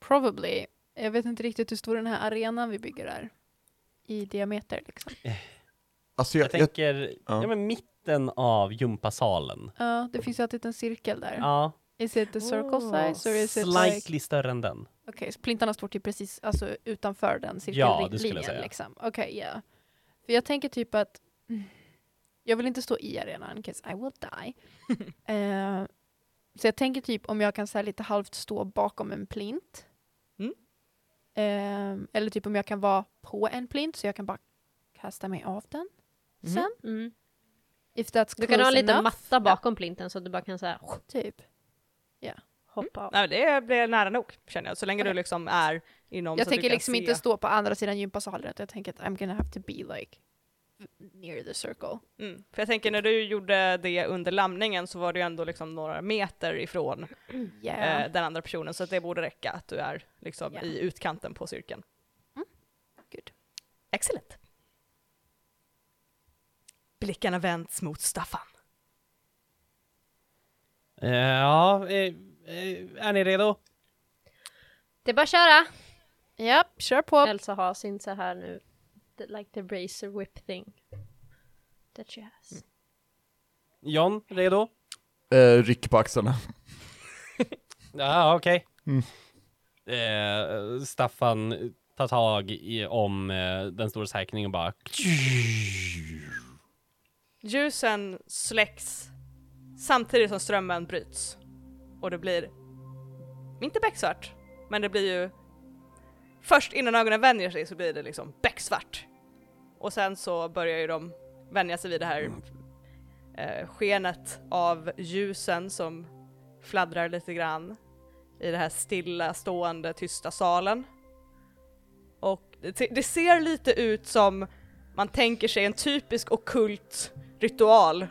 Speaker 4: Probably Jag vet inte riktigt hur stor den här arenan vi bygger är. I diameter liksom.
Speaker 5: Alltså
Speaker 2: Jag
Speaker 5: jag, jag,
Speaker 2: tänker, ja.
Speaker 5: ja.
Speaker 2: men mitten av gympasalen.
Speaker 4: Ja, det finns ju alltid en cirkel där.
Speaker 2: Ja,
Speaker 4: Is it the circle size or is it
Speaker 2: slightly
Speaker 4: like...
Speaker 2: större än den.
Speaker 4: Okej, så plintarna står typ precis alltså, utanför den
Speaker 2: Ja, det skulle jag
Speaker 4: cirkellinjen
Speaker 2: säga.
Speaker 4: liksom. Okej, ja. För jag tänker typ att mm, jag vill inte stå i arenan, 'cause I will
Speaker 2: [LAUGHS]
Speaker 4: die. Eh, så jag tänker typ om jag kan så här, lite halvt stå bakom en plint.
Speaker 3: Mm.
Speaker 4: Eh, eller typ om jag kan vara på en plint så jag kan bara kasta mig av den.
Speaker 3: Mhm.
Speaker 4: Sen,
Speaker 1: Mm.
Speaker 4: if that's
Speaker 1: Du kan ha en
Speaker 4: close
Speaker 1: liten
Speaker 4: enough,
Speaker 1: matta bakom plinten så att du bara kan säga
Speaker 4: typ.
Speaker 1: hoppa av.
Speaker 3: Nej, det blir nära nog känner jag, så länge du
Speaker 4: Okej.
Speaker 3: liksom är inom
Speaker 4: Jag
Speaker 3: så att du
Speaker 4: tänker
Speaker 3: kan
Speaker 4: liksom
Speaker 3: se.
Speaker 4: inte stå på andra sidan gympasalen utan jag tänker att I'm gonna have to be like near the circle.
Speaker 3: Mm. För jag tänker när du gjorde det under lamningen så var du ju ändå liksom några meter ifrån
Speaker 4: Yeah.
Speaker 3: eh, den andra personen så att det borde räcka att du är liksom
Speaker 4: Ja.
Speaker 3: i utkanten på cirkeln.
Speaker 4: Mm. Good.
Speaker 3: Excellent. Blickarna vänds mot Staffan.
Speaker 2: Eh, Ja, eh, eh, är ni redo?
Speaker 1: Det är bara att köra!
Speaker 3: Äh.
Speaker 4: Japp, kör på.
Speaker 1: Elsa har sin så här nu, the, like the razor whip thing. That she has.
Speaker 2: John, redo?
Speaker 5: eh, ryck på axlarna.
Speaker 2: Ja, okej.
Speaker 5: Mm.
Speaker 2: Eh, Staffan tar tag i, om eh, den stora säkringen och bara...
Speaker 3: Ljusen släcks samtidigt som strömmen bryts och det blir inte becksvart, men det blir ju först innan ögonen vänjer sig så blir det liksom becksvart och sen så börjar ju de vänja sig vid det här eh, skenet av ljusen som fladdrar lite grann i den här stilla stående tysta salen. Och det, det ser lite ut som man tänker sig en typisk ockult ritual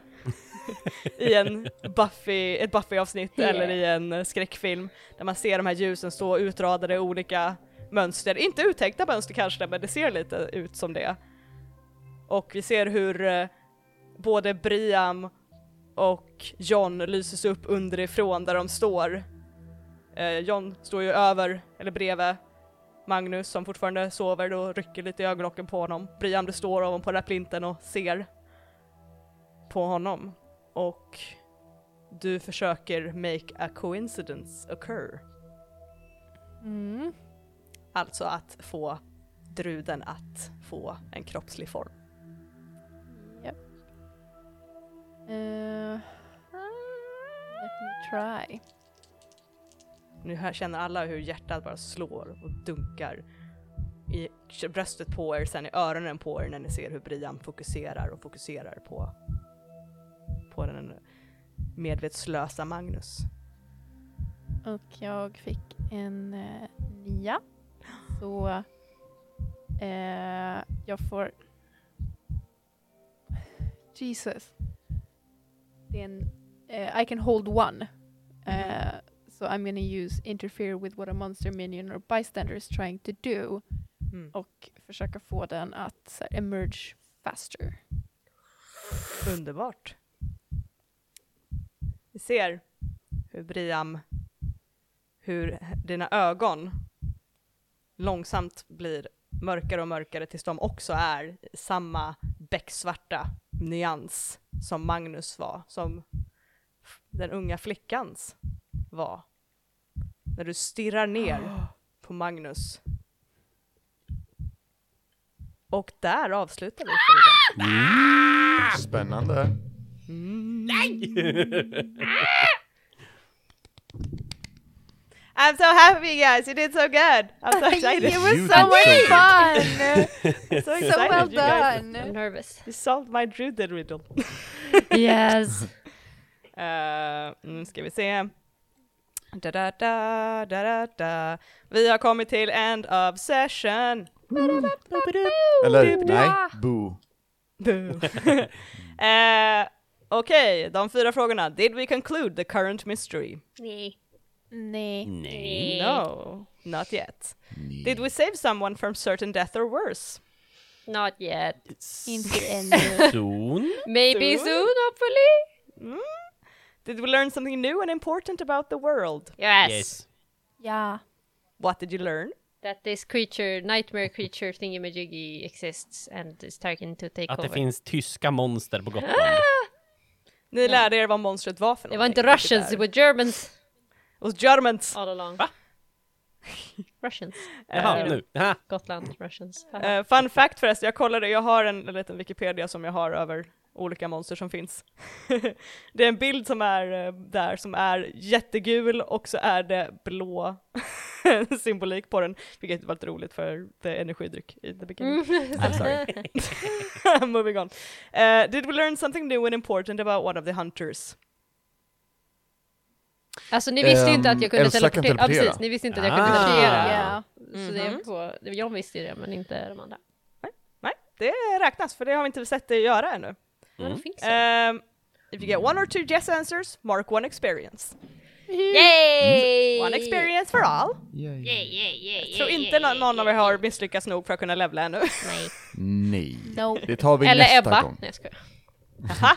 Speaker 3: i en Buffy, ett Buffy-avsnitt
Speaker 1: Yeah.
Speaker 3: eller i en eh, skräckfilm där man ser de här ljusen stå utradade i olika mönster, inte uttäckta mönster kanske men det ser lite ut som det. Och vi ser hur eh, både Briam och John lyses upp underifrån där de står. Eh, John står ju över, eller bredvid Magnus som fortfarande sover och rycker lite i ögonlocken på honom. Brian du står ovanpå den här plinten och ser på honom. Och du försöker make a coincidence occur.
Speaker 4: Mm.
Speaker 3: Alltså att få druden att få en kroppslig form.
Speaker 4: Japp. Eh, let me try.
Speaker 3: Nu här känner alla hur hjärtat bara slår och dunkar i bröstet på er, sen i öronen på er när ni ser hur Brian fokuserar och fokuserar på, på den medvetslösa Magnus.
Speaker 4: Och jag fick en eh, nia. Så eh, jag får... Jesus. Det är en, eh, I can hold one. Eh, so I'm gonna use interfere with what a monster minion or bystander is trying to do
Speaker 3: Mm.
Speaker 4: och försöka få den att så här, emerge faster.
Speaker 3: Underbart. Vi ser hur Briam, hur dina ögon långsamt blir mörkare och mörkare tills de också är i samma becksvarta nyans som Magnus var, som f- den unga flickans var. När du stirrar ner [GASPS] på Magnus. Och där avslutar vi för idag.
Speaker 5: Spännande.
Speaker 1: Oh,
Speaker 3: I'm so happy guys, you did so good! I'm so excited!
Speaker 5: It
Speaker 4: was
Speaker 5: You
Speaker 4: so
Speaker 5: did
Speaker 4: much
Speaker 5: so
Speaker 4: fun!
Speaker 3: so
Speaker 4: so
Speaker 3: excited
Speaker 4: well
Speaker 3: you guys!
Speaker 1: I'm
Speaker 4: done!
Speaker 1: nervous.
Speaker 3: You solved my Druden riddle.
Speaker 1: [LAUGHS] Yes!
Speaker 3: Eh, nu ska vi se. Da, da, da, da, da, da. Vi har kommit till end of session! [LAUGHS]
Speaker 5: Eller nej,
Speaker 1: [LAUGHS]
Speaker 5: boo.
Speaker 3: Boo. Eh, Okej, de fyra frågorna. Did we conclude the current mystery?
Speaker 1: Nej.
Speaker 4: Nej.
Speaker 2: Nej.
Speaker 3: No, not yet.
Speaker 5: Nej.
Speaker 3: Did we save someone from certain death or worse?
Speaker 1: Not yet.
Speaker 4: Inte
Speaker 2: [LAUGHS]
Speaker 4: ännu.
Speaker 2: Soon?
Speaker 1: Maybe
Speaker 3: Soon.
Speaker 1: soon, hopefully.
Speaker 3: Did we learn something new and important about the world?
Speaker 1: Yes.
Speaker 2: Yes.
Speaker 4: Ja.
Speaker 3: What did you learn?
Speaker 1: that this creature, nightmare creature thingamajiggy exists and is starting to take
Speaker 2: Att
Speaker 1: over.
Speaker 2: det finns tyska monster på Gotland.
Speaker 3: Ni lärde er vad monstret var för
Speaker 1: det var inte
Speaker 3: någonting, vilket
Speaker 1: Russians,
Speaker 3: är-
Speaker 1: det var Germans
Speaker 3: It was Germans.
Speaker 1: all along.
Speaker 2: Va?
Speaker 1: [LAUGHS] Russians.
Speaker 2: Jaha,
Speaker 1: Eh,
Speaker 2: nu. [LAUGHS] Haha.
Speaker 1: Gotland,
Speaker 2: [LAUGHS]
Speaker 1: Russians.
Speaker 2: Ehm,
Speaker 3: Eh, fun fact förresten, jag kollade, jag har en liten Wikipedia som jag har över olika monster som finns. [LAUGHS] det är en bild som är eh, där som är jättegul och så är det blå [LAUGHS] symbolik på den, vilket var lite roligt för det är energidryck i the beginning. I'm sorry.
Speaker 1: Mhm.
Speaker 3: [LAUGHS] Moving on. Eh, did we learn something new and important about one of the hunters?
Speaker 1: Alltså ni visste ju inte att jag kunde
Speaker 5: Elsa kan
Speaker 1: teleportera. Ja
Speaker 5: teleportera.
Speaker 1: precis, ni visste inte att jag kunde
Speaker 2: Ah.
Speaker 1: teleportera.
Speaker 4: Yeah.
Speaker 1: Så det är på, jag visste ju det men inte de andra.
Speaker 3: Det räknas, för det har vi inte sett det göra ännu.
Speaker 2: Mm.
Speaker 1: Men det finns
Speaker 2: Ehm,
Speaker 1: så.
Speaker 3: Um, if you get one or two yes answers, mark one experience.
Speaker 1: Yay!
Speaker 3: One experience for all. Jag tror inte nå- någon av er har misslyckats nog för att kunna levla ännu.
Speaker 1: Nej.
Speaker 5: Nej.
Speaker 4: No.
Speaker 5: [LAUGHS] Det tar vi
Speaker 1: Eller
Speaker 5: nästa
Speaker 1: Ebba.
Speaker 5: gång.
Speaker 1: Nej jag skojar.
Speaker 3: Haha.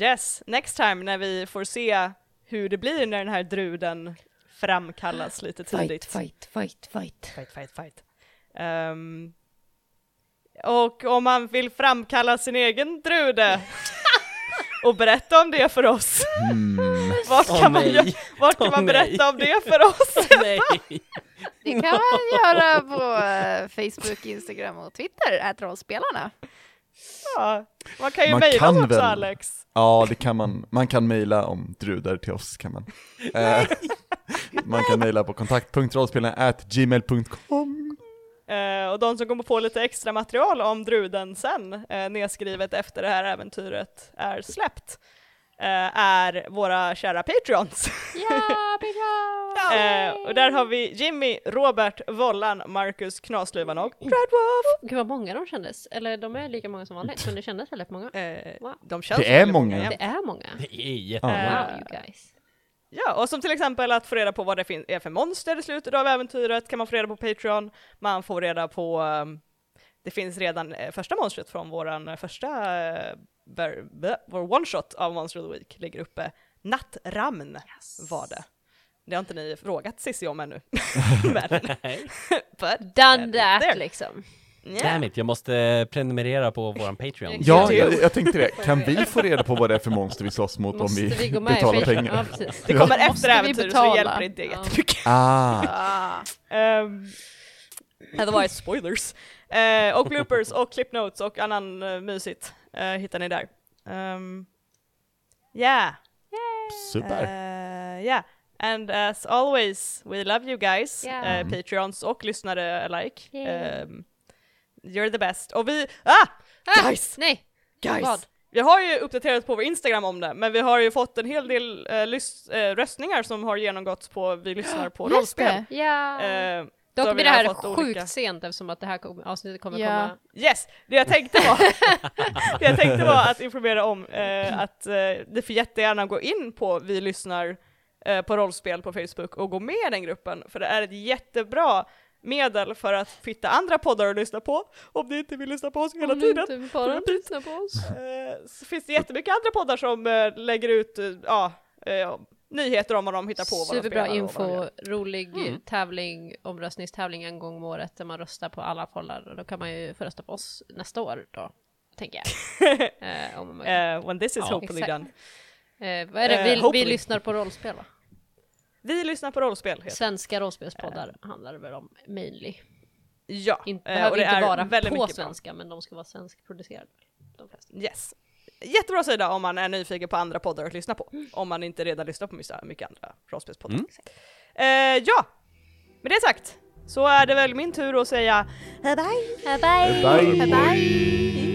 Speaker 3: yes, next time när vi får se hur det blir när den här druden framkallas lite tidigt.
Speaker 8: fight, fight, fight.
Speaker 3: fight, fight. fight. Ehm, och om han vill framkalla sin egen drude och berätta om det för oss.
Speaker 5: Hmm.
Speaker 3: [LAUGHS] Vart kan,
Speaker 2: Åh,
Speaker 3: man,
Speaker 2: nej.
Speaker 3: gö- vart kan
Speaker 2: Åh,
Speaker 3: man
Speaker 2: nej.
Speaker 3: berätta om det för oss?
Speaker 2: Nej.
Speaker 4: Det kan man göra på eh, Facebook, Instagram och Twitter, att rollspelarna.
Speaker 3: Ja, man kan ju
Speaker 5: Man
Speaker 3: mejla
Speaker 5: kan
Speaker 3: oss också
Speaker 5: väl.
Speaker 3: Alex.
Speaker 5: Ja, det kan man. Man kan mejla om drudar till oss kan man. Eh, man kan mejla på kontakt.rollspelarna.gmail.com
Speaker 3: Eh, och de som kommer på lite extra material om druden sen, eh, nedskrivet efter det här äventyret är släppt, eh, är våra kära Patreons.
Speaker 1: Ja, bra!
Speaker 3: Eh, och där har vi Jimmy, Robert, Vollan, Marcus, Knasluvanog, Dreadwolf.
Speaker 1: Gud vad många de kändes. Eller de är lika många som vanligt men det kändes väldigt många.
Speaker 3: Eh,
Speaker 1: Wow.
Speaker 3: de känns
Speaker 5: Det är
Speaker 3: väldigt
Speaker 5: många.
Speaker 3: ja.
Speaker 1: Det är många.
Speaker 2: Det är jättemånga.
Speaker 1: Wow you guys.
Speaker 3: Ja, och som till exempel att få reda på vad det fin- är för monster i slutet av äventyret kan man få reda på Patreon. Man får reda på, ehm, det finns redan eh, första monstret från våran eh, första, eh, ber- be- vår one-shot av Monster of the Week ligger uppe. Nattramn var det. Det har inte ni frågat Cissi om ännu. [LAUGHS] Men,
Speaker 2: Nej.
Speaker 3: [LAUGHS] but,
Speaker 1: Done
Speaker 3: There.
Speaker 1: that liksom.
Speaker 3: yeah.
Speaker 2: Damn it, jag måste eh, prenumerera på våran Patreon.
Speaker 5: Ja, jag, jag tänkte det. Kan vi få reda på vad det är för monster vi slåss mot om
Speaker 1: Måste
Speaker 5: vi,
Speaker 1: vi gå med i
Speaker 5: betalar
Speaker 1: Patreon? Ja
Speaker 5: pengar?
Speaker 3: [LAUGHS]
Speaker 1: precis.
Speaker 3: Det kommer
Speaker 4: Måste
Speaker 3: efter
Speaker 4: vi
Speaker 3: äventyret så
Speaker 4: betala?
Speaker 3: hjälper inte det
Speaker 1: Ja.
Speaker 3: jättemycket.
Speaker 5: Ah,
Speaker 3: Um, otherwise spoilers. Eh, och bloopers och clip notes och annan uh, mysigt eh, hittar ni där. Um, yeah.
Speaker 5: super.
Speaker 3: Eh, yeah. And as always, we love you guys,
Speaker 1: Yeah.
Speaker 3: eh, Patreons och lyssnare alike.
Speaker 1: Yay.
Speaker 3: Um, you're the best. Och vi, ah!
Speaker 1: Ah,
Speaker 3: Guys!
Speaker 1: Nej!
Speaker 3: Guys!
Speaker 1: Vad?
Speaker 3: Vi har ju uppdaterat på vår Instagram om det, men vi har ju fått en hel del eh, lys- eh, röstningar som har genomgått på vi lyssnar på
Speaker 4: Just
Speaker 3: rollspel.
Speaker 4: det.
Speaker 1: Ja!
Speaker 3: Eh, då har
Speaker 1: Dock
Speaker 3: vi
Speaker 1: blir det här
Speaker 3: fått
Speaker 1: sjukt
Speaker 3: olika-
Speaker 1: sent eftersom att det här kom, avsnittet kommer
Speaker 4: Ja.
Speaker 1: komma...
Speaker 3: Yes, det jag tänkte var,
Speaker 1: [LAUGHS]
Speaker 3: det jag tänkte var att informera om eh, att eh, ni får jättegärna gå in på Vi lyssnar eh, på rollspel på Facebook och gå med i den gruppen, för det är ett jättebra medel för att hitta andra poddar att lyssna på, om ni inte vill lyssna på oss hela tiden.
Speaker 1: Om ni inte bara lyssnar på oss.
Speaker 3: Eh, så finns det jättemycket andra poddar som eh, lägger ut eh, ja, eh, nyheter om vad de hittar på. vad de
Speaker 1: Superbra
Speaker 3: spelar och vad de
Speaker 1: info,
Speaker 3: gör.
Speaker 1: rolig tävling, omröstningstävling en gång om året där man röstar på alla pollar och då kan man ju få rösta på oss nästa år då, tänker jag.
Speaker 3: [LAUGHS]
Speaker 1: eh, om man, eh,
Speaker 3: Eh, when this is
Speaker 2: Ja,
Speaker 3: hopefully
Speaker 1: exakt.
Speaker 3: done.
Speaker 1: vad är det?
Speaker 3: eh,
Speaker 1: Vi, vi
Speaker 3: hopefully.
Speaker 1: lyssnar på rollspel va?
Speaker 3: Vi lyssnar på rollspel. Heter. det.
Speaker 1: Svenska rollspelspoddar handlar det väl om mainly.
Speaker 3: Ja,
Speaker 1: In,
Speaker 3: eh,
Speaker 1: behöver inte vara på
Speaker 3: mycket bra.
Speaker 1: svenska men de ska vara svenskproducerade. De flesta.
Speaker 3: Yes. Jättebra sida om man är nyfiken på andra poddar att lyssna på. Om man inte redan lyssnar på mycket- mycket andra rollspelspoddar. Eh, ja, med det sagt så är det väl min tur att säga
Speaker 5: Bye.
Speaker 4: Bye bye!